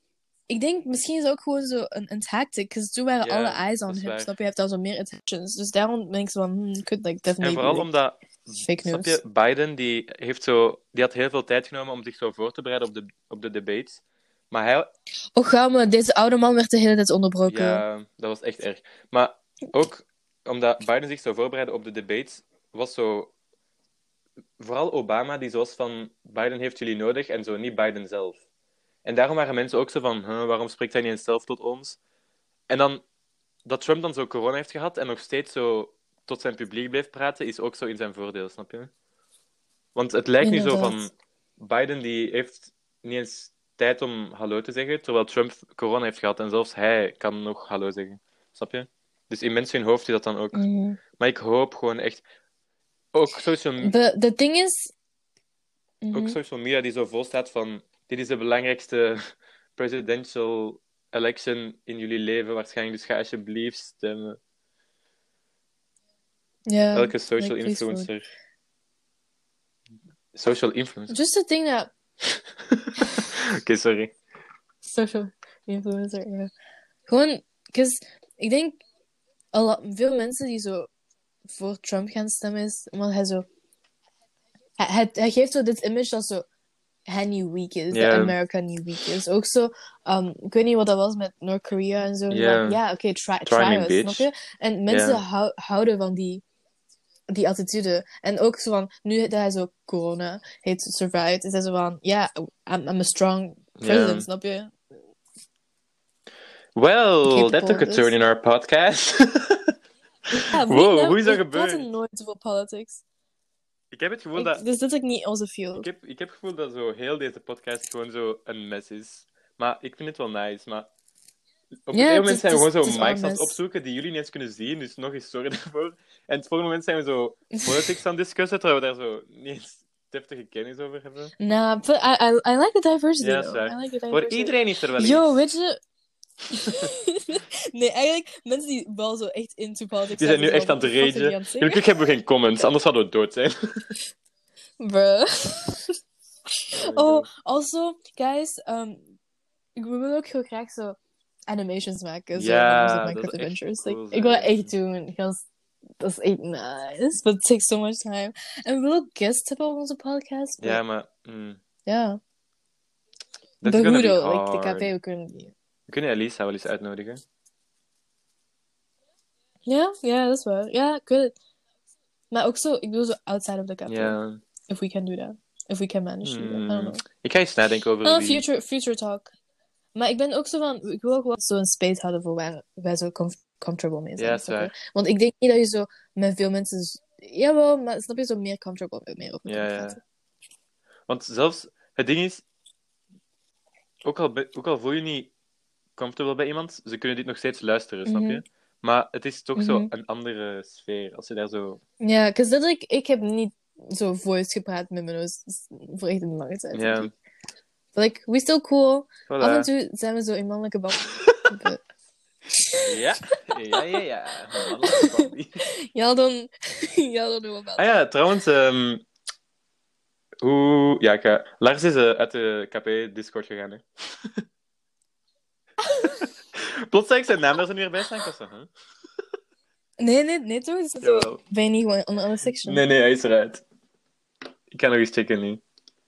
Speaker 2: ik denk misschien is het ook gewoon zo een, een tactic. Because toen waren
Speaker 3: Ja,
Speaker 2: alle eyes
Speaker 3: dat
Speaker 2: on
Speaker 3: is
Speaker 2: him.
Speaker 3: waar.
Speaker 2: Snap je? Hij heeft dan zo meer attentions. Dus daarom ben ik zo van, hmm, could like
Speaker 3: En
Speaker 2: definitely
Speaker 3: vooral
Speaker 2: be,
Speaker 3: omdat,
Speaker 2: fake
Speaker 3: snap
Speaker 2: news.
Speaker 3: je, Biden die heeft zo, die had heel veel tijd genomen om zich zo voor te bereiden op de, op de debates. Maar hij,
Speaker 2: Oh, gauw, maar deze oude man werd de hele tijd onderbroken.
Speaker 3: ja, dat was echt erg. Maar ook omdat Biden zich zou voorbereiden op de debates, was zo, vooral Obama die zoals van, Biden heeft jullie nodig en zo, niet Biden zelf. En daarom waren mensen ook zo van, huh, waarom spreekt hij niet eens zelf tot ons? En dan, dat Trump dan zo corona heeft gehad en nog steeds zo tot zijn publiek bleef praten, is ook zo in zijn voordeel, snap je? Want het lijkt nu zo
Speaker 2: Inderdaad.
Speaker 3: van, Biden die heeft niet eens tijd om hallo te zeggen, terwijl Trump corona heeft gehad en zelfs hij kan nog hallo zeggen. Snap je? Dus in mensen hun hoofd die dat dan
Speaker 2: Mm.
Speaker 3: ook. Maar ik hoop gewoon echt. Ook social,
Speaker 2: The, the thing is... Mm-hmm. Mm.
Speaker 3: ook social media die zo vol staat van. Dit is de belangrijkste presidential election in jullie leven waarschijnlijk. Dus ga alsjeblieft stemmen.
Speaker 2: Ja.
Speaker 3: Elke social
Speaker 2: like, please vote.
Speaker 3: influencer. Social influencer.
Speaker 2: Just the thing that
Speaker 3: Oké, sorry.
Speaker 2: social influencer. ja. Gewoon, because ik denk a lot- veel mensen die zo voor Trump gaan stemmen is omdat hij zo. Hij, hij, hij geeft zo dit image dat zo. Hij niet weak is,
Speaker 3: Ja.
Speaker 2: dat Amerika niet weak is. Ook zo, um, ik weet niet wat dat was met Noord-Korea en zo. maar
Speaker 3: Ja.
Speaker 2: Ja, oké, try, try,
Speaker 3: me,
Speaker 2: us,
Speaker 3: bitch.
Speaker 2: snap je? En mensen
Speaker 3: Ja.
Speaker 2: hou- houden van die, die attitude. En ook zo van, nu dat hij zo corona heeft survived, is hij zo van, ja, I'm, I'm a strong president,
Speaker 3: Ja.
Speaker 2: snap je?
Speaker 3: Well,
Speaker 2: Capable
Speaker 3: that took a
Speaker 2: dus.
Speaker 3: turn in our podcast.
Speaker 2: Ja,
Speaker 3: Wow,
Speaker 2: weet je,
Speaker 3: hoe is dat
Speaker 2: ik
Speaker 3: gebeurd?
Speaker 2: praat nooit over politics.
Speaker 3: ik heb het gevoel
Speaker 2: Ik,
Speaker 3: dat.
Speaker 2: Dus dat is niet onze field.
Speaker 3: Ik heb, ik heb het gevoel dat zo heel deze podcast gewoon zo een mes is. Maar ik vind het wel nice. Maar op
Speaker 2: Ja,
Speaker 3: het ene
Speaker 2: het
Speaker 3: moment zijn
Speaker 2: is-
Speaker 3: we
Speaker 2: het is-
Speaker 3: gewoon
Speaker 2: het
Speaker 3: zo
Speaker 2: is wel
Speaker 3: mics
Speaker 2: een
Speaker 3: aan het
Speaker 2: mes.
Speaker 3: opzoeken die jullie niet eens kunnen zien. Dus nog eens sorry daarvoor. En het volgende moment zijn we zo politics aan het discussen, terwijl we daar zo niet eens deftige kennis over hebben.
Speaker 2: Nah, Nou, but I, I, I like the diversity.
Speaker 3: Ja,
Speaker 2: though.
Speaker 3: is waar.
Speaker 2: I like the
Speaker 3: Voor
Speaker 2: diversity.
Speaker 3: iedereen is er wel
Speaker 2: Yo,
Speaker 3: iets.
Speaker 2: weet je... nee, eigenlijk, mensen die wel zo echt into politics
Speaker 3: Die zijn nu
Speaker 2: wel
Speaker 3: echt aan het
Speaker 2: wat de fuck zijn die
Speaker 3: ragen.
Speaker 2: aan het zeggen?
Speaker 3: Gelukkig hebben we geen comments, anders hadden we dood zijn.
Speaker 2: Bruh. Oh,
Speaker 3: Mm-hmm.
Speaker 2: also, guys, um, we willen ook heel graag zo animations maken. Zo
Speaker 3: Ja,
Speaker 2: van onze
Speaker 3: dat
Speaker 2: Minecraft
Speaker 3: is echt
Speaker 2: Adventures.
Speaker 3: cool
Speaker 2: Like,
Speaker 3: zijn.
Speaker 2: ik wil dat echt doen. Gast, dat is echt nice. But it takes so much time. En we willen ook guests hebben op onze podcast. but-
Speaker 3: Ja, maar... mm,
Speaker 2: Ja.
Speaker 3: that's
Speaker 2: But
Speaker 3: gonna
Speaker 2: hoe
Speaker 3: be
Speaker 2: dan? Like, de
Speaker 3: hard.
Speaker 2: café, we kunnen niet.
Speaker 3: We kunnen Elisa wel eens uitnodigen.
Speaker 2: Ja, ja, dat is waar. Ja, ik weet het. Maar ook zo, ik bedoel zo outside of the
Speaker 3: Ja.
Speaker 2: café. If we can do that. If we can manage to do that. I don't
Speaker 3: Hmm.
Speaker 2: know.
Speaker 3: Ik ga eens nadenken over
Speaker 2: Ah,
Speaker 3: wie.
Speaker 2: future, future talk. Maar ik ben ook zo van, ik wil ook wel zo'n space houden voor waar wij zo comf- comfortable mee zijn.
Speaker 3: Ja, is
Speaker 2: snap je?
Speaker 3: waar.
Speaker 2: Want ik denk niet dat je zo met veel mensen, z- jawel, maar snap je, zo meer comfortable mee op
Speaker 3: Ja,
Speaker 2: elkaar
Speaker 3: ja.
Speaker 2: praten.
Speaker 3: Want zelfs, het ding is, ook al, be- ook al voel je niet comfortable bij iemand, ze kunnen dit nog steeds luisteren, snap
Speaker 2: Mhm.
Speaker 3: je? Maar het is toch zo
Speaker 2: Mhm.
Speaker 3: een andere sfeer, als je daar zo...
Speaker 2: Ja, because dat ik, ik heb niet zo voice gepraat met mijn neus s- voor echt een lange tijd.
Speaker 3: Ja,
Speaker 2: Like, we still cool. Af en
Speaker 3: voilà.
Speaker 2: toe zijn we zo in mannelijke band. But
Speaker 3: Ja, ja, ja, ja. Mannelijke body.
Speaker 2: Y'all don't, y'all don't know about
Speaker 3: Ah ja, trouwens, ehm, hoe... Ja, ik ga- Lars is eh, uit de KP-Discord gegaan, hè. Plots zei ik zijn naam daar zo niet meer bij staan, ik was zo, huh?
Speaker 2: Nee, nee, nee toch? Is dat zo-
Speaker 3: Jawel.
Speaker 2: Ben je niet gewoon on another section?
Speaker 3: Nee, nee, hij is eruit. Ik kan nog eens checken nu.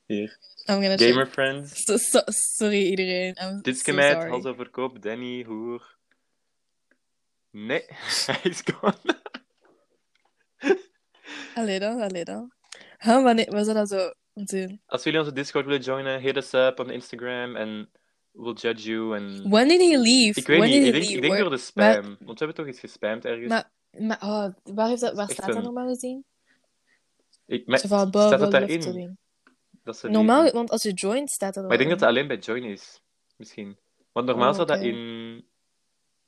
Speaker 3: Hier.
Speaker 2: I'm gonna check.
Speaker 3: Gamer Friends.
Speaker 2: So- so- sorry iedereen. I'm
Speaker 3: Ditske
Speaker 2: so
Speaker 3: meid,
Speaker 2: sorry.
Speaker 3: Halsoverkoop, Danny, Hoer. Nee, hij is gone.
Speaker 2: Allee dan, allee dan. Huh, wanneer, we zullen dat zo doen.
Speaker 3: Als jullie onze Discord willen joinen, hit us up on Instagram en we'll judge you. En...
Speaker 2: When did he leave?
Speaker 3: Ik weet
Speaker 2: When
Speaker 3: niet, ik
Speaker 2: did he
Speaker 3: denk,
Speaker 2: leave?
Speaker 3: ik denk door
Speaker 2: Where-
Speaker 3: de spam. Want we hebben toch iets gespamd ergens?
Speaker 2: Maar, maar oh, waar, heeft dat, waar
Speaker 3: Echt
Speaker 2: staat dat
Speaker 3: een-
Speaker 2: normaal gezien?
Speaker 3: ik, maar
Speaker 2: Zo van, blah,
Speaker 3: staat
Speaker 2: blah,
Speaker 3: dat
Speaker 2: blah,
Speaker 3: daarin?
Speaker 2: doing.
Speaker 3: Dat ze die-
Speaker 2: Normaal, want als je joint staat dat
Speaker 3: Maar ik denk dat
Speaker 2: al
Speaker 3: dat alleen bij join is. Misschien. Want normaal
Speaker 2: Oh,
Speaker 3: zou dat
Speaker 2: oké.
Speaker 3: in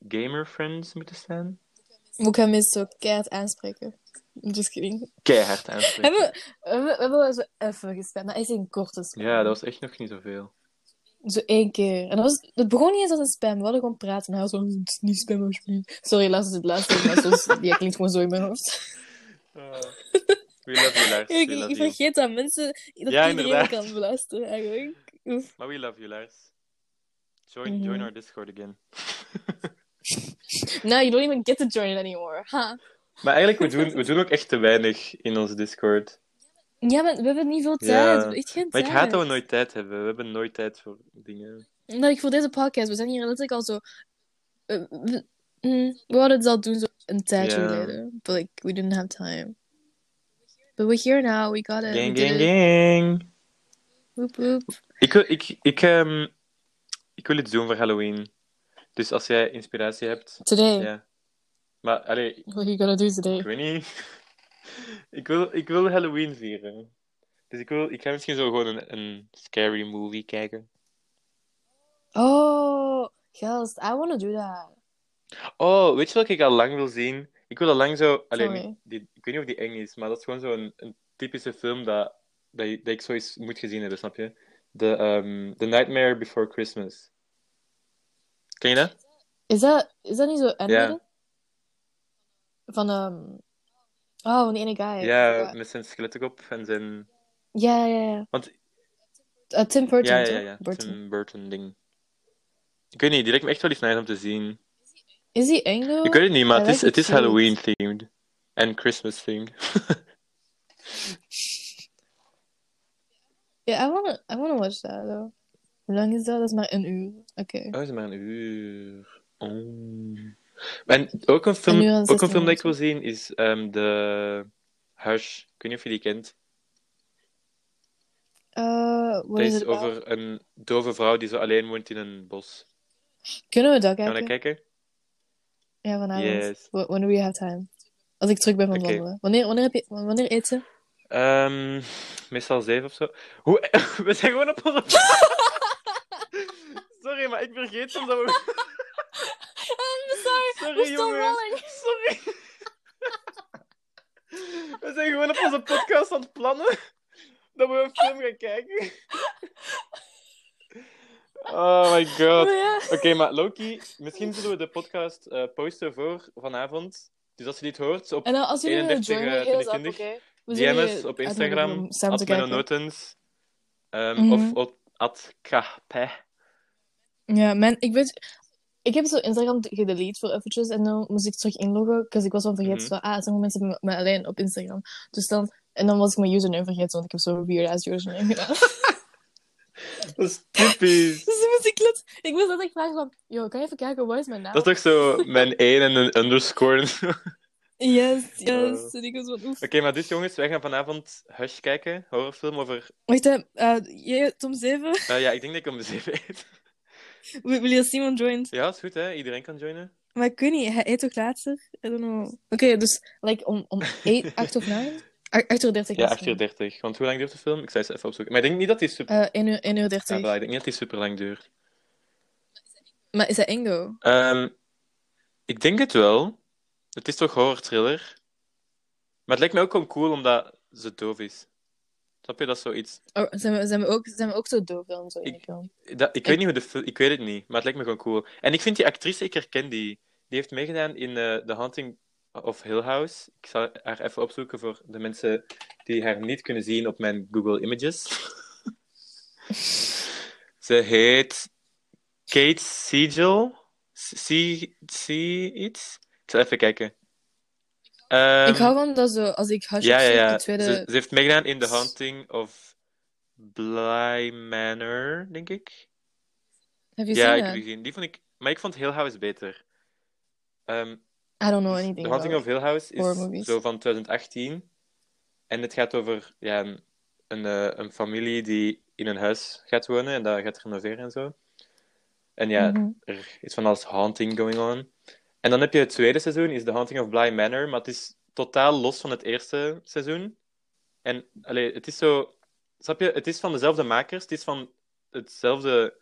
Speaker 3: Gamer Friends moeten staan.
Speaker 2: in. Moet ik hem eens zo keihard aanspreken? Just kidding.
Speaker 3: Keihard aanspreken.
Speaker 2: Hebben we, we, we hebben wel zo even gespeeld, maar echt in korte spam.
Speaker 3: Ja, dat was echt nog niet zoveel.
Speaker 2: Zo één keer. En dat was, het begon niet eens als een spam. We hadden gewoon praten. En hij was zo, "Het is niet spam alsjeblieft. Sorry, laat het laatste. Maar soms, ja, klinkt gewoon zo in mijn hoofd.
Speaker 3: we love you, Lars.
Speaker 2: Ik,
Speaker 3: we love you.
Speaker 2: ik vergeet dat mensen dat
Speaker 3: Ja,
Speaker 2: iedereen
Speaker 3: inderdaad.
Speaker 2: kan beluisteren eigenlijk. Oef.
Speaker 3: Maar we love you, Lars. Join,
Speaker 2: Mhm.
Speaker 3: join our Discord again.
Speaker 2: Now you don't even get to join it anymore. Ha.
Speaker 3: Maar eigenlijk, we doen, we doen ook echt te weinig in onze Discord.
Speaker 2: Ja, maar we hebben niet veel
Speaker 3: Ja.
Speaker 2: tijd. We hebben echt geen
Speaker 3: Maar ik
Speaker 2: tijd.
Speaker 3: haat dat we nooit tijd hebben. We hebben nooit tijd voor dingen.
Speaker 2: Omdat ik voor deze podcast, we zijn hier letterlijk al zo. eh, we, mm, we hadden het al doen zo een tijdje
Speaker 3: Ja.
Speaker 2: geleden. But like, we didn't have time. But we're here now, we got it. we
Speaker 3: Gang,
Speaker 2: did
Speaker 3: gang,
Speaker 2: it.
Speaker 3: gang.
Speaker 2: Woep, woep.
Speaker 3: Ik, wil- ik, ik, ehm, ik wil iets doen voor Halloween. Dus als jij inspiratie hebt,
Speaker 2: Today.
Speaker 3: ja. Maar, allee,
Speaker 2: What are you gonna do
Speaker 3: Ik
Speaker 2: today?
Speaker 3: weet niet. Ik wil, ik wil Halloween vieren. Dus ik, wil, ik ga misschien zo gewoon een, een scary movie kijken.
Speaker 2: Oh, gast, I wanna do that.
Speaker 3: Oh, weet je wat ik al lang wil zien? Ik wil al lang zo. Alleen,
Speaker 2: Sorry.
Speaker 3: die, ik weet niet of die eng is, maar dat is gewoon zo'n een typische film dat, dat, je- dat ik zoiets moet gezien hebben, snap je? The, ehm, The Nightmare Before Christmas. Ken je dat?
Speaker 2: Is dat, is dat niet zo Endgame? Van, ehm oh, van die ene guy.
Speaker 3: Ja, met zijn skelettenkop en zijn.
Speaker 2: ja, ja. ja.
Speaker 3: Want-
Speaker 2: Eh, Tim Burton,
Speaker 3: Ja, ja,
Speaker 2: toch?
Speaker 3: ja. ja.
Speaker 2: Burton.
Speaker 3: Tim Burton-ding. Ik weet niet, die lijkt me echt wel iets nice om te zien.
Speaker 2: Is die eng, though?
Speaker 3: Ik weet het niet, maar
Speaker 2: Hij
Speaker 3: het is, het
Speaker 2: lijkt me
Speaker 3: is
Speaker 2: cute.
Speaker 3: Halloween-themed. En Christmas-themed.
Speaker 2: Ja, I wanna, I wanna watch that, though. Hoe lang is dat? Dat is maar een uur. Oké.
Speaker 3: Oh, is maar een uur. Oh. En ook een film,
Speaker 2: En nu al
Speaker 3: ook een
Speaker 2: 16
Speaker 3: film dat ik wil zien is ehm, de Hush. Ik weet niet of je die kent.
Speaker 2: Eh, wat
Speaker 3: Dat
Speaker 2: is
Speaker 3: is
Speaker 2: het over...
Speaker 3: over een dove vrouw die zo alleen woont in een bos.
Speaker 2: Kunnen we dat
Speaker 3: Gaan we
Speaker 2: kijken?
Speaker 3: naar kijken?
Speaker 2: Ja, vanavond.
Speaker 3: Yes.
Speaker 2: Wh- When do we have time? Als ik terug ben van
Speaker 3: Oké.
Speaker 2: wandelen. Wanneer, wanneer, heb je, wanneer eet ze?
Speaker 3: Ehm, meestal zeven of zo. Hoe... We zijn gewoon op onze... Sorry, maar ik vergeet soms dat we...
Speaker 2: I'm sorry.
Speaker 3: Sorry, jongens. Sorry. We zijn gewoon op onze podcast aan het plannen dat we een film gaan kijken. Oh my god. Oké, maar Loki, misschien zullen we de podcast eh, posten voor vanavond. Dus als je dit hoort, op
Speaker 2: En dan als jullie willen
Speaker 3: 31,
Speaker 2: joinen,
Speaker 3: eh,
Speaker 2: heel zap, oké.
Speaker 3: 22.
Speaker 2: We
Speaker 3: DM
Speaker 2: zullen
Speaker 3: ons
Speaker 2: je
Speaker 3: op
Speaker 2: uitnodigen
Speaker 3: Instagram,
Speaker 2: om samen te
Speaker 3: at Menno
Speaker 2: kijken.
Speaker 3: Notens, ehm,
Speaker 2: Mhm.
Speaker 3: of op at KP.
Speaker 2: Ja, man, ik weet... Ik heb zo Instagram gedelete voor eventjes en dan moest ik terug inloggen, because ik was wel vergeten
Speaker 3: Mhm.
Speaker 2: van, ah, sommige mensen hebben me alleen op Instagram. Dus dan... En dan was ik mijn username vergeten, want ik heb zo'n weird-ass username gedaan.
Speaker 3: Dat is typisch.
Speaker 2: dus dan moest ik let... Ik moest letterlijk vragen van, yo, kan je even kijken, wat is mijn naam?
Speaker 3: Dat is toch zo mijn 1 en een underscore. en zo.
Speaker 2: Yes, yes.
Speaker 3: Oh.
Speaker 2: En ik was van, oef.
Speaker 3: Oké, maar dus jongens, wij gaan vanavond Hush kijken, horrorfilm over...
Speaker 2: Wacht, hè. eh, jij hebt om zeven.
Speaker 3: Nou ja, ik denk dat ik om zeven eet.
Speaker 2: Wil wil je als Simon joint?
Speaker 3: Ja, is goed hè, iedereen kan joinen.
Speaker 2: Maar ik weet niet, hij eet toch later? I don't know. Oké, dus... Like, om, om 8, 8 of 9? 8 uur 30.
Speaker 3: Ja, 8 uur 30. Want hoe lang duurt de film? Ik zei ze even opzoeken. Maar ik denk niet dat die super...
Speaker 2: 1 Eh, uur, 1 uur
Speaker 3: Ja,
Speaker 2: 30.
Speaker 3: wel, ik denk niet dat die super lang duurt.
Speaker 2: maar is dat Engo?
Speaker 3: Ehm, ik denk het wel. Het is toch horror thriller? Maar het lijkt me ook gewoon cool omdat ze doof is. Snap je dat is zoiets?
Speaker 2: Oh, zijn, we, zijn, we ook, zijn we ook zo doof dan? Zo in de
Speaker 3: Ik-
Speaker 2: film?
Speaker 3: Dat, ik weet niet hoe de film. Ik weet het niet, maar het lijkt me gewoon cool. En ik vind die actrice, ik herken die. Die heeft meegedaan in eh, The Haunting of Hill House. Ik zal haar even opzoeken voor de mensen die haar niet kunnen zien op mijn Google Images. Ze heet Kate Siegel. Zie zie iets? Ik zal even kijken. Ehm,
Speaker 2: ik hou van dat zo, als ik hash
Speaker 3: ja, ja,
Speaker 2: opzoek,
Speaker 3: ja.
Speaker 2: de tweede...
Speaker 3: Ze, ze heeft meegedaan in The Haunting of Bly Manor, denk ik.
Speaker 2: Heb je
Speaker 3: Ja,
Speaker 2: gezien?
Speaker 3: ik heb
Speaker 2: hè?
Speaker 3: die gezien. Die vond ik... Maar ik vond Hill House beter. Ehm,
Speaker 2: I don't know
Speaker 3: dus
Speaker 2: anything
Speaker 3: The Haunting of
Speaker 2: about
Speaker 3: Hill House
Speaker 2: horror
Speaker 3: is
Speaker 2: movies.
Speaker 3: zo van 2018. En het gaat over ja, een, een, eh, een familie die in een huis gaat wonen en dat gaat renoveren en zo. En ja,
Speaker 2: Mhm.
Speaker 3: er is van alles haunting going on. En dan heb je het tweede seizoen, is The Haunting of Bly Manor. Maar het is totaal los van het eerste seizoen. En allee, het is zo... Snap je? Het is van dezelfde makers. Het is van hetzelfde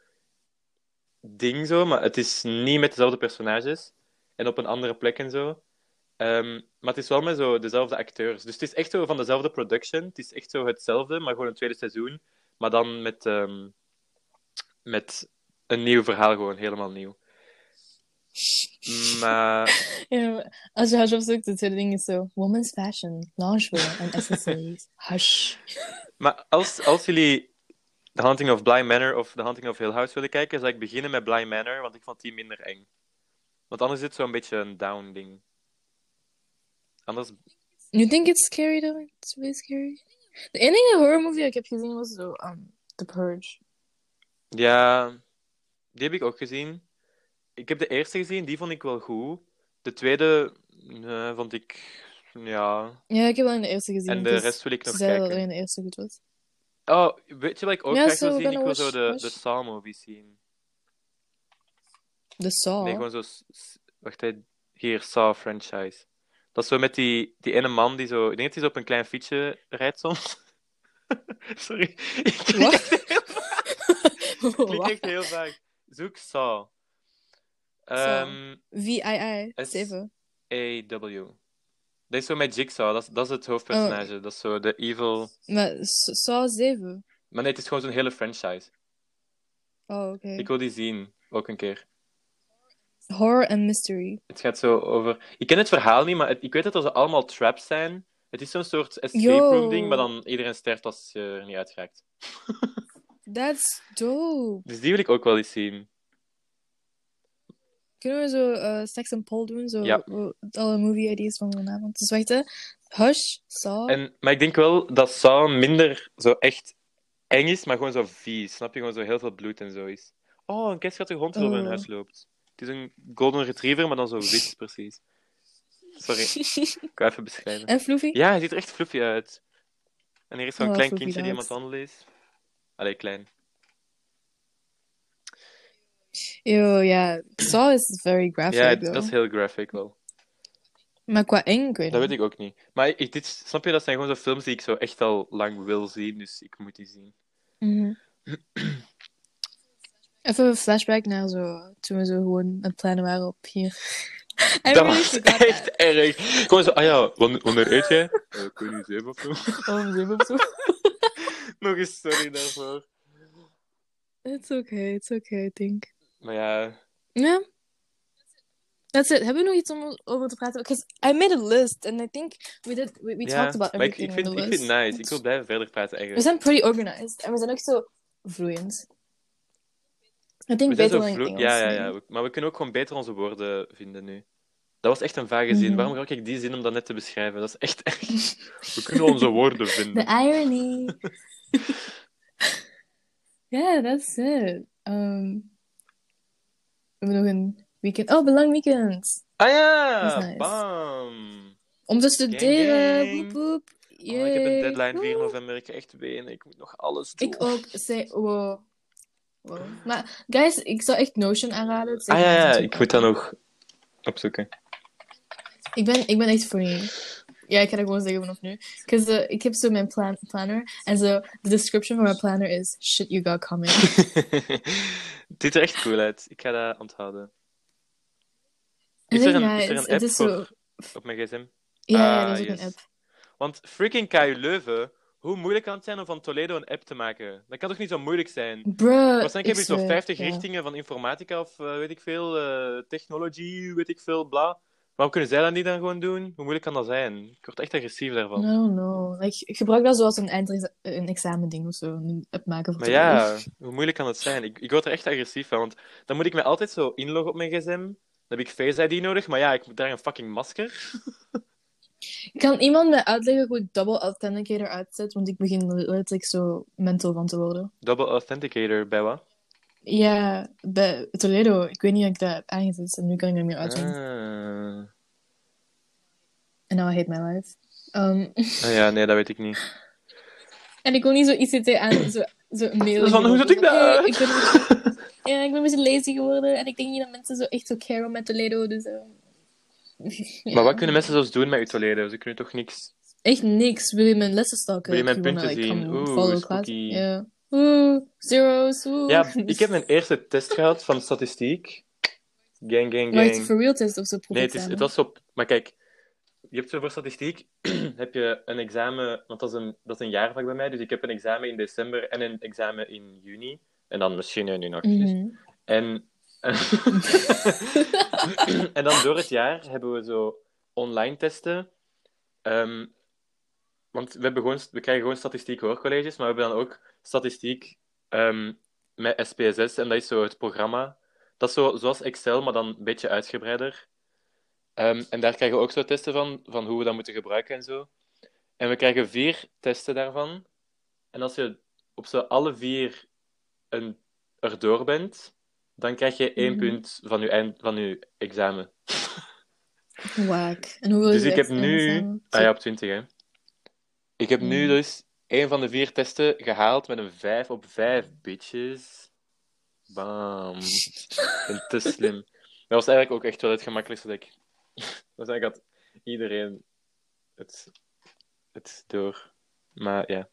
Speaker 3: ding zo. Maar het is niet met dezelfde personages. En op een andere plek en zo. Ehm, maar het is wel met zo dezelfde acteurs. Dus het is echt zo van dezelfde production. Het is echt zo hetzelfde, maar gewoon een tweede seizoen. Maar dan met, ehm, met een nieuw verhaal, gewoon helemaal nieuw. Mm, eh, Maar
Speaker 2: Ja, maar als je hash opzoekt, de tweede ding is zo... Woman's fashion, lingerie en accessories. Hush.
Speaker 3: Maar als, als jullie The Haunting of Bly Manor of The Haunting of Hill House willen kijken, zou ik beginnen met Bly Manor, want ik vond die minder eng. Want anders is het zo'n beetje een down ding. Anders...
Speaker 2: You think it's scary though? It's really scary. De enige horror movie ik heb gezien was zo um, The Purge.
Speaker 3: Ja, die heb ik ook gezien. Ik heb de eerste gezien, die vond ik wel goed. De tweede eh, vond ik... Ja.
Speaker 2: Ja, ik heb wel in de eerste gezien.
Speaker 3: En de
Speaker 2: dus
Speaker 3: rest wil ik
Speaker 2: Ze
Speaker 3: nog
Speaker 2: zeiden dat
Speaker 3: kijken.
Speaker 2: alleen de eerste goed was.
Speaker 3: Oh, weet je wat ik ook
Speaker 2: Ja,
Speaker 3: graag
Speaker 2: zo,
Speaker 3: wil zien?
Speaker 2: we
Speaker 3: Ik
Speaker 2: gaan
Speaker 3: wil zo
Speaker 2: watch-
Speaker 3: de,
Speaker 2: watch.
Speaker 3: de Saw-movies zien.
Speaker 2: De Saw.
Speaker 3: Nee, gewoon zo... s- s- Wacht, hè. hier, Saw franchise. Dat is zo met die, die ene man die zo... Ik denk dat hij zo op een klein fietsje rijdt soms. Sorry. Ik klik
Speaker 2: Wat?
Speaker 3: echt heel- ik klik
Speaker 2: Wat?
Speaker 3: echt heel vaak. Zoek Saw. Ehm
Speaker 2: VII,
Speaker 3: S-
Speaker 2: 7.
Speaker 3: AW. Dat is zo met Jigsaw, dat is, dat is het
Speaker 2: Oh.
Speaker 3: hoofdpersonage. Dat is zo de evil.
Speaker 2: Maar S- Saw 7.
Speaker 3: Maar nee, het is gewoon zo'n hele franchise.
Speaker 2: Oh, oké.
Speaker 3: Ik wil die zien, ook een keer.
Speaker 2: Horror and mystery.
Speaker 3: Het gaat zo over. Ik ken het verhaal niet, maar het- ik weet dat er zo allemaal traps zijn. Het is zo'n soort escape
Speaker 2: Yo.
Speaker 3: room ding, maar dan iedereen sterft als je er niet uit raakt.
Speaker 2: That's dope.
Speaker 3: Dus die wil ik ook wel eens zien.
Speaker 2: Kunnen we zo eh, Sex and Paul doen? Zo,
Speaker 3: Ja.
Speaker 2: eh, alle movie ideas van vanavond. Dus wacht, hè. Hush, Saw.
Speaker 3: En, maar ik denk wel dat Saw minder zo echt eng is, maar gewoon zo vies. Snap je? Gewoon zo heel veel bloed en zo is. Oh, een keitschattige hond die over hun
Speaker 2: Oh.
Speaker 3: huis loopt. Het is een golden retriever, maar dan zo wit, precies. Sorry, ik wou even beschrijven.
Speaker 2: en Floofy?
Speaker 3: Ja, hij ziet er echt fluffy uit. En hier is zo'n
Speaker 2: Oh,
Speaker 3: klein
Speaker 2: fluffy
Speaker 3: kindje die
Speaker 2: dogs.
Speaker 3: iemand handelen is. Allee, klein.
Speaker 2: Yo, ja. Saw is very graphic,
Speaker 3: ja,
Speaker 2: though.
Speaker 3: dat is heel graphic wel.
Speaker 2: Maar qua eng, ik weet
Speaker 3: Dat
Speaker 2: niet.
Speaker 3: weet ik ook niet. Maar ik, dit, snap je, dat zijn gewoon zo films die ik zo echt al lang wil zien, dus ik moet die zien.
Speaker 2: Mhm. Even een flashback naar zo, toen we zo gewoon aan het plannen waren op hier. I
Speaker 3: dat
Speaker 2: really
Speaker 3: was
Speaker 2: forgot
Speaker 3: echt
Speaker 2: that.
Speaker 3: erg. Gewoon zo, ah ja, wanneer, wanneer eet jij? Uh, kun je zeven of zo?
Speaker 2: Oh, we zijn op zo.
Speaker 3: Nog eens sorry daarvoor.
Speaker 2: It's okay, it's okay, I think.
Speaker 3: Maar ja,
Speaker 2: Ja. That's it. Hebben we nog iets om over te praten? Because I made a list and I think we did we, we
Speaker 3: ja,
Speaker 2: talked about
Speaker 3: maar ik,
Speaker 2: everything
Speaker 3: ik, vind,
Speaker 2: on the
Speaker 3: ik
Speaker 2: list.
Speaker 3: vind het nice. Ik wil blijven verder praten
Speaker 2: We
Speaker 3: eigenlijk.
Speaker 2: zijn pretty organized en we zijn ook zo vloeiend. I think
Speaker 3: We zijn
Speaker 2: beter
Speaker 3: zo
Speaker 2: dan in
Speaker 3: vlo-
Speaker 2: Engels.
Speaker 3: ja, ja, ja. we- Maar we kunnen ook gewoon beter onze woorden vinden nu. Dat was echt een vage zin.
Speaker 2: Mhm.
Speaker 3: Waarom gebruik ik die zin om dat net te beschrijven? Dat is echt erg. We kunnen onze woorden
Speaker 2: The
Speaker 3: vinden.
Speaker 2: irony. yeah, that's it. Um, we hebben nog een weekend. Oh, belang weekend.
Speaker 3: Ah
Speaker 2: Dat
Speaker 3: ja,
Speaker 2: is nice.
Speaker 3: bam.
Speaker 2: Om te studeren.
Speaker 3: gang.
Speaker 2: Boep, boep.
Speaker 3: Oh, ik heb
Speaker 2: Yay.
Speaker 3: een deadline 4
Speaker 2: Woe.
Speaker 3: november. Ik heb echt benen. Ik moet nog alles doen.
Speaker 2: Ik ook. Zij, wow. Wow. Maar guys, ik zou echt Notion aanraden. Het is
Speaker 3: Ah
Speaker 2: echt
Speaker 3: ja, ja,
Speaker 2: een
Speaker 3: ik moet dat nog opzoeken.
Speaker 2: Ik ben, ik ben echt funny. Ja, ik ga dat gewoon zeggen vanaf nu. Because eh, ik heb zo mijn plan planner. En zo, de description van mijn planner is... Shit you got coming.
Speaker 3: Het ziet er echt cool uit. Ik ga dat onthouden.
Speaker 2: I
Speaker 3: Is er
Speaker 2: think,
Speaker 3: een,
Speaker 2: ja,
Speaker 3: is er
Speaker 2: het-
Speaker 3: een app
Speaker 2: het is zo-
Speaker 3: voor op mijn gsm?
Speaker 2: Ja, ja,
Speaker 3: Ah,
Speaker 2: dat is ook
Speaker 3: yes.
Speaker 2: een app.
Speaker 3: Want freaking KU Leuven, hoe moeilijk kan het zijn om van Toledo een app te maken? Dat kan toch niet zo moeilijk zijn?
Speaker 2: Bruh,
Speaker 3: Waarschijnlijk
Speaker 2: ik
Speaker 3: heb je zo'n
Speaker 2: zweer,
Speaker 3: 50
Speaker 2: Eh, ja.
Speaker 3: richtingen van informatica of eh, weet ik veel, eh, technology, weet ik veel, bla. Waarom kunnen zij dat niet dan gewoon doen? Hoe moeilijk kan dat zijn? Ik word echt agressief daarvan.
Speaker 2: I don't know. Like, ik gebruik dat zoals een, eindrex- een examending of zo. Een app maken voor
Speaker 3: Maar
Speaker 2: toekomst.
Speaker 3: ja, hoe moeilijk kan het zijn? Ik, ik word er echt agressief van, want dan moet ik me altijd zo inloggen op mijn gsm. Dan heb ik Face ID nodig, maar ja, ik moet daar een fucking masker.
Speaker 2: Kan iemand mij uitleggen hoe ik double authenticator uitzet? Want ik begin letterlijk zo mental van te worden.
Speaker 3: Double Authenticator, bij wat?
Speaker 2: Ja, bij Toledo. Ik weet niet hoe ik dat heb aangezet. En nu kan ik er meer
Speaker 3: Ah.
Speaker 2: uitzien. En now I hate my life. Um,
Speaker 3: Ah ja, nee, dat weet ik niet.
Speaker 2: en ik wil niet zo ICT aan, zo, zo een mail.
Speaker 3: Van, hoe zet ik dat
Speaker 2: Hey,
Speaker 3: uit?
Speaker 2: ik ben een beetje- ja, ik ben een beetje lazy geworden. En ik denk niet dat mensen zo echt zo caren met Toledo. Dus, eh, ja.
Speaker 3: Maar wat kunnen mensen zelfs doen met uw Toledo? Ze kunnen toch niks...
Speaker 2: Echt niks. Wil je mijn lessen stalken?
Speaker 3: Wil je mijn
Speaker 2: If you
Speaker 3: punten
Speaker 2: wanna,
Speaker 3: zien?
Speaker 2: come
Speaker 3: Oeh,
Speaker 2: follow
Speaker 3: spooky.
Speaker 2: class. Ja. Oeh, zeros. Oeh.
Speaker 3: Ja, ik heb mijn eerste test gehad van statistiek. Gang, gang,
Speaker 2: Maar het
Speaker 3: gang.
Speaker 2: is voor real test of zo
Speaker 3: Nee, het, is, het was op. Maar kijk, je hebt zo voor statistiek heb je een examen, want dat is een, dat is een jaarvak bij mij. Dus ik heb een examen in december en een examen in juni. En dan misschien nu nog. dus.
Speaker 2: Mhm.
Speaker 3: En, en dan door het jaar hebben we zo online testen. Ehm, want we, hebben gewoon, we krijgen gewoon statistiek hoorcolleges, maar we hebben dan ook statistiek ehm, met SPSS. En dat is zo het programma. Dat is zo, zoals Excel, maar dan een beetje uitgebreider. Ehm, en daar krijgen we ook zo testen van, van hoe we dat moeten gebruiken en zo. En we krijgen vier testen daarvan. En als je op ze alle vier een, erdoor bent, dan krijg je één
Speaker 2: Mhm.
Speaker 3: punt van je, eind, van je examen.
Speaker 2: Wack. En hoeveel
Speaker 3: Dus
Speaker 2: is
Speaker 3: ik
Speaker 2: het
Speaker 3: heb nu...
Speaker 2: examen?
Speaker 3: Ah ja, op 20, hè. Ik heb nu
Speaker 2: Mm.
Speaker 3: dus één van de vier testen gehaald met een 5 op 5, bitches. Bam. Ik ben te slim. Dat was eigenlijk ook echt wel het gemakkelijkste dat ik... Dat was eigenlijk had iedereen het, het door. Maar ja.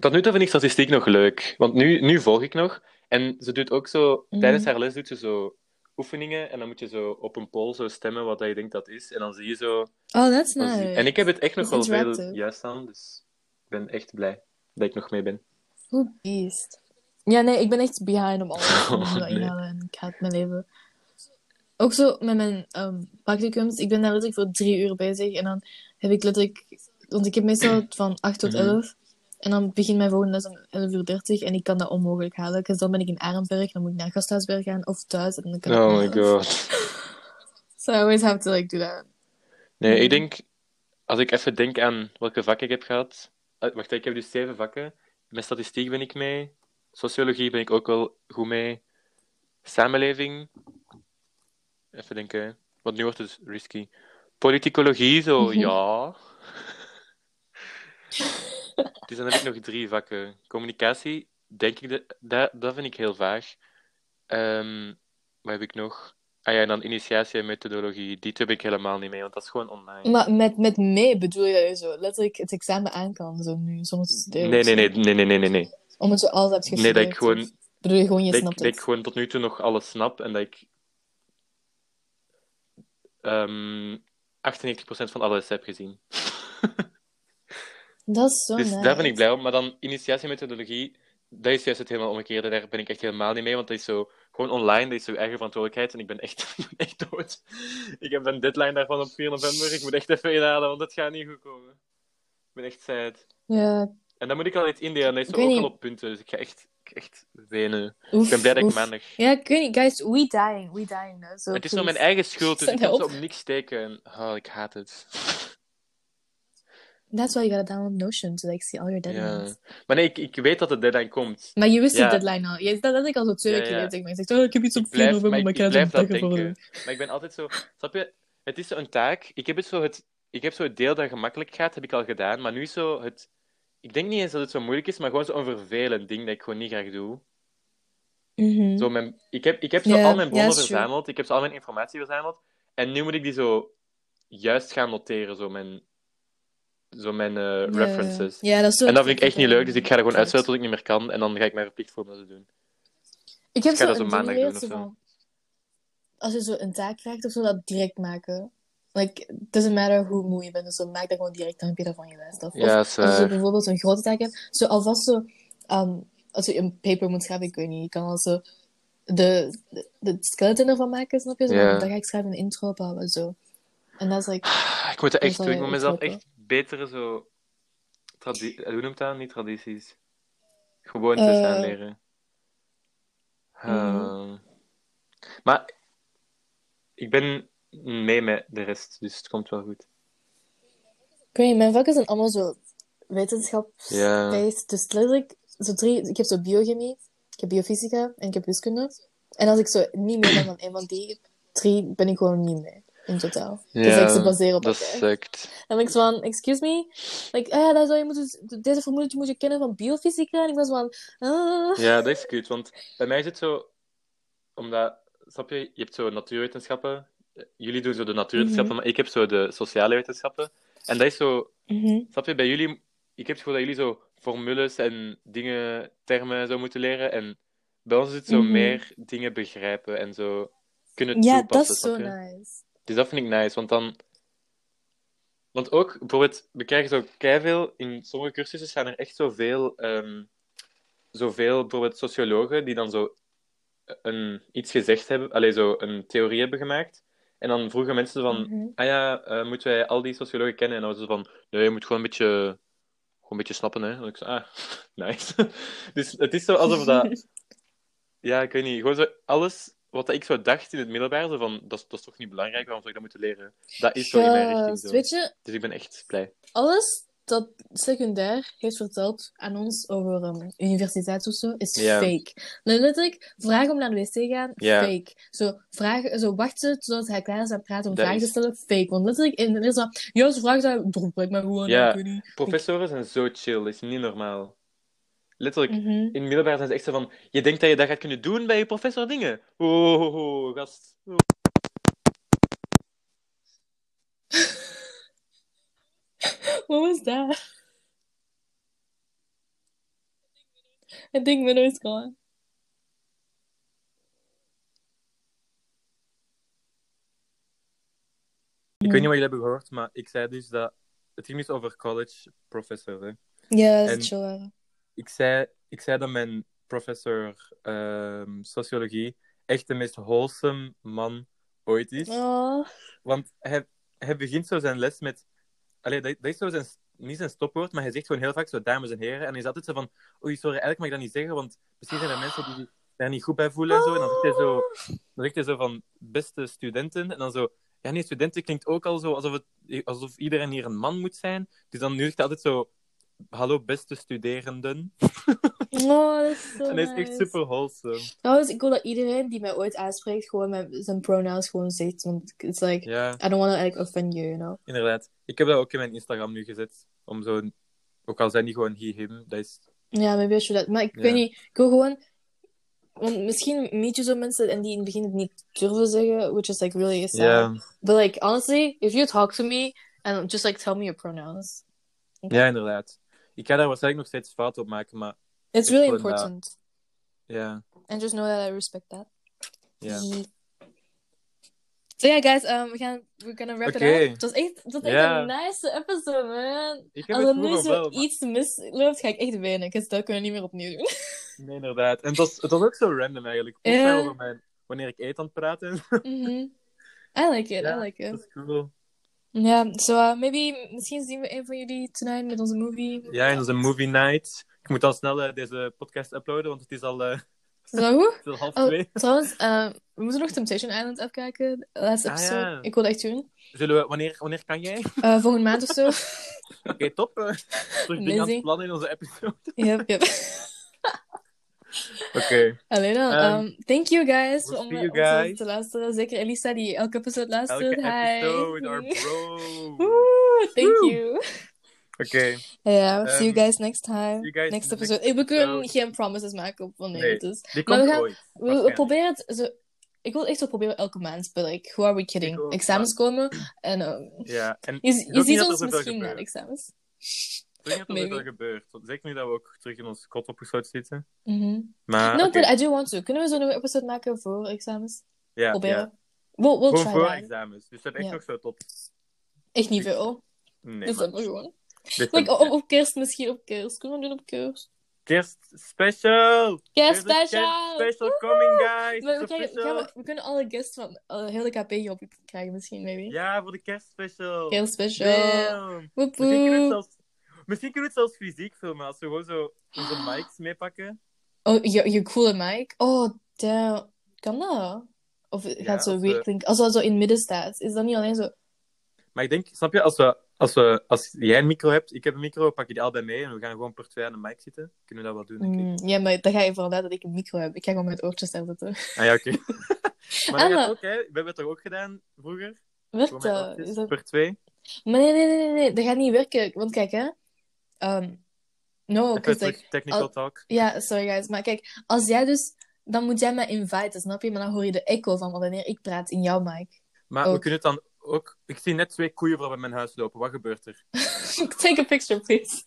Speaker 3: Tot nu toe vind ik statistiek nog leuk. Want nu, nu volg ik nog. En ze doet ook zo,
Speaker 2: Mhm.
Speaker 3: tijdens haar les doet ze zo oefeningen en dan moet je zo op een poll zo stemmen wat dat je denkt dat is. En dan zie je zo.
Speaker 2: Oh, that's
Speaker 3: dan
Speaker 2: nice.
Speaker 3: zie- En ik heb het echt nog
Speaker 2: Dat
Speaker 3: wel
Speaker 2: is
Speaker 3: veel
Speaker 2: interactive.
Speaker 3: juist aan, dus ik ben echt blij dat ik nog mee ben.
Speaker 2: Hoe beest. Ja, nee, ik ben echt behind op alles.
Speaker 3: Oh,
Speaker 2: Ik moet dat
Speaker 3: nee.
Speaker 2: inhalen en ik haat mijn leven. Ook zo met mijn ehm practicums. Ik ben daar letterlijk voor drie uur bezig. En dan heb ik letterlijk... Want ik heb meestal van 8 tot
Speaker 3: Mhm.
Speaker 2: 11. En dan begint mijn volgende les om 11 uur 30. En ik kan dat onmogelijk halen. Dus dan ben ik in Arenberg. Dan moet ik naar Gasthuisberg gaan of thuis. En dan kan ik
Speaker 3: Oh
Speaker 2: niet
Speaker 3: my
Speaker 2: halen.
Speaker 3: god.
Speaker 2: So I always have to like do that.
Speaker 3: Nee,
Speaker 2: Mhm.
Speaker 3: ik denk, als ik even denk aan welke vakken ik heb gehad. Eh, Wacht, ik heb dus zeven vakken. Met statistiek ben ik mee. Sociologie ben ik ook wel goed mee. Samenleving. Even denken, want nu wordt het risky. Politicologie, zo
Speaker 2: Mhm.
Speaker 3: ja. dus dan heb ik nog drie vakken. Communicatie, denk ik, dat- dat, dat vind ik heel vaag. Ehm, wat heb ik nog? Ah ja, en dan initiatie en methodologie. Die twee heb ik helemaal niet mee, want dat is gewoon online.
Speaker 2: Maar met, met mee bedoel je dat je zo letterlijk het examen aan kan. Zo nu, soms studeren.
Speaker 3: Nee,
Speaker 2: of
Speaker 3: nee,
Speaker 2: zo.
Speaker 3: nee, nee, nee, nee, nee. nee.
Speaker 2: Omdat je alles hebt
Speaker 3: Nee,
Speaker 2: gestudeerd.
Speaker 3: dat ik gewoon,
Speaker 2: of- Bedoel je gewoon, je
Speaker 3: dat ik,
Speaker 2: snapt
Speaker 3: dat ik
Speaker 2: het.
Speaker 3: gewoon tot nu toe nog alles snap en dat ik ehm 98% van alles heb gezien.
Speaker 2: Dat is zo
Speaker 3: dus
Speaker 2: nice.
Speaker 3: daar ben ik blij om. Maar dan initiatiemethodologie, dat is juist het helemaal omgekeerde. Daar ben ik echt helemaal niet mee, want dat is zo gewoon online, dat is zo eigen verantwoordelijkheid en ik ben echt, ik ben echt dood. Ik heb een deadline daarvan op 4 november. Ik moet echt even inhalen, want dat gaat niet goed komen. Ik ben echt sad.
Speaker 2: Ja,
Speaker 3: En dan moet ik al iets indelen, dat is
Speaker 2: Ik
Speaker 3: zo ook
Speaker 2: weet
Speaker 3: al
Speaker 2: niet.
Speaker 3: op punten. Dus ik ga echt, ik ga echt wenen.
Speaker 2: oef,
Speaker 3: Ik ben blij dat ik
Speaker 2: oef.
Speaker 3: maandag
Speaker 2: Ja, ik weet niet, guys, we dying, we dying. hè, zo,
Speaker 3: Het is nog
Speaker 2: please.
Speaker 3: mijn eigen schuld, dus ik kan
Speaker 2: Help.
Speaker 3: ze op niks steken. En, Oh, ik haat het.
Speaker 2: That's why you gotta download Notion, to like see all your deadlines.
Speaker 3: Ja. Maar nee, ik, ik weet dat de deadline komt.
Speaker 2: Maar je wist
Speaker 3: Ja.
Speaker 2: die deadline al. Je, dat had ik al zo twee
Speaker 3: Ja,
Speaker 2: weken
Speaker 3: ja.
Speaker 2: geleden tegen mij. Ik zeg, oh, ik heb iets op
Speaker 3: Ik
Speaker 2: 4
Speaker 3: blijf,
Speaker 2: november,
Speaker 3: maar ik,
Speaker 2: maar
Speaker 3: ik
Speaker 2: ik heb
Speaker 3: blijf
Speaker 2: het
Speaker 3: dat
Speaker 2: dagen voor.
Speaker 3: denken. Maar ik ben altijd zo... Snap je? Het is zo'n taak. Ik heb het zo het... Ik heb zo het deel dat gemakkelijk gaat, heb ik al gedaan. Maar nu is zo het... Ik denk niet eens dat het zo moeilijk is, maar gewoon zo'n vervelend ding dat ik gewoon niet graag doe.
Speaker 2: Mhm.
Speaker 3: Zo mijn, ik heb, ik heb zo
Speaker 2: Ja,
Speaker 3: al mijn
Speaker 2: ja,
Speaker 3: bronnen
Speaker 2: is true.
Speaker 3: verzameld. Ik heb zo al mijn informatie verzameld. En nu moet ik die zo juist gaan noteren. Zo mijn, zo mijn eh,
Speaker 2: Ja, ja.
Speaker 3: references.
Speaker 2: Ja, dat is zo
Speaker 3: En dat vind ik echt niet leuk, dus ik ga er gewoon
Speaker 2: Klopt.
Speaker 3: uitzetten tot ik niet meer kan. En dan ga ik mij verplicht voor om dat te doen.
Speaker 2: Ik heb
Speaker 3: Ik ga
Speaker 2: zo
Speaker 3: dat
Speaker 2: een
Speaker 3: zo
Speaker 2: ding
Speaker 3: maandag doen
Speaker 2: geleerd, zo
Speaker 3: of zo.
Speaker 2: van... Als je zo een taak krijgt of zo, dat direct maken. Like, it doesn't matter hoe moe je bent, dus zo, maak dat gewoon direct, dan heb je dat van je lijst af. Of
Speaker 3: is
Speaker 2: Als je zo bijvoorbeeld een grote taak hebt, zo alvast zo, ehm, als je een paper moet schrijven, ik weet niet, je kan al zo de, de, de skeleton ervan maken, snap je? Zo,
Speaker 3: Ja.
Speaker 2: Dan ga ik schrijven een intro op houden, zo. En dat is like,
Speaker 3: Ik moet dat echt
Speaker 2: zal
Speaker 3: doen. Ik
Speaker 2: je
Speaker 3: moet mezelf
Speaker 2: opknappen.
Speaker 3: echt betere zo... Tradi eh, hoe noemt dat? Niet tradities. Gewoontes
Speaker 2: Eh.
Speaker 3: aanleren.
Speaker 2: Mhm.
Speaker 3: Ehm, Maar ik ben mee met de rest, dus het komt wel goed.
Speaker 2: ik weet niet, mijn vakken zijn allemaal zo wetenschap-based,
Speaker 3: Ja.
Speaker 2: dus letterlijk, zo drie, ik heb zo biochemie, ik heb biofysica en ik heb wiskunde. En als ik zo niet meer ben dan een van die drie, ben ik gewoon niet mee, in totaal. dus ik ze baseren op
Speaker 3: dat eh,
Speaker 2: elkaar.
Speaker 3: sukt.
Speaker 2: En ik was van, excuse me? Like, ah ja, dat zou je moeten, deze formule moet je kennen van biofysica. En ik was van, ah.
Speaker 3: Ja, dat is kut, want bij mij is het zo... Omdat, snap je, je hebt zo natuurwetenschappen. Jullie doen zo de natuurwetenschappen, maar ik heb zo de sociale wetenschappen. En dat is zo...
Speaker 2: Mhm.
Speaker 3: Snap je, bij jullie, ik heb het gevoel dat jullie zo formules en dingen, termen en zo moeten leren. En bij ons is het zo
Speaker 2: Mhm.
Speaker 3: meer dingen begrijpen en zo kunnen
Speaker 2: Ja, dat
Speaker 3: toepassen.
Speaker 2: is zo
Speaker 3: snap je?
Speaker 2: nice.
Speaker 3: Dus dat vind ik nice, want dan. Want ook, bijvoorbeeld, we krijgen zo keiveel. In sommige cursussen zijn er echt zoveel. ehm zoveel, bijvoorbeeld, sociologen die dan zo een, iets gezegd hebben, alleen zo een theorie hebben gemaakt. En dan vroegen mensen van,
Speaker 2: Mhm.
Speaker 3: ah ja, eh, moeten wij al die sociologen kennen? En dan was het van, nee, je moet gewoon een beetje, gewoon een beetje snappen, hè. En ik zei, ah, nice. dus het is zo alsof dat, ja, ik weet niet, gewoon zo alles wat ik zo dacht in het middelbaar, zo van, dat, is- dat is toch niet belangrijk, waarom zou ik dat moeten leren? Dat is zo in mijn richting.
Speaker 2: Gast,
Speaker 3: Zo.
Speaker 2: Weet je,
Speaker 3: Dus ik ben echt blij.
Speaker 2: alles dat secundair heeft verteld aan ons over ehm, universiteit of zo, is
Speaker 3: Ja.
Speaker 2: fake. Nou, letterlijk, vragen om naar de wc te gaan,
Speaker 3: Ja.
Speaker 2: fake. Zo, vragen, zo wachten totdat hij klaar is aan het praten om
Speaker 3: Dat
Speaker 2: vragen
Speaker 3: is-
Speaker 2: te stellen, fake. Want letterlijk, in, er is dan, ja, ze vragen zijn, broek, maar gewoon,
Speaker 3: Ja.
Speaker 2: ik weet niet.
Speaker 3: Professoren zijn zo chill, dat is niet normaal. Letterlijk,
Speaker 2: Mhm.
Speaker 3: in het middelbaar zijn ze echt zo van... Je denkt dat je dat gaat kunnen doen bij je professor dingen? Oh, oh, oh, gast. Oh.
Speaker 2: What was that? I think Minnow is gone.
Speaker 3: weet niet wat jullie hebben gehoord, maar ik zei dus dat... Het ging dus over college professor, hè.
Speaker 2: Ja, dat
Speaker 3: En-
Speaker 2: is chill. hè.
Speaker 3: ik zei, ik zei dat mijn professor ehm, sociologie echt de meest wholesome man ooit is.
Speaker 2: Oh.
Speaker 3: Want hij, hij begint zo zijn les met... Allee, dat, dat is zo zijn, niet zijn stopwoord, maar hij zegt gewoon heel vaak zo dames en heren. En hij is altijd zo van, oei, sorry, eigenlijk mag ik dat niet zeggen, want misschien zijn er mensen die zich daar niet goed bij voelen en zo. En dan zegt hij zo, dan zegt hij zo van, beste studenten. En dan zo, ja nee, studenten klinkt ook al zo alsof, het, alsof iedereen hier een man moet zijn. Dus dan nu zegt hij altijd zo, hallo beste studerenden.
Speaker 2: Oh, dat is zo
Speaker 3: En hij is echt
Speaker 2: nice.
Speaker 3: super wholesome.
Speaker 2: Trouwens, ik wil dat iedereen die mij ooit aanspreekt, gewoon met zijn pronouns gewoon zegt. Want it's like,
Speaker 3: Ja,
Speaker 2: I don't want to like offend you, you know.
Speaker 3: inderdaad. Ik heb dat ook in mijn Instagram nu gezet. Om zo, ook al zijn die gewoon he, him, dat is...
Speaker 2: Ja, maybe I should that. Maar ik
Speaker 3: Ja.
Speaker 2: weet niet, ik wil gewoon... Want misschien meet je zo mensen en die in het begin het niet durven zeggen, which is like really sad.
Speaker 3: Ja,
Speaker 2: But like, honestly, if you talk to me and just like tell me your pronouns,
Speaker 3: ja, inderdaad. Ik ga daar waarschijnlijk nog steeds fout op maken, maar
Speaker 2: it's
Speaker 3: Ik
Speaker 2: really
Speaker 3: wil dat.
Speaker 2: important.
Speaker 3: ja.
Speaker 2: And just know that I respect that.
Speaker 3: ja.
Speaker 2: So yeah, guys, um, we gaan we're gonna wrap
Speaker 3: Oké.
Speaker 2: it up. Dat is echt, dat is echt
Speaker 3: Ja.
Speaker 2: een nice episode, man.
Speaker 3: Ik heb
Speaker 2: Als
Speaker 3: het
Speaker 2: er nu
Speaker 3: vroeger wel,
Speaker 2: zo
Speaker 3: maar-
Speaker 2: iets misloopt, ga ik echt wenen. Dus dat kunnen we niet meer opnieuw doen.
Speaker 3: Nee, inderdaad. En het was, het was ook zo random eigenlijk. Ik
Speaker 2: Ja.
Speaker 3: zei over mijn, wanneer ik eet aan het praten.
Speaker 2: Mhm. I like it,
Speaker 3: Ja,
Speaker 2: I like it.
Speaker 3: dat is cool.
Speaker 2: Ja, so uh, maybe misschien zien we een van jullie tonight met onze movie.
Speaker 3: Ja, en onze movie night. Ik moet al snel eh, deze podcast uploaden, want het is al, eh,
Speaker 2: Is dat goed?
Speaker 3: het is al half
Speaker 2: Oh,
Speaker 3: twee.
Speaker 2: trouwens, eh, we moeten nog Temptation Island afkijken. De laatste
Speaker 3: Ah,
Speaker 2: episode.
Speaker 3: ja.
Speaker 2: Ik wil dat echt doen.
Speaker 3: Zullen we, wanneer, wanneer kan jij? Oké,
Speaker 2: Eh, volgende maand of zo.
Speaker 3: top. eh. terug dingen aan
Speaker 2: Amazing.
Speaker 3: het plannen in onze episode.
Speaker 2: yep, yep.
Speaker 3: Oké.
Speaker 2: Alleen al.
Speaker 3: Ehm,
Speaker 2: ehm, thank you guys
Speaker 3: we'll
Speaker 2: om
Speaker 3: see
Speaker 2: eh,
Speaker 3: you
Speaker 2: ons eh,
Speaker 3: guys.
Speaker 2: te luisteren. Zeker Elisa die elke episode luistert.
Speaker 3: Elke episode,
Speaker 2: Hi.
Speaker 3: our bro.
Speaker 2: Woe, thank
Speaker 3: Woe.
Speaker 2: you.
Speaker 3: Oké.
Speaker 2: Ja, we'll see you
Speaker 3: Ehm,
Speaker 2: guys next time.
Speaker 3: you guys
Speaker 2: next
Speaker 3: next
Speaker 2: episode. Eh, we kunnen
Speaker 3: episode.
Speaker 2: geen promises maken op wanneer
Speaker 3: Nee.
Speaker 2: het is.
Speaker 3: Die
Speaker 2: Maar
Speaker 3: komt
Speaker 2: we gaan-
Speaker 3: ooit.
Speaker 2: We- We,
Speaker 3: waarschijnlijk.
Speaker 2: proberen het zo... Ik wil echt zo proberen elke maand, but like, who are we kidding?
Speaker 3: Ik ook,
Speaker 2: Examens komen en... ehm,
Speaker 3: Ja, en
Speaker 2: je
Speaker 3: ik
Speaker 2: je
Speaker 3: hoop niet
Speaker 2: ziet
Speaker 3: dat er
Speaker 2: ons
Speaker 3: zoveel
Speaker 2: misschien na
Speaker 3: gebeurt.
Speaker 2: de examens.
Speaker 3: Ik denk dat er
Speaker 2: Maybe.
Speaker 3: wel gebeurt. Want Zeker nu dat we ook terug in ons kot opgesloten zitten.
Speaker 2: Mhm.
Speaker 3: Maar,
Speaker 2: no,
Speaker 3: oké.
Speaker 2: but I do want to. Kunnen we zo'n nieuwe episode maken voor examens?
Speaker 3: ja,
Speaker 2: proberen.
Speaker 3: ja.
Speaker 2: We'll, we'll
Speaker 3: Gewoon
Speaker 2: try
Speaker 3: voor
Speaker 2: that.
Speaker 3: examens. Dus we hebben echt
Speaker 2: Ja.
Speaker 3: nog zo tot...
Speaker 2: Echt niet veel.
Speaker 3: Nee, maar-
Speaker 2: December gewoon.
Speaker 3: december.
Speaker 2: Like, oh, op, op kerst misschien, op kerst. Kunnen we doen op kerst?
Speaker 3: Kerst special!
Speaker 2: Kerst
Speaker 3: There's a
Speaker 2: special!
Speaker 3: Kerst special coming, guys!
Speaker 2: Maar we,
Speaker 3: It's
Speaker 2: krijgen- we,
Speaker 3: official.
Speaker 2: gaan- we kunnen alle guests van alle hele KP op krijgen misschien, maybe.
Speaker 3: Ja, voor de kerstspecial.
Speaker 2: Kerst special.
Speaker 3: Damn.
Speaker 2: Woep
Speaker 3: Misschien kunnen, we het
Speaker 2: woep.
Speaker 3: zelfs... Misschien kunnen we het zelfs fysiek filmen. Als we gewoon zo onze mics meepakken.
Speaker 2: Oh, je, je coole mic? Oh, damn. Kan dat? Of het
Speaker 3: Ja,
Speaker 2: gaat zo
Speaker 3: als
Speaker 2: weird
Speaker 3: we-
Speaker 2: klinken. Als dat zo in het midden staat, is dat niet alleen zo...
Speaker 3: Maar ik denk, snap je, als, we, als, we, als jij een micro hebt, ik heb een micro, pak je die al bij mee en we gaan gewoon per twee aan de mic zitten. Kunnen we dat wel doen, denk ik.
Speaker 2: Mm, ja, maar dan ga je vooral uit dat ik een micro heb. Ik ga gewoon mijn oortjes daar zitten.
Speaker 3: Ah ja, oké. maar dat
Speaker 2: Ah,
Speaker 3: gaat
Speaker 2: maar-
Speaker 3: ook, hè. We hebben het toch ook gedaan vroeger?
Speaker 2: Werkt
Speaker 3: Voor mijn
Speaker 2: dat?
Speaker 3: oortjes,
Speaker 2: Is dat...
Speaker 3: Per twee?
Speaker 2: Maar nee, nee, nee, nee, nee. Dat gaat niet werken. Want kijk, hè. Ehm, no,
Speaker 3: Even
Speaker 2: because
Speaker 3: terug
Speaker 2: like...
Speaker 3: technical
Speaker 2: al-
Speaker 3: talk.
Speaker 2: Ja, sorry guys. Maar kijk, als jij dus... Dan moet jij mij inviten, snap je? Maar dan hoor je de echo van wanneer ik praat in jouw mic.
Speaker 3: Maar we
Speaker 2: ook.
Speaker 3: kunnen het dan ook... Ik zie net twee koeien voor bij mijn huis lopen. Wat gebeurt er?
Speaker 2: Take a picture, please.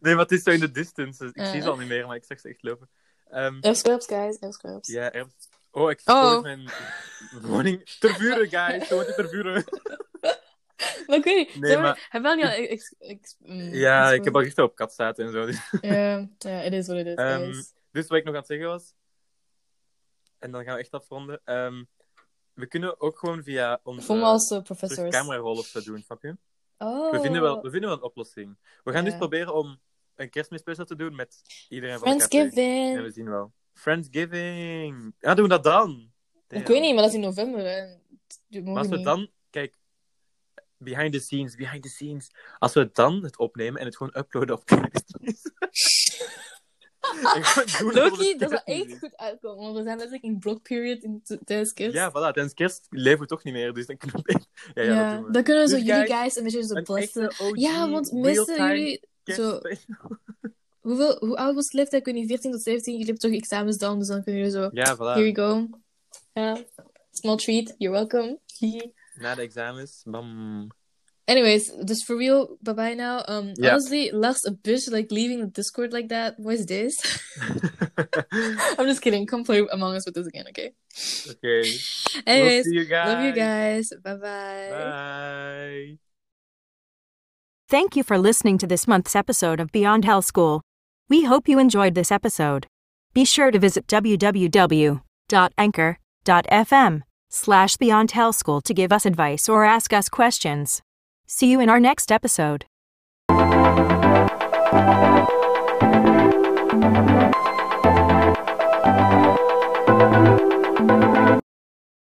Speaker 3: Nee, maar het is zo in de distance. dus ik
Speaker 2: Eh.
Speaker 3: zie ze al niet meer, maar ik zag ze echt lopen. Ehm,
Speaker 2: F scrubs, guys. F scrubs.
Speaker 3: ja, er... Oh, ik
Speaker 2: Oh.
Speaker 3: stoot mijn woning. Ter vuren, guys. Ze woont ter vuren.
Speaker 2: Maar ik weet niet.
Speaker 3: Nee,
Speaker 2: zeg
Speaker 3: maar-
Speaker 2: Hebben we al niet al... Ex, ex, mm,
Speaker 3: Ja, ik
Speaker 2: exposed?
Speaker 3: heb al gisteren op kat zaten en zo. Dus,
Speaker 2: Ja, ja, it is what it is,
Speaker 3: Ehm,
Speaker 2: guys.
Speaker 3: dus wat ik nog aan het zeggen was... En dan gaan we echt afronden. Ehm, we kunnen ook gewoon via onze...
Speaker 2: Voel me als eh,
Speaker 3: Dus
Speaker 2: professor.
Speaker 3: camerarol of zo doen, snap je?
Speaker 2: Oh.
Speaker 3: We, vinden wel, we vinden wel een oplossing. We gaan dus
Speaker 2: Ja.
Speaker 3: proberen om een kerstmisspecial te doen met iedereen van de café. En we
Speaker 2: Friendsgiving.
Speaker 3: zien wel. Friendsgiving! Ja, doen we dat dan!
Speaker 2: Ik weet niet, maar dat is in november. hè. Dat mogen
Speaker 3: Maar als we
Speaker 2: niet.
Speaker 3: dan, kijk, behind the scenes, behind the scenes. Als we dan het opnemen en het gewoon uploaden op kerstmis. En gewoon doen alsof
Speaker 2: Loki,
Speaker 3: het
Speaker 2: dat zou
Speaker 3: kerstmis
Speaker 2: echt goed uitkomen. Want we zijn letterlijk in block period in t- tijdens
Speaker 3: is.
Speaker 2: kerst.
Speaker 3: Ja, voilà, tijdens kerst leven we toch niet meer, dus dan kunnen we... Ja, ja, dat doen we.
Speaker 2: dan kunnen we zo
Speaker 3: Dus
Speaker 2: jullie
Speaker 3: guys,
Speaker 2: guys een beetje zo
Speaker 3: Een
Speaker 2: blessen.
Speaker 3: echte OG,
Speaker 2: Ja, want meestal
Speaker 3: real-time
Speaker 2: jullie... Zo,
Speaker 3: kerstspecial.
Speaker 2: hoeveel, hoe oud was de leeftijd? Ik weet niet, 14 tot 17. Jullie hebben toch examens dan, dus dan kunnen jullie zo...
Speaker 3: Ja, voilà.
Speaker 2: Here you go. Ja. Small treat, you're welcome. Hihi.
Speaker 3: Na de examens, bam.
Speaker 2: Anyways, just for real, bye bye now. Um,
Speaker 3: Yeah.
Speaker 2: honestly, Lars a bitch like leaving the Discord like that. What is this? I'm just kidding. Come play Among Us with us again, okay?
Speaker 3: Okay.
Speaker 2: Anyways,
Speaker 3: you guys.
Speaker 2: love you guys. Bye bye.
Speaker 3: Bye.
Speaker 1: Thank you for listening to this month's episode of Beyond Hell School. We hope you enjoyed this episode. Be sure to visit www.anchor.fm slash Beyond Hell School to give us advice or ask us questions. See you in our next episode.